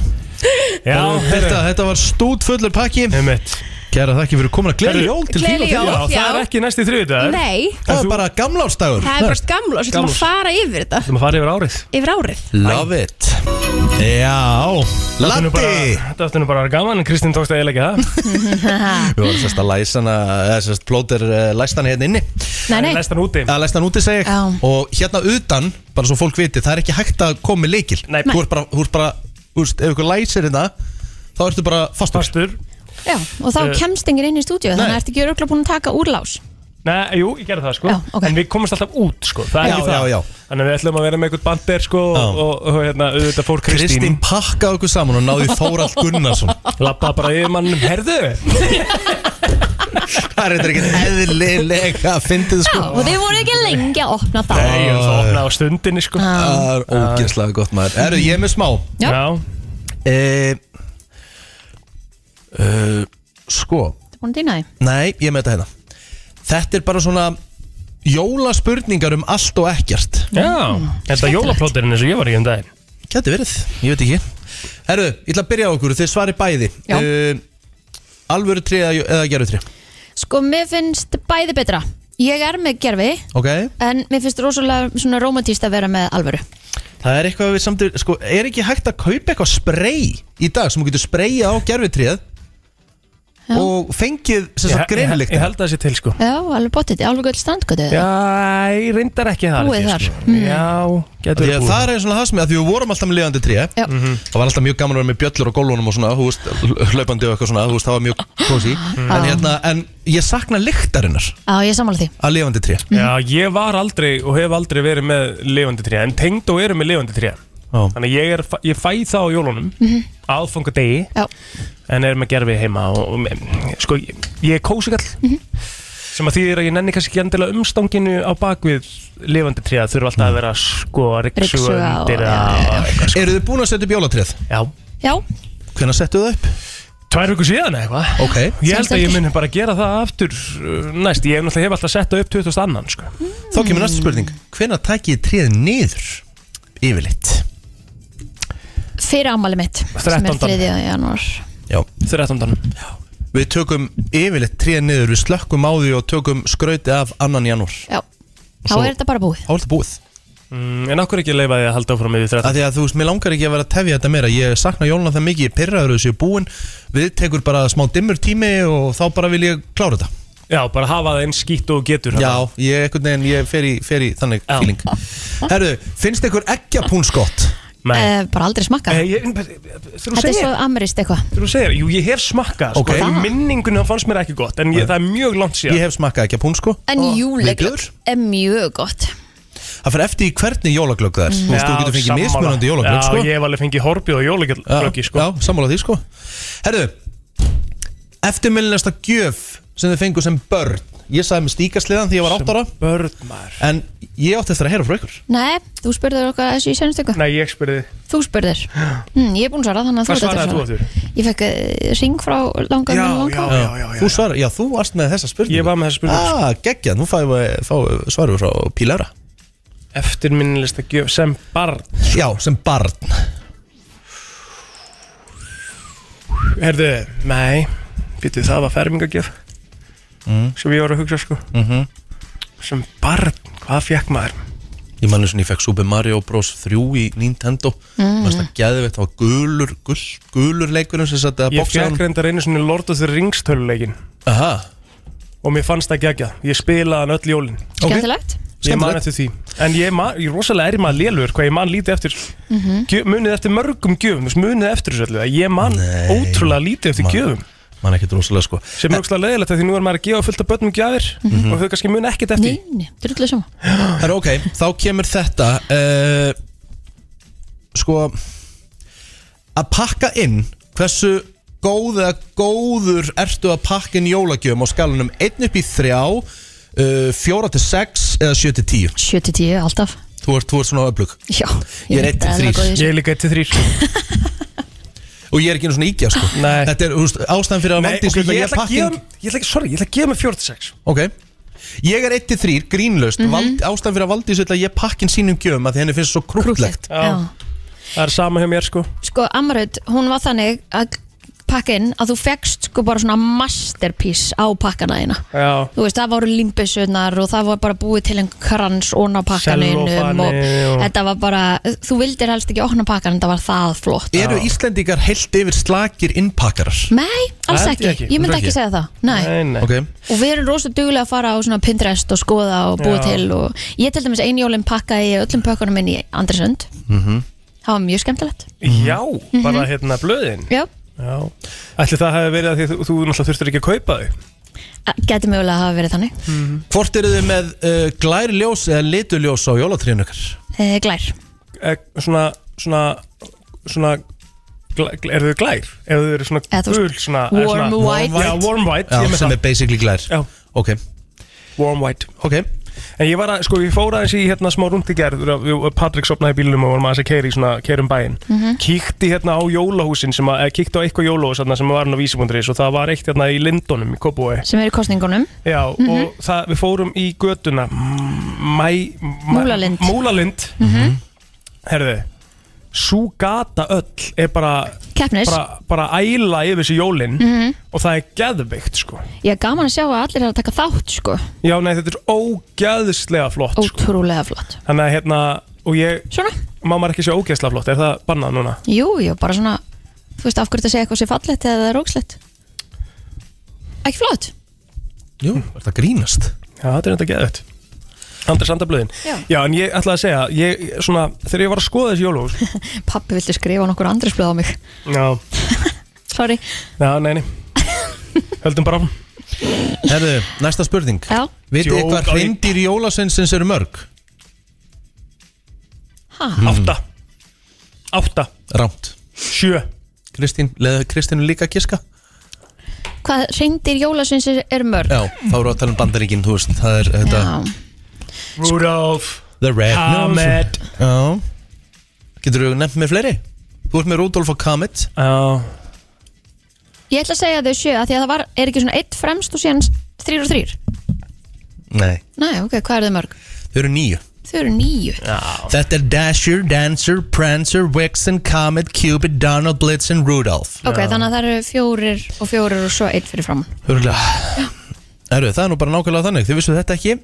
E: Já,
D: þetta, þetta var stútfullur pakki
E: Einmitt
D: Kæra þakki fyrir komin að gleði
E: Herru,
D: jól til
L: gleðileg
D: þín og þín
L: jól,
E: Það er
L: Já.
E: ekki næsti þriðudagur
L: Nei,
D: Það er bara gamlársdagur
L: það er bara gamla og svo ætlum við að
D: Gamlárs.
L: fara yfir þetta
E: Þú maður farið yfir árið
L: Yfir árið
D: Love it Já,
E: Þetta er nú bara-
D: Latti
E: Þetta áttu nú bara að vera gaman en Kristín tókst að eiginlega ekki það
D: Við vorum sérst að læsa hana, eða sérst plóter uh, læst hana hérna inni
C: Nei, nei.
E: Læst hann úti
D: Að læst hana úti segja ég
C: Já.
D: Og hérna utan, bara svo fólk viti, það er ekki hægt að koma með leikil
E: Nei.
D: Þú ert bara, þú ert bara, þú veist, ef ykkur læsir hérna Þá ertu bara fastur
E: Fastur
C: Já, og þá
E: Eh,
C: kemst enginn inn í stúdíu þannig að
D: nei.
C: ertu ekki röglega búin að taka úrlás
E: Nei, jú, ég gerði það sko
C: Já, ok.
E: En við komumst alltaf út sko Það er
D: Já,
E: ekki það
D: já, já.
E: Þannig að við ætlum að vera með eitthvað bandir sko og, og, og hérna, auðvitað fór
D: Kristín
E: Kristín
D: pakkaði okkur saman og náði Þórald Gunnarsson
E: Lappa bara yfir mannum Herðu
D: Það er þetta ekki eðlilega að fyndið sko
C: og þið voru ekki lengi að opna þá
E: Nei, ég það opnaði á stundinni sko
D: Það er ógeðslega gott maður Erðu, ég er með smá
C: Já.
D: e, e, Sko
C: Þetta er búin að dýna því
D: Nei, ég með þetta hérna Þetta er bara svona jólaspurningar um allt og ekkert
E: Já, þetta jólaplóterinn eins og ég var í um daginn
D: Gæti verið, ég veit ekki Herru, ég ætla að byrja á okkur, þið svari bæði
C: Já.
D: uh, Alvöru tré eða, eða gerðu tré
C: Sko, mér finnst bæði betra Ég er með gerfi
D: Ok
C: en mér finnst rosalega svona romantíst að vera með alvöru
D: Það er eitthvað við samt, sko, er ekki hægt að kaupa eitthvað sprey í dag sem þú getur spreyja á gerðu tréð og fengið sem sagt greinileiktina.
E: Ég held að það sé til sko
C: Já, alveg bóttið, alveg göll strandgötu eða?
E: Já, ég reyndar ekki það
C: Búið
E: held ég,
C: þar Mm.
E: sko. Já, getur
D: Því að
E: verið
D: það er eins og það sem ég, að því við vorum alltaf með lifandi tré Mhm.
C: Já.
D: Það var alltaf mjög gaman að vera með bjöllur á gólunum og svona, þú veist, hlaupandi og eitthvað svona, þú veist, það var mjög kósi
C: Já.
D: en, hérna, en ég sakna lyktarinnar
C: Já, ég er sammála því
D: að lifandi tré
C: Mhm.
E: Já, ég var aldrei og hef aldrei verið með lifandi tré En tengd og eru með lifandi tré Þannig að ég, er, ég fæ það á jólunum mm
C: Mhm.
E: -hmm. Aðfangadegi En er með gerfi heima og, og, Sko, ég, ég er kósikall
C: Mhm.
E: Sem að þýðir að ég nenni kannski ekki endilega umstanginu á bakvið lifandi tré að Þurfa
D: Mm.
E: alltaf að vera sko
C: Ryksuga
E: riksuga
C: og-
E: undir
C: já,
E: að- eitthvað, sko.
D: Eru þið búin að setja upp jólatréð?
E: Já
C: Já,
D: Hvenær settu það upp?
E: Tvær vikur síðan eða eitthvað
D: Ok
E: Ég held að ég muni bara gera það aftur uh, næst, ég hef náttúrulega hef alltaf sett það upp 2000 annan sko.
C: Mm.
D: Þá kemur næsta spurning Hvenær tækið tréð niður yfirleitt?
C: fyrir ammali mitt sem er
D: 13.
C: 3. janúar
D: Já
E: 13.
D: Við tökum yfirleitt tréð niður, við slökkum á því og tökum skrauti af annan janúr
C: Já, þá
D: Svo-
C: er þetta bara búið
D: Þá er þetta búið
E: mm, En okkur ekki leifa því að halda áfram yfir 13
D: að Því að þú veist, mér langar ekki að vera að tefja þetta meira Ég sakna jóluna það mikið, ég pyrraður þessu búin Við tekur bara smá dimmur tími og þá bara vil ég klára þetta
E: Já, bara hafa það eins skýtt og þú getur
D: Já, ég, einhvern veginn, ég fer í, fer í þannig Já. feeling Herru, finnst ykkur eggjapún skott?
C: Eh, Bara aldrei smakka
E: Eh, ég-
C: Þetta er svo amrist eitthvað
E: Þú segir, jú, ég hef smakkað
D: Ok. Ah.
E: sko, okay. Minningunum fannst mér ekki gott En ég, það er mjög langt síðan
D: Ég hef smakkað eggjapún sko
C: En
D: Og
C: júleglögg
D: viðbjóður.
C: er mjög gott
D: Það fyrir eftir í hvernig jólaglögg það er Þú veist, þú
E: Mm. Já,
D: getur fengið
E: sammála.
D: mismunandi jólaglögg
E: Já,
D: sko.
E: ég hef alveg fengið horbið og jólaglöggi sko.
D: Já, sammála því sko Herru, eftirmilnasta gjöf sem þið fengu sem börn Ég sagði með stíkasliðan því ég var 8 ára
E: Börn maður
D: En ég átti eftir að heyra frá ykkur
C: Nei, þú spurðir okkar þessu í senustöku
E: Nei, ég spurði
C: Þú spurðir hm, Ég er búin að svara þannig að þú
E: Hvað
C: ert
E: svaraði þú
C: að
E: aftur?
C: svara. Ég fekk eh, hring frá langar minn langar
E: já, já, já,
D: Þú svarar, já, þú varst með þessa spurningu
E: Ég var með þessa spurningu,
D: Ah, geggjað, nú fæðum við fá, svarum við frá Pílæra
E: Eftir minnilista gjöf sem barn
D: Já, sem barn
E: Herðu, nei Býttu, það var fermingagjöf
D: Mm.
E: Sem ég var að hugsa sko
D: Mhm.
E: Sem barn, hvað fekk maður?
D: Ég mann þess að ég fekk Super Mario Bros. 3 í Nintendo Mér
E: Mm.
D: fannst það geðveitt, það var gulur, gul, gulur leikurinn sem satt að
E: Ég fekk
D: bóksa
E: reyndar einu svona Lord of the Rings töluleikin
D: Aha
E: Og mér fannst það gegja Ég spilaði hann öll jólin
C: Skemmtilegt
E: Ég man eftir því En ég, man, ég rosalega er í maður lélur Hvað ég man lítið eftir
C: Mhm.
E: gjöf, Munið eftir mörgum gjöfum þú veist, Munið eftir þessu öllu Ég man ótrúlega lítið eftir
D: man-
E: gjöfum
D: Man ekkert rosalega sko
E: Sem er ótrúlega leðilegt Því nú er maður að gefa fullt af börnum gjafir
D: Mhm.
E: Og þau kannski munið ekkert eftir því.
C: Nei, drullu saman
D: Það er ok, þá kemur þetta uh, Sko Að pakka inn Hversu góð eða góður Ertu að pakka inn jólagjöfum á skalunum 1 upp í 3 uh, 4 til 6 eða 7 til 10
C: 7 til 10 alltaf
D: Þú ert, þú ert svona öflug
C: Já,
D: Ég er 1 til 3
E: Ég er líka 1 til 3
D: Og ég er ekki einu svona íkja sko
E: Nei.
D: Þetta er þú veist, ástæðan fyrir að
E: Nei,
D: vandi
E: ok, ég ætla að gefa Ég ætla ekki, sorry, ég ætla að gefa mig 46
D: Ok Ég er 1 til 3 grínlaust
E: Mhm.
D: mm Ástæðan fyrir að valdi þessu að ég pakkin sínum gjöfum að því henni finnst svo krútlegt
E: Já. Það er sama hjá mér sko
C: Sko, Amrut, hún var þannig að pakka inn að þú fekkst sko bara svona masterpiece á pakkana þína
E: Já
C: Þú veist, það voru limbusunar og það var bara búið til einn krans ón á pakkanum og
D: Sellófani og-
C: þetta var bara, þú vildir helst ekki opna pakkan en það var það flott
D: Eru Íslendingar heilt yfir slakir innpakkarar?
C: Nei, alls
D: Held ég
C: ekki,
D: ekki.
C: ég myndi
D: Heldur
C: ekki
D: ekki.
C: segja það Nei.
E: nei.
D: Okay.
C: Og við erum rosa duglega að fara á svona Pinterest og skoða og búa
D: Já.
C: til og ég til dæmis einjólin pakkaði öllum pökkunum minn í Andresund Það var mjög skemmtilegt
E: Já, bara
C: Mhm.
E: hérna blöðin
C: Já,
E: Já Ætli það hefði verið að því, þú, þú náttúrulega þurftir ekki að kaupa þau
C: gæti mögulega að hafa verið þannig
D: Hvort eru þið með uh, glærljós eða lituljós á jólatrínu ykkar?
C: Eh, Glær
E: e, Svona, svona, svona glæ- glæ- Eru þau glær? Eru þau eru svona
C: Eða þú veist,
E: gul svona, eða
C: warm
E: svona,
C: white.
E: Já, warm white
D: Já,
E: ég með
D: sem
E: það.
D: er basically glær
E: Já.
D: Ok
E: Warm white
D: Ok
E: En ég var að, sko, ég fór aðeins í hérna smá rúndi gerð Patrik sopnaði í bílnum og varum aðeins að keira í svona keirum bæinn
D: Mhm.
E: Kíkti hérna á jólahúsin sem að, eða kíkti á eitthvað jólahús hérna sem var hann á vísibundurins og það var eitt hérna í Lindunum í Kópúi
C: sem er í kostningunum
E: Já,
C: Mhm.
E: og það, við fórum í göduna Mæ, mæ,
C: Múlalind.
E: Múlalind
C: Mhm.
E: Herðu, sú gata öll er bara
C: Keppnis.
E: bara, bara æla yfir þessi jólin
C: Mhm.
E: og það er geðveikt sko
C: Ég er gaman að sjá að allir er að taka þátt sko
E: Já, nei, þetta er ógeðslega flott sko.
C: Ótrúlega flott
E: Þannig að hérna, og ég
C: Svona
E: Má maður ekki sé ógeðslega flott, er það bannað núna?
C: Jú, jú, bara svona Þú veist af hverju þetta segja eitthvað sé fallegt eða það er rókslegt ekki flott
D: Jú, er það grínast
E: Já, þetta er þetta geðvægt Andri Sandablöðin
C: Já.
E: Já, en ég ætlaði að segja ég, svona, Þegar ég var að skoða þessi jólús
C: Pappi viltu skrifa nokkur andrisblöð á mig
E: Já,
C: Sorry
E: já, nei, nei Höldum bara áfram
D: Herðu, næsta spurning
C: Já.
D: Vitið þið
E: Djók
D: hvað
E: á ég-
D: hreindir jólasveinsins eru mörg?
C: Ha?
E: Átta Átta
D: Rámt
E: Sjö
D: Kristín, leðu Kristínu líka að giska?
C: Hvað reyndir jólasvins er mörg?
D: Já, þá eru að tala um bandaríkin, þú veist Það er þetta
E: Rudolf
D: The Red
E: Ahmed.
D: Nose Já Getur þú nefnt með fleiri? Þú ert með Rudolf og Kamet
E: Já
C: Ég ætla að segja þau sjö að því að það var, er ekki svona eitt fremst og síðan þrýr og þrýr
D: Nei,
C: Nei, ok, hvað er þau mörg?
D: þau eru nýju
C: Þau eru nýju
E: Já
D: Þetta er Dasher, Dancer, Prancer, Vixen, Comet, Cupid, Donald, Blitz and Rudolph
C: Ok, þannig að það eru fjórir og fjórir og svo eitt fyrir fram
D: Hörgulega Herru, það er nú bara nákvæmlega þannig, þið vissu þetta ekki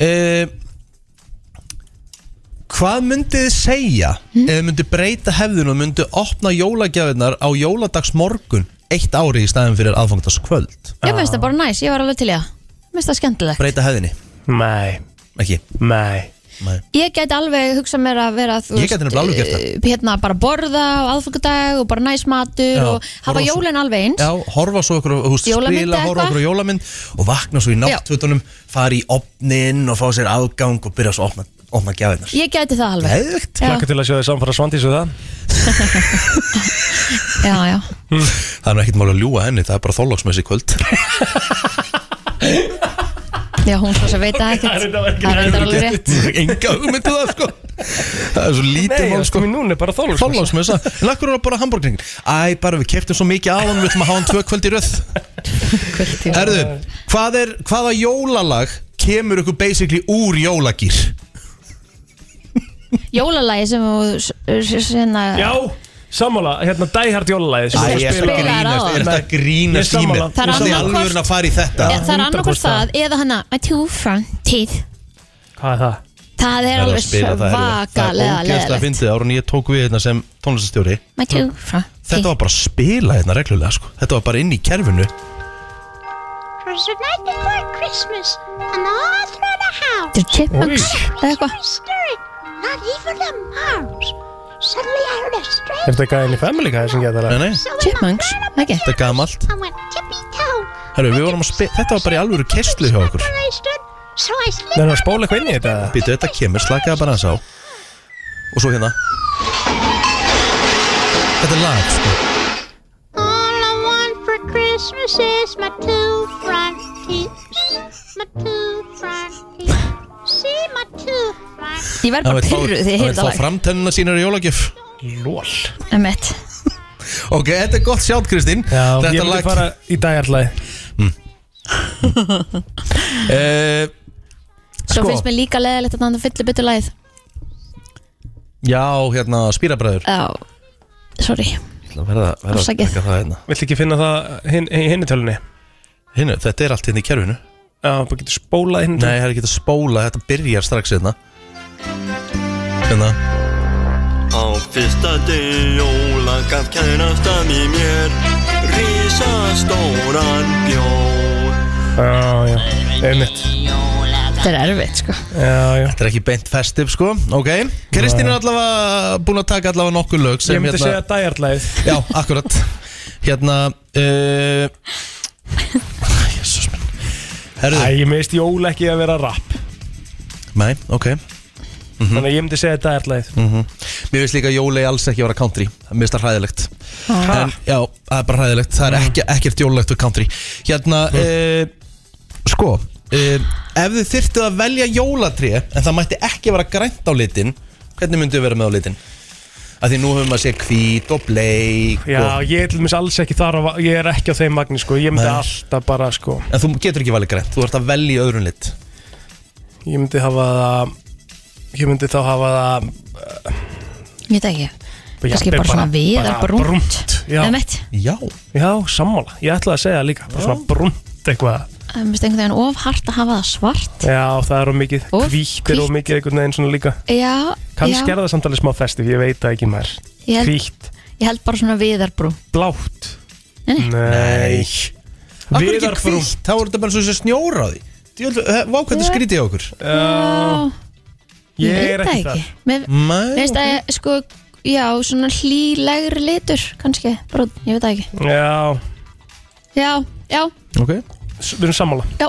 D: uh, Hvað myndið þið segja ef þið myndið breyta hefðun og myndið opna jólagjafinnar á jóladags morgun eitt ári í staðin fyrir aðfangtaskvöld
C: Ég finnst það bara næs, ég var alveg til í það Mér finnst það skemmtilegt
D: Breyta hefðinni
E: Nei
D: Ekki
E: Nei
D: Nei
C: Ég gæti alveg hugsað mér að vera þú
D: Ég gæti nefnilega alveg gert það.
C: eh, Hérna bara borða á aðfangadag og bara næs matur
D: Já,
C: og hafa
D: borða svo-
C: jólin alveg eins
D: Já, horfa svo okkur, húst,
C: Jólamynd
D: spila,
C: eða
D: horfa
C: eitthvað?
D: okkur á jólamynd og vakna svo í náttfötunum, fara í opnin og fá sér aðgang og byrja svo að opna, opna gjafinnar
C: Ég gæti það alveg
D: Geðveikt.
C: Já.
E: Laka til að sjá þið samfara svandís og það
C: Já, já
D: Það er nú ekkert mál að ljúa henni, það er bara þólagsmessi kvöld
C: Já, hún svo sem veit það ekkert Það er þetta alveg rétt
D: Enga hugmyndu það sko Það er svo lítið
E: Nei,
D: mál sko
E: sko, núna er bara þólags
D: Þólagsmessa En akkur er það bara hambúrgring Æ, bara við keftum svo mikið á hann Við ætlum að hafa hann tvö kvöld í röð
C: Kvöldi
D: Erðu, hvað er, hvaða jólalag Kemur ykkur basically úr jólagýr
C: Jólalagi sem þú s- s- hérna, sinna
E: Já, sammála, hérna dæhært jólalæði
D: Æ, ég er þetta að grínast Er þetta að grínast í mig
C: Það er
D: Það er
C: annað
D: alveg að fara í þetta
C: Já, eh, Það er annarkvort
E: 100%
C: það eða hana I too fronted
E: Hvað er það?
C: Það er alveg
D: hérna. Það
C: svakalega
D: er ógeðslega
C: leðilegt
D: fyndið árun ég tók við hérna sem tónlistastjóri
C: My too fronted
D: Þetta var bara að spila hérna reglulega sko Þetta var bara inn í kerfinu
M: Cause the night before Christmas, and all through the house,
C: The chipmunks eða eitthvað
M: was stirring, not even the mouse. Suddenly I heard a strange
E: Er þetta gæðin í family gæði sem geta það?
D: Nei, nei,
C: Chipmunks, ekki
D: þetta er gamalt
M: I went tippy toe.
D: Herru, við vorum að spila Þetta var bara í alvöru keistlu hjá okkur
M: There I stood, so I slid.
E: Nei, það er að spóla eitthvað inn í þetta eða?
D: Býtu, þetta kemur, slakaða bara hans á Og svo hérna Þetta er lag, sko
M: All I want for Christmas is my two front teeth. My two front teeth. See my two front
C: Ég verð bara pyrruð því ég heyrði
D: Það
C: það
D: er þá framtennina sínar í jólagjöf
E: Lól
C: lag Emmett
D: Ok, þetta er gott sjátt, Kristín
E: Já, ég
D: Þetta
E: myndi
D: lag
E: fara í dæhærtlæði
D: eh,
C: Svo
D: Sko.
C: finnst mér líka leðilegt að það fyllir byttu lagið
D: Já, hérna, spýrabræður
C: Já, sorry
D: Það verða verða að
C: Afsakið.
D: taka það hérna
E: Vilt ekki finna það hin- í hinni tölunni?
D: Hinnu, þetta er allt hérna í kerfinu
E: Já, bara getur spólað hinni
D: Nei, það er ekki að spóla, þetta byrjar strax hérna Hérna
N: Á fyrsta degi jóla gaf kærastan í mér Rísastóran bjór
E: Já, já, einmitt
C: Þetta er erfitt sko
E: Já, já
D: Þetta er ekki beint festiv, sko Ok, Kristín er allavega búin að taka allavega nokkur lög sem
E: Ég myndi
D: hérna-
E: segja dæhærtlæði
D: Já, akkurat Hérna uh, Jésús minn Herðu,
E: Æ, ég meðist jól ekki að vera rap
D: nei, ok Mhm.
E: Þannig að ég myndi segja dæhærtlæði
D: mm Mér finnst líka að jólei alls ekki að vera country Mér finnst það hræðilegt
E: Ha?
D: en, Já, það er bara hræðilegt Það er ekki, ekkert jólulegt og country Hérna, uh, sko uh, Ef þið þyrftuð að velja jólatrí En það mætti ekki vera grænt á litin Hvernig myndu vera með á litin? Af því nú höfum að sé hvít og bleik
E: Já,
D: og,
E: ég er til dæmis alls ekki þar á- Ég er ekki á þeim magni, sko Ég myndi
D: Sko. Nei.
E: alltaf bara, sko
D: En þú getur ekki valið grænt Þú ert að velja í öðrun lit
E: Ég myndi hafa það Ég myndi þá hafa það
C: Ég veit ekki Kannski
E: jafnvel
C: bara svona við eða brúnt
E: Já,
C: Emmett,
D: Já,
E: já sammála Ég ætlaði að segja það líka Bara svona brúnt eitthvað
C: það finnst einhvern veginn of hart að hafa það svart
E: Já, það er of mikið
C: Of
E: Hvítt er of
C: hvítt.
E: mikið einhvern veginn svona líka
C: Já,
E: Kannski
C: já
E: er það samt alveg smá festiv Ég veit það ekki maður
C: Ég held-
E: Hvítt,
C: Ég held bara svona viðarbrú
E: blátt
C: Nei.
E: Nei
D: Akkur er ekki
E: Viðarbrún.
D: hvítt, þá er þetta bara svo sem snjóra á því Djöfull, eh, Vá, hvernig
C: Já.
D: skrítið á okkur
E: Já.
C: Ég veit það ekki Mér
D: Nei,
C: mér finnst það sko Já, svona hlýlegri litur kannski, bara, ég veit það ekki
E: Já,
C: Já, já,
D: ok
E: S- Við erum sammála
C: Já.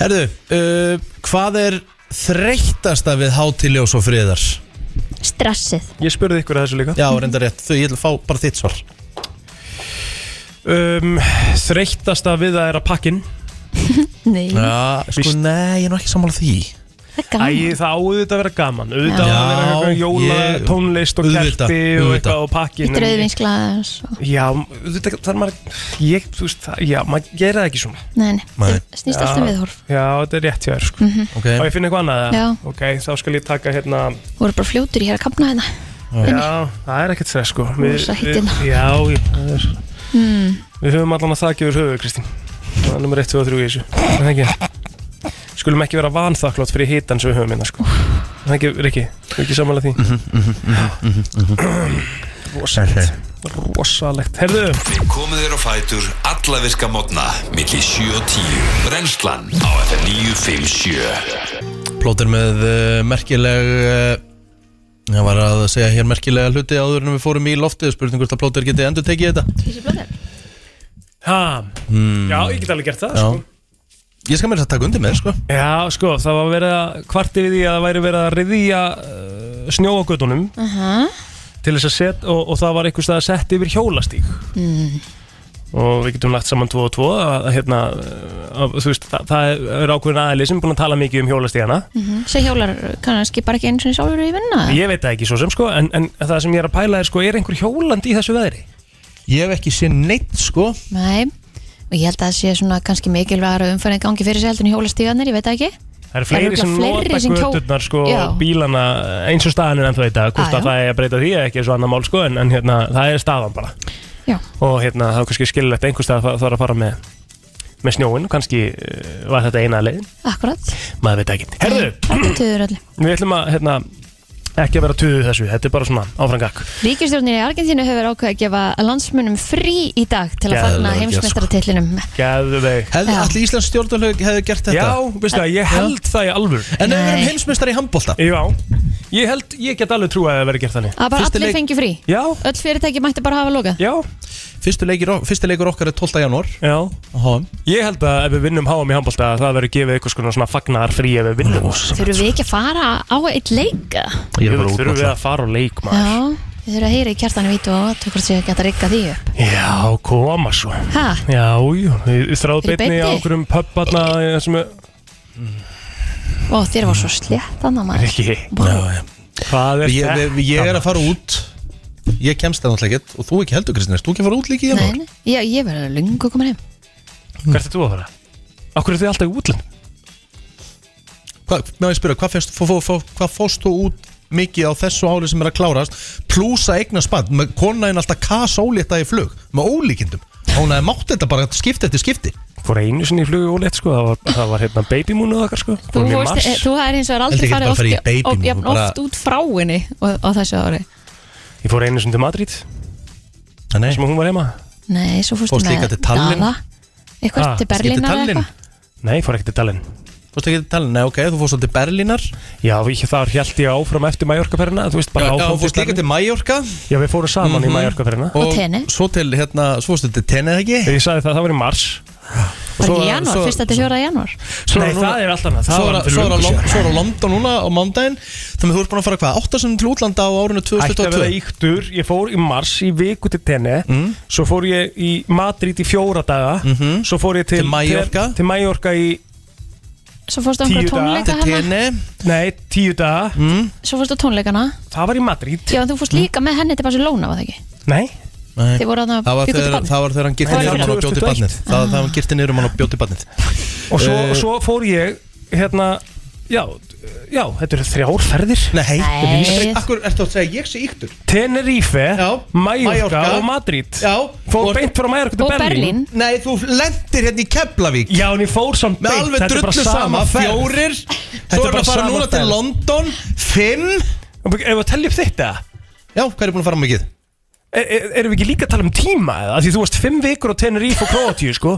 D: Herðu, uh, hvað er þreyttasta við hátiljós og friðar?
C: stressið
E: Ég spurði ykkur að þessu líka
D: Já, reyndar rétt, þau, ég ætla að fá bara þitt svar
E: um, Þreyttasta við það er að pakkin
C: Nei,
D: Já, sko, nei, ég er nú ekki sammála því
C: það er
E: Æ, það áður að vera gaman Auðvitað
D: Já.
E: að vera eitthvað
D: Já,
E: jóla,
D: ég-
E: tónlist og
D: auðvitað,
E: kerti og
D: auðvitað.
E: eitthvað og pakkin
C: Í drauðvinsglaða svo.
E: Já, auðvitað, það er maður Ég, þú veist, það, já, maður gerir það ekki svona
C: Nei, nei,
D: Nei.
C: það snýst allt um
E: Já,
C: viðhorf
E: Já, þetta er rétt hjá þér, sko
C: Mhm.
D: Ok.
E: Og ég finn eitthvað annað eða?
C: Já.
E: Ok, þá skal ég taka hérna
C: Þú eru bara fljótur í hér að kapna hérna
E: Já, það er ekkert stress, sko
C: Þú er sættin.
E: Já, ég- það er
C: hmm.
E: Við höfum allan að þakja yfir höfuð, Kristín Það er nummer 1, 2 og 3 í þessu Er Það ekki Skulum ekki vera vanþakklátt fyrir hitan sem við höfum hérna sko. Er Það ekki, Rikki, við ekki samanlega því Rosalegt Rosalegt, herðu
O: Við komum þér á fætur alla virka mótna milli 7 og 10 Brennslan á FM 957
D: Plóter með uh, merkileg uh, Ég var að segja hér merkilega hluti áður en við fórum í loftið spurning hvort að Plóter geti endur tekið þetta
E: ha,
D: mm.
E: Já, ég get alveg gert það
D: Já.
E: sko.
D: Ég skal mér að taka undir með þér, sko
E: Já, sko, það var verið að kvarti við því að það væri verið að riðja uh, snjó á gödunum til þess að setja og, og það var einhvers stað að setja yfir hjólastíg
C: Mm.
E: og við getum lagt saman 2 og 2 að, að, hérna, að, þú veist, það, það er ákveðin aðeili sem er búin að tala mikið um hjólastígana
C: Mhm. Sem hjólar kannski bara ekki einu sinni sjálfur í vinna
E: Ég veit það ekki svo sem sko en, en það sem ég er að pæla er sko er einhver hjólandi í þessu veðri?
D: Ég hef ekki séð neitt sko
C: Nei, og ég held að það sé svona kannski mikilvægur að umfæðin gangi fyrir sig heldur en hjólastíðanir, ég veit það ekki
E: Það eru fleiri
C: örugglega
E: sem nota
C: fleiri sem hjó-
E: gödurnar sko
C: Já.
E: og bílana eins og staðan er ennþá þetta hvort
C: Já,
E: að
C: já.
E: það er að breyta því er ekki svo annar mál sko en, en hérna, það er staðan bara
C: Já.
E: og hérna það er kannski skililegt einhvers stað að það er að fara með með snjóin, kannski uh, var þetta eina leiðin,
C: Akkurat,
E: maður veit ekki Herðu,
C: það betur allir
E: við ætlum að hérna, ekki að vera töðu þessu, þetta er bara svona áfrangak
C: Ríkistjórnin í Argentínu hefur ákveð að gefa landsmunum frí í dag til að
E: Geðveikt,
C: fagna
E: sko.
C: heimsmeistaratitlinum
E: Gæðu þau
D: Hefði allir Íslands stjórnuleg hefði gert þetta
E: Já, veistu það, ég held það í alvör
D: En ef við erum heimsmeistar í handbólta
E: Já, ég held, ég get alveg trú að það verði gert þannig
C: Að bara allir fengi frí
E: Já.
C: Öll fyrirtæki mætti bara hafa lokað
E: Já
D: Fyrstu leikir, fyrsti leikur okkar er 12. janúar
E: Já
D: HM
E: Ég held að ef við vinnum HM í handbólta að það verður gefið eitthvað svona, svona fagnar frí ef við vinnum
C: Þurfum við ekki að fara á eitt leika?
E: Ég er bara út Þurfum við að fara á leik maður
C: Já, við þurfum að heyra í kjartanu vítu og athuga hvort séu að geta rigga því upp
E: Já, koma svo
C: Ha?
E: Já, jú, við
C: Fyrir
E: þráðum
C: beinni?
E: beinni á okkurum pöpparna sem er
C: Ó, þér var svo slétt annað maður
E: Rikki
D: Já, já.
E: Hvað er
D: ég, við- ég er að fara út Ég kemst það náttúrulega ekkert Og þú ekki heldur Kristinn, erst þú ekki að fara út líka í janúar?
C: Nei, nei, já, ég verður lungu komin heim
E: Hvert er þú að fara? Akkur er þið alltaf í útlun?
D: Hva, með að ég spyrja, hvað, fyrst, fó, fó, fó, hvað fóst þú út mikið á þessu ári sem er að klárast plúsa eigna spann, með konaðin alltaf kasólétta í flug, með ólíkindum hún hefði mátt þetta bara skipti eftir skipti
E: Fór einu sinni í flugu ólétt sko, það var, það var hérna babymoonu okkar sko
C: Þú,
E: Fórum í
C: fórst,
E: mars.
C: eh, þú er hins vegar
E: Held
C: aldrei
E: ég
C: farið
E: geti bara farið í
C: oft,
E: babymoon,
C: oft, jafn
E: bara-
C: oft út frá henni á, á þessu ári
E: Ég fór einu sinni til Madrid
D: Nei
E: Sem hún var heima
C: Nei, svo fórstu
E: Fórst
C: með
E: líka til Tallinn?
C: Dana. Eitthvað
E: Ha,
C: til
E: fórstu ekki til
C: Berlínar eða
E: Tallinn?
C: eitthvað
E: Nei, fór ekki til Tallinn
D: Fórstu ekki til Tallinn, nei ok, þú fórst til Berlínar
E: Já, við, þar held ég áfram eftir Mallorca-ferðina Þú veist bara
D: Já,
E: áfram
D: já, fórst líka til Mallorca
E: Já, við fórum saman í
D: Mhm.
E: Mallorca-ferðina
D: Og Tenni. svo til, hérna, svo fórstu til Tenni eða ekki?
E: Ég sagði það, það var í mars
C: Bara í janúar, fyrsta til fjóra janúar
E: Svo Nei, það er allt annað, það
D: Svo er
E: var
D: að-
E: fyrir
D: svo er að
E: löngu
D: Lon-
E: síðan.
D: svo er að London núna á mándaginn Þannig að þú ert búin að fara hvað, 8 sinni til útlanda á árinu
E: Ætti að vera
D: 2022
E: íktur, ég fór í mars í viku til tenni
D: Mm.
E: Svo fór ég í Madrid í fjóra daga Svo fór ég til,
D: Mhm. Til Mallorca.
E: til, til Mallorca í
C: Svo fórstu á
E: tíu
C: einhverja
E: daga
C: tónleika hana
E: Nei, tíu daga
D: Mm.
C: Svo fórstu á tónleikana
E: Það var í Madrid
C: Já, en þú fórst líka með henni til Barcelona, var það ekki?
E: Nei
D: Nei.
C: Þið voru
D: Það
C: þarna
D: var
C: bjuggu til
D: þegar-
C: barn.
D: það var þegar hann girti
E: Það var
D: niður um hann og bjóti
E: 2021.
D: barnið Það það var hann girti niður um hann og bjóti barnið
E: Og svo,
D: Eh,
E: svo fór ég hérna Já, já, þetta eru þrjár ferðir
D: Nei,
E: Nei.
D: Akkur ertu að segja ég sé yktur
E: Tenerife, Mallorca
D: Mallorca.
E: og Madrid
D: Já
E: Fór
D: Og-
E: beint frá Mallorca til Berlín.
D: Nei, þú lendir hérna í Keflavík
E: Já, en ég fór samt
D: Með
E: beint,
D: alveg
E: þetta er bara
D: drullu sama,
E: sama ferð.
D: fjórir
E: Þetta
D: Svo
E: er
D: er það
E: bara
D: að fara
E: sama
D: núna til
E: ferð.
D: London Fimm
E: Ef við að tellja upp þetta
D: Já, hvað er búin að fara mikið?
E: er, er, Erum við ekki líka að tala um tíma eða? Af Því þú varst fimm vikur á Tenerife og Kroatíu sko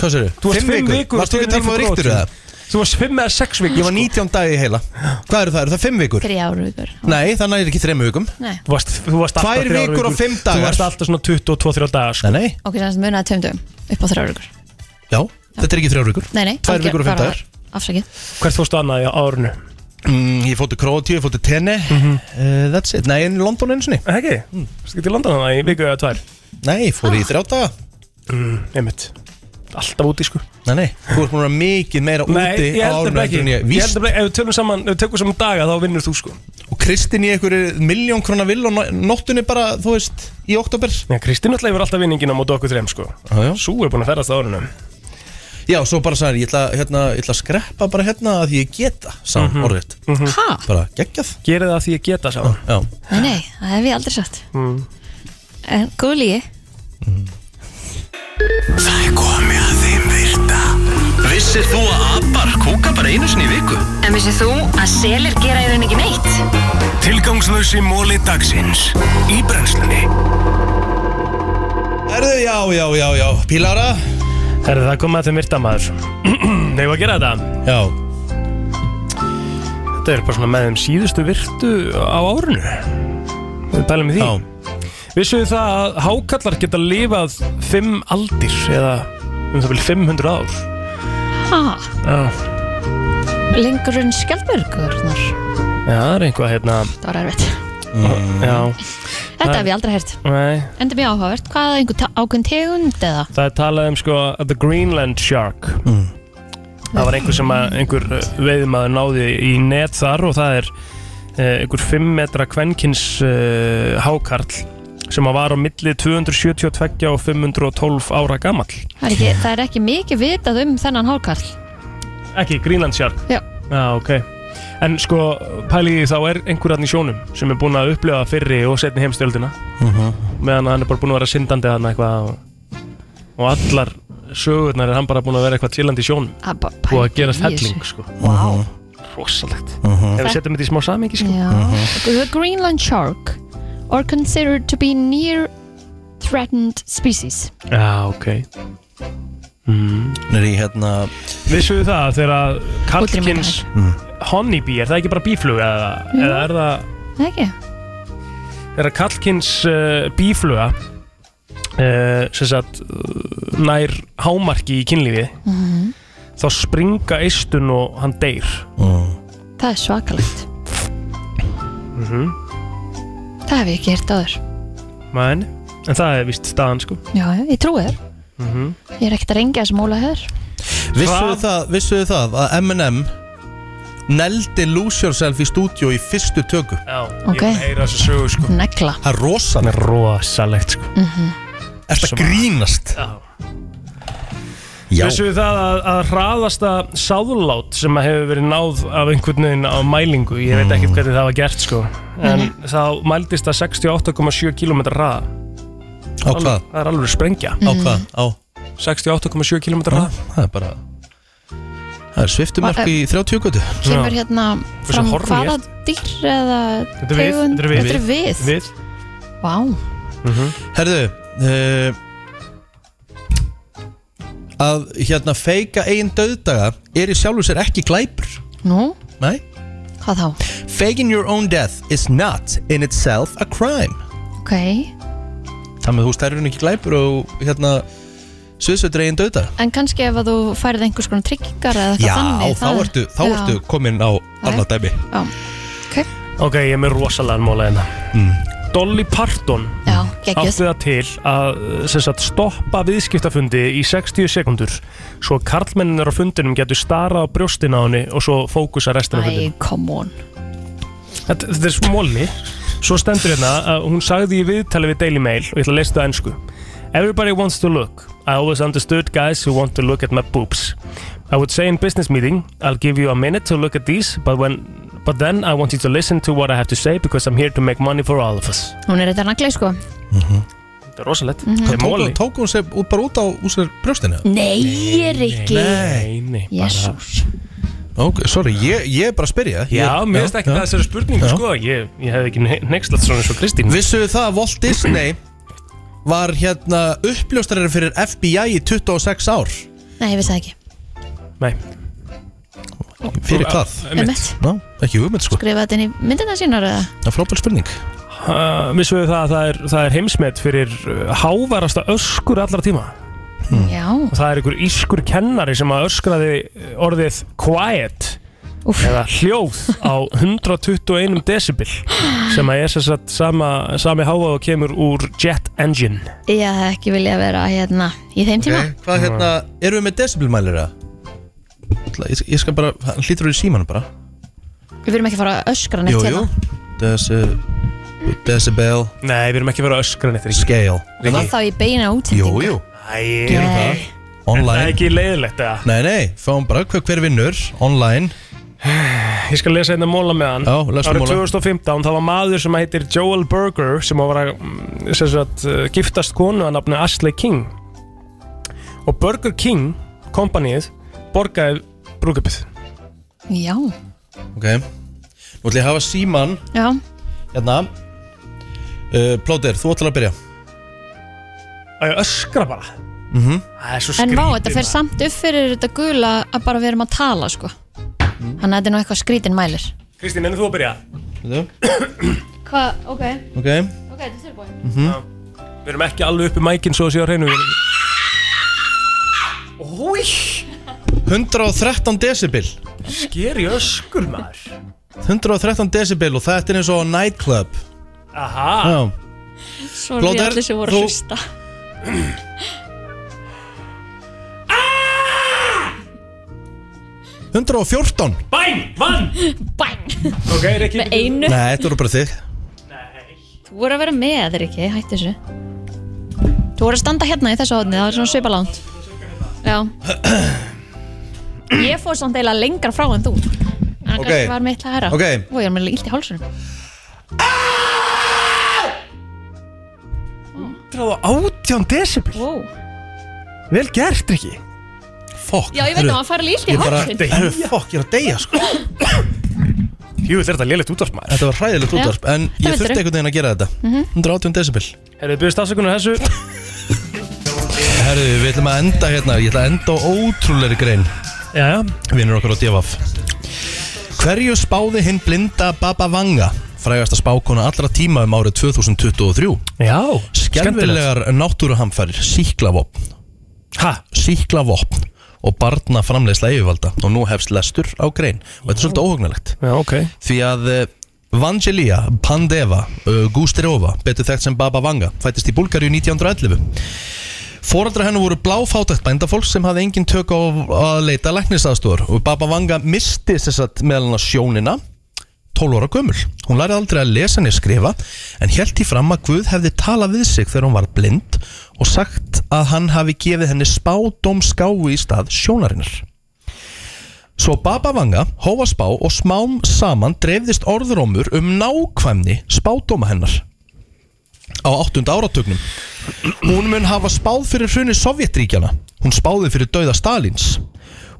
D: Hvað sér Þú varst
P: Fimm
D: fimm
P: vikur.
D: vikur Varst þú ekki að tala um að
P: Króatíu.
D: ríktur eða? Þú varst fimm eða sex vikur sko. Ég var 19 dagi í heila Hvað eru það? Eru það fimm vikur?
C: Þrjár vikur
D: Nei, þannig er ekki þremmu vikum
C: Nei.
D: Þú varst, þú varst
P: alltaf
D: Tvær
P: þrjár
D: vikur og
P: vikur.
D: fimm
P: Þú
D: dagar
P: varst
D: alltaf svona 22-23 dagar sko. Nei, nei
C: Ok, þannig að munaði tveim dögum upp á þrjár vikur
D: Já, þetta er ekki þrjár vikur
C: Nei, nei
D: Tvær
C: algjör-
D: vikur og fimm
C: bara
D: dagar.
C: Afsakið
D: Hvert fórstu annað á árinu? Mm, ég fóttu Króatíu, ég fóttu Tenni uh, That's it, nei, en í London einu sinni Ekki, mm. skilt í London hana í viku eða tvær Nei, fór í þrjá daga mm, Einmitt, alltaf úti sko Nei, nei, þú ert múin að vera mikið meira úti
E: Nei, ég
D: á
E: held
D: árinu
E: nefnilega ekki
D: en ég
E: Ég held
D: Víst,
E: nefnilega, ef við tölum saman, ef við tökum saman daga þá vinnur þú sko
D: og Kristín í einhverju miljón krona vill og no- nóttunni bara, þú veist, í oktober
E: Já, Kristín alltaf hefur alltaf vinningin á móti okkur þreim sko Sú er búin að ferðast á árunum
D: Já, svo bara sagði hann, ég ætla, hérna, ég ætla að skreppa bara hérna að því ég geta, sagði hann
E: Mhm.
D: mm
C: Ha?
D: Bara geggjað Gerið það að því ég geta, sagði hann Já,
C: Nei, nei, það hef ég aldrei sagt
E: Mm.
C: En góð lígi
B: Það er komið að þeim virta Vissir þú að abar kúka bara einu sinni í viku?
K: En vissið þú að selir gera í rauninni ekki neitt?
B: Tilgangslösi móli dagsins Í brennslunni
D: Erðu, já, já, já, já, pílára
E: Herðu, það kom að þeim virta maður Nei, að gera þetta?
D: Já
E: Þetta er bara svona með þeim síðustu virtu á árinu Við pælum í því Já Vissu þið það að hákallar geta lifað fimm aldir eða um það vil 500 ár
C: Ha?
E: Já,
C: Lengur en skjaldbörgurnar
E: Já, það er einhvað hérna
C: Það var erfitt
E: Já
C: Þetta hef ég aldrei hert
E: Nei,
C: Enda mjög áhugavert Hvað er einhver ta- ákveðin tegund eða?
E: Það er talað um sko The Greenland Shark Það var einhver sem að einhver veiðmaður náði í net þar og það er eh, einhver 5 metra kvenkins uh, hákarl sem að var á milli 272 og 512 ára gamall
C: Það er ekki, það er ekki mikið vitað um þennan hákarl
E: Ekki, Greenland Shark
C: Já.
E: ok En sko, pæliði þá er einhverjarn í sjónum sem er búin að upplifa fyrri og setni heimstöldina
D: Mhm.
E: meðan hann er bara búin að vera syndandi þarna eitthvað og, og allar sögurnar er hann bara búin að vera eitthvað chillandi í sjón
C: Ha, Ah, ba-
E: og að
C: pældi
E: gerast
C: í
E: helling
C: þessu.
E: sko
C: Vá.
E: rosalegt
D: Mhm.
E: ef við setjum þetta í smá samingi sko
C: Já. The Greenland shark are considered to be near threatened species
E: Já, ok mm.
D: Nýri, hérna
E: Vissuðu það þegar að karlkins
D: Mm.
E: honeybee, er það ekki bara bíflug eða,
C: Jú.
E: eða er það
C: Það ekki?
E: þegar að karlkins uh, bífluga uh, sem sagt uh, nær hámarki í kynlífi
C: Mhm.
E: þá springa eistun og hann deyr
C: Það er svakalegt
E: mm
C: Það hef ég ekki hert áður
E: en, en það er vist staðan sko
C: Já, já, ég trúi þér
E: mm
C: Ég er ekkert að rengja þessum óla hér
D: Vissuðu það, vissuðu það að M&M Neldi Lose Yourself í stúdíu í fyrstu tökum
E: Já,
C: Ok. búin að heyra
E: þessa sögu sko
C: Negla
D: Það er rosalegt
E: Rosalegt sko
C: mm
D: Er þetta grínast? Já.
E: Vissu við það að, að hraðasta sáðlát sem að hefur verið náð af einhvern veginn á mælingu, ég veit ekkert hvernig það var gert sko, en þá mældist það 68,7 km hraða
D: Á hvað?
E: Það er alveg sprengja
D: Á hvað? Á Ah,
E: 68,7 km hraða
D: Það er bara Það er sviftumark í 30 götu
C: Kemur hérna
D: Hversu
C: fram
D: horfið
C: hvaða dýr eða tegund Þetta er við
E: Við
C: Vá
D: Herðu uh, Að hérna feika eigin döðdaga er í sjálfu sér ekki glæpur
C: Nú,
D: Nei
C: hvað þá?
D: Faking your own death is not in itself a crime
C: Ok
D: Þannig að þú stærður ekki glæpur og hérna sviðsveitur eigin döðdaga
C: En kannski ef að þú færið einhvers konar tryggingar eða eitthvað
D: Já,
C: þannig
D: þá
C: það-
D: ertu, þá
C: Já.
D: ertu komin á annað dæmi
C: Já,
E: Ok, ég er með rosalega móla hérna Dolly Parton
C: Já, geggjuð.
E: átti það til að sem sagt, stoppa viðskiptafundi í 60 sekundur svo karlmenninur á fundinum getur starað á brjóstin á henni og svo fókusa restina af
C: Æ,
E: fundinum
C: come on
E: þetta, þetta er smóli Svo stendur hérna að hún sagði í viðtali við Daily Mail og ég ætla að lesa það ennsku Everybody wants to look I always understood guys who want to look at my boobs I would say in business meeting I'll give you a minute to look at these but, when, but then I want you to listen to what I have to say because I'm here to make money for all of us
C: Hún er þetta nagli sko
E: Þetta er rosalegt
C: Mhm.
E: Þetta er
D: Tók-
E: móli
D: Tók hún sér út- bara út á úr sér brjóstinu?
C: Nei, Rikki
E: Nei, nei bara-
C: Jésús
D: Ok, sorry, ég, ég er bara að spyrja ég,
E: Já, mér finnst ekki
D: já.
E: það þessari spurningu sko Ég, ég hef ekki nexlat svona eins og Kristín
D: Vissu þið það að Walt Disney var hérna uppljóstarari fyrir FBI í 26 ár
C: Nei, ég vissi það ekki
D: Fyrir hvað?
C: Einmitt.
D: Ná, ekki hugmynd sko
C: Skrifa þetta inn í myndina sínar eða?
D: Það er frábæl spurning
E: Uh, Missum við það að það er, það er heimsmet fyrir uh, hávarasta öskur allra tíma
D: Mm.
C: Já
E: og það er einhver ískur kennari sem að öskraði eh, orðið quiet
C: Úf.
E: eða hljóð á 121 decibel sem að er sem sagt sama, sami hávaðu kemur úr jet engine
C: Ég hef ekki vilja vera hérna í þeim tíma
D: Hvað hérna, erum við með decibelmælir eða? Ætla, Ég, ég skal bara, hann hlýtur úr í símanu bara
C: Við verum ekki að fara að öskra neitt hérna.
D: jú Deci, Decibel
E: Nei, við erum ekki að vera öskra neitt
D: Scale
C: Hérna? Þá ég beina útsendingu
D: Jú, jú
E: Æ,
D: Gerum það Online
E: Það er ekki leiðilegt eða?
D: Nei, nei, fáum bara hver, hver vinnur Online
E: Ég skal lesa einna móla með hann
D: Já, lestu
E: Árið
D: móla.
E: 2015, það var maður sem heitir Joel Berger sem var að mm, sem sagt, uh, giftast konu að nafni Ashley King og Burger King kompanið borgaði brúkupið
C: Já,
D: Ok Nú ætlum ég að hafa síman
C: já
D: Hérna uh, Plóter, þú ætlar að byrja
E: Að ég öskra bara
D: mm -hmm.
E: Það er svo
C: En
E: skrítið
C: vá, þetta fer samt upp fyrir þetta gula að bara við erum að tala sko Þannig að þetta er nú eitthvað skrítin mælir
E: Kristín, ennum þú að byrja?
C: Hvað, ok
D: Ok
C: Ok, þetta er tilbúin
E: mm Við erum ekki alveg uppi mækinn svo að séu á hreinu
D: 113 decibel
E: Sker í öskur maður
D: 113 decibel og þetta er eins og á nightclub
E: Aha
C: Ah.
D: Já
C: Svo
D: Blóter,
C: allir sem voru
D: þú-
C: að hlusta
D: Ah! 114
E: Bæn, vann
C: Bæn
E: Ok, Rikki
C: Með einu
D: Nei, þetta voru bara þig
C: Þú voru að vera með, Rikki, hættu þessu Þú voru að standa hérna í þessu hóðni, það er svona svipalánt Já Ég fór samt eiginlega lengra frá en þú En
D: Ok.
C: kannski var mitt að herra
D: Ok.
C: Og ég er með illt í hálsunum
E: 118 decibel
C: wow.
E: Vel gert, Rikki
D: Fokk
C: Já, ég veit að maður fari líka í
D: Ég bara,
C: hálsinn.
D: herru, fokk, ég er að deyja sko
E: Jú, þetta er lélitt útvarp maður
D: Þetta var hræðilegt
C: Já.
D: útvarp En
C: Það
D: ég
C: vildirðu.
D: þurfti einhvern veginn að gera þetta
C: Mhm.
D: 118 decibel
E: Herðu, byrðist afsökunar þessu
D: Herru, við ætlum að enda hérna Ég ætla að enda á ótrúleiri grein
E: Jæja
D: Vinnur okkar á Devaf Hverju spáði hinn blinda Baba Vanga Frægasta spákona allra tíma um árið 2023
E: Já
D: Skelvilegar náttúruhamfærir Síklavopn
E: Ha?
D: Síklavopn og barna framleiðsla yfirvalda og nú hefst lestur á grein og þetta er svolítið óhugnalegt
E: Já, ok
D: því að eh, Vangelia Pandeva uh, Gustirova, betur þekkt sem Baba Vanga fættist í Búlgaríu 1911 Fóraldra hennar voru bláfátækt bændafólk sem hafði engin tök á að leita læknisaðstofur og Baba Vanga misti þess að meðal hann sjónina 12 ára gömul. Hún lærði aldrei að lesa niður skrifa en held í fram að Guð hefði talað við sig þegar hún var blind og sagt að hann hafi gefið henni spádómskáu í stað sjónarinnar. Svo Baba Vanga, Hóaspá og smám saman dreifðist orðrómur um nákvæmni spádóma hennar á 8. áratugnum. Hún mun hafa spáð fyrir hruni Sovjetríkjana. Hún spáði fyrir dauða Stalins.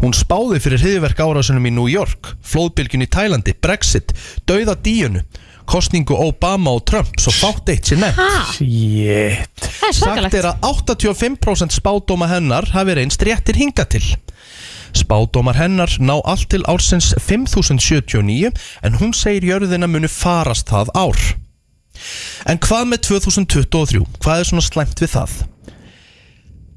D: Hún spáði fyrir hriðverk árásunum í New York, flóðbylgjun í Tælandi, Brexit, dauða díunu, kostningu Obama og Trump, svo fátt eitt sér nefnt.
E: Shit
C: Það
D: Sagt
C: er svakalegt
D: er að 85% spádóma hennar hafi reynst réttir hinga til. Spádómar hennar ná allt til ársins 5079 en hún segir jörðina muni farast það ár. En hvað með 2023? Hvað er svona slæmt við það?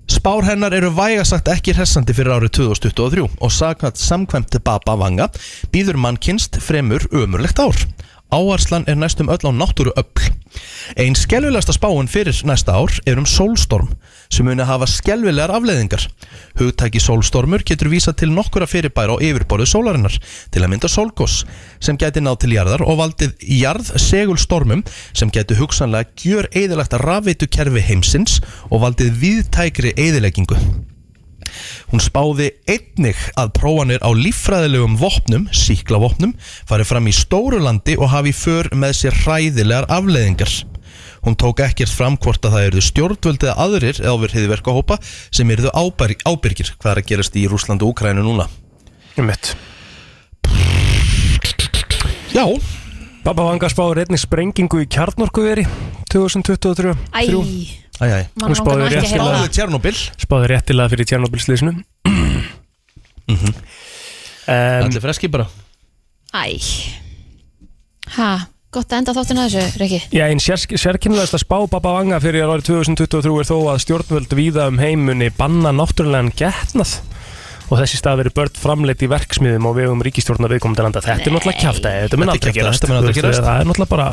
D: Spár hennar eru vægasagt ekki hressandi fyrir árið 2023 og saknat samkvæmt Baba Vanga býður mannkynst fremur ömurlegt ár. Áarslan er næstum öll á náttúru öll. Einn skelvilegasta spáin fyrir næsta ár er um sólstorm sem muni hafa skelvilegar afleðingar. Hugtæki sólstormur getur vísa til nokkura fyrirbæra á yfirborðu sólarinnar til að mynda sólgós sem gæti náð til jarðar og valdið jarðsegulstormum sem gæti hugsanlega gjör eðilagt rafveitu kerfi heimsins og valdið viðtækri eðileggingu. Hún spáði einnig að prófanir á líffræðilegum vopnum, síklavopnum, fari fram í stóru landi og hafi í för með sér hræðilegar afleðingar. Hún tók ekkert fram hvort að það eruðu stjórnvöld eða aðrir eða ofir heiðverkahópa sem eruðu ábyrg, ábyrgir hvað er að gerast í Rúsland og Úkrænu núna.
E: Einmitt
D: Já
E: Baba Vanga spáður einnig sprengingu í kjarnorkuveri 2023
C: Æ,
E: Þrjú.
C: mann
D: Æ, æ.
E: Hún
C: langar nú
E: spáði
C: ekki að
E: réttilega
C: heyra
D: Tjernobyl
E: Spáði réttilega fyrir Tjernobyl slísinu Mhm.
D: Allir freski bara
C: Æ Ha, gott að enda þáttin að þessu, Rikki
E: Já, einn sér, sérkynlegasta spá Baba Vanga fyrir árið 2023 er þó að stjórnvöld víða um heimunni banna náttúrulegan getnað og þessi stað verið börn framleitt í verksmiðum og vegum ríkistjórnar viðkomandi landa. Þetta er náttúrulega kjafta, þetta mun
D: Þetta er
E: aldrei
D: kjaftæði,
E: gerast.
D: þetta mun aldrei
E: Þú veist,
D: gerast.
E: Það er náttúrulega bara...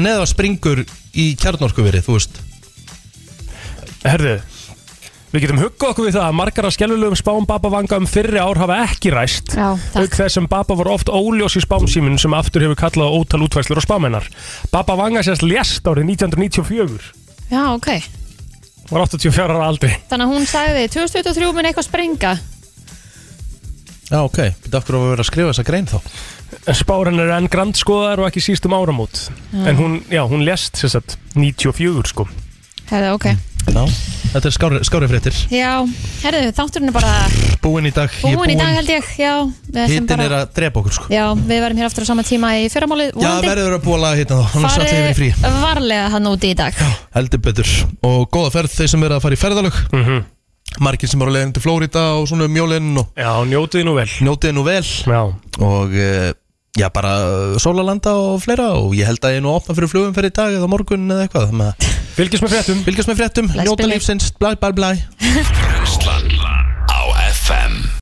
D: En eða það springur í kjarnorkuverið, þú veist
E: Herðu, við getum huggað okkur við það að margar af skelvilegum spám Baba Vanga um fyrri ár hafa ekki ræst
C: Já,
E: auk þess sem Baba voru oft óljós í spámsíminn sem aftur hefur kallað á ótal útvæslur og spámennar. Baba Vanga sérst lést árið 1994
C: Já, ok
E: var 84 ára aldri
C: Þannig að hún sagði 2023 mun eitthvað springa
D: Já, ok, þetta af hverju var að vera að skrifa þessa grein þá
E: En spáran er enn grandskoðar og ekki síst um áramót
C: Já.
E: En hún, já, hún lest sér satt 94 sko
C: Herðu, ok
D: Já, þetta er skári, skári fréttir
C: Já, herðu, þátturinn er bara
D: Búin í dag ég
C: búin í dag held ég Já, við ætlum
D: Hittin
C: bara
D: er að drepa okkur sko
C: Já, við verðum hér aftur á sama tíma í fyrramálið
D: Já, verður að búa að laga hittin þá Þannig satt hefur í frí
C: Farið varlega hann úti í dag
D: Heldur betur Og góða ferð þeir sem verða að fara í ferðalög
E: -hmm.
D: Margir sem eru að leiðin til Flórida og svona um jólinn og
E: Já, njótið nú vel
D: Njótið nú vel
E: Já
D: Og eh, já, bara eh, sólalanda og fleira Og ég held að ég er nú opna fyrir flugum fyrir í dag eða morgun eða eitthvað Þannig að
E: Fylgjast með fréttum
D: Fylgjast með fréttum,
O: Bless,
D: njóta
O: Billy.
D: lífsins, blæ, blæ, blæ
O: Brennslan á FM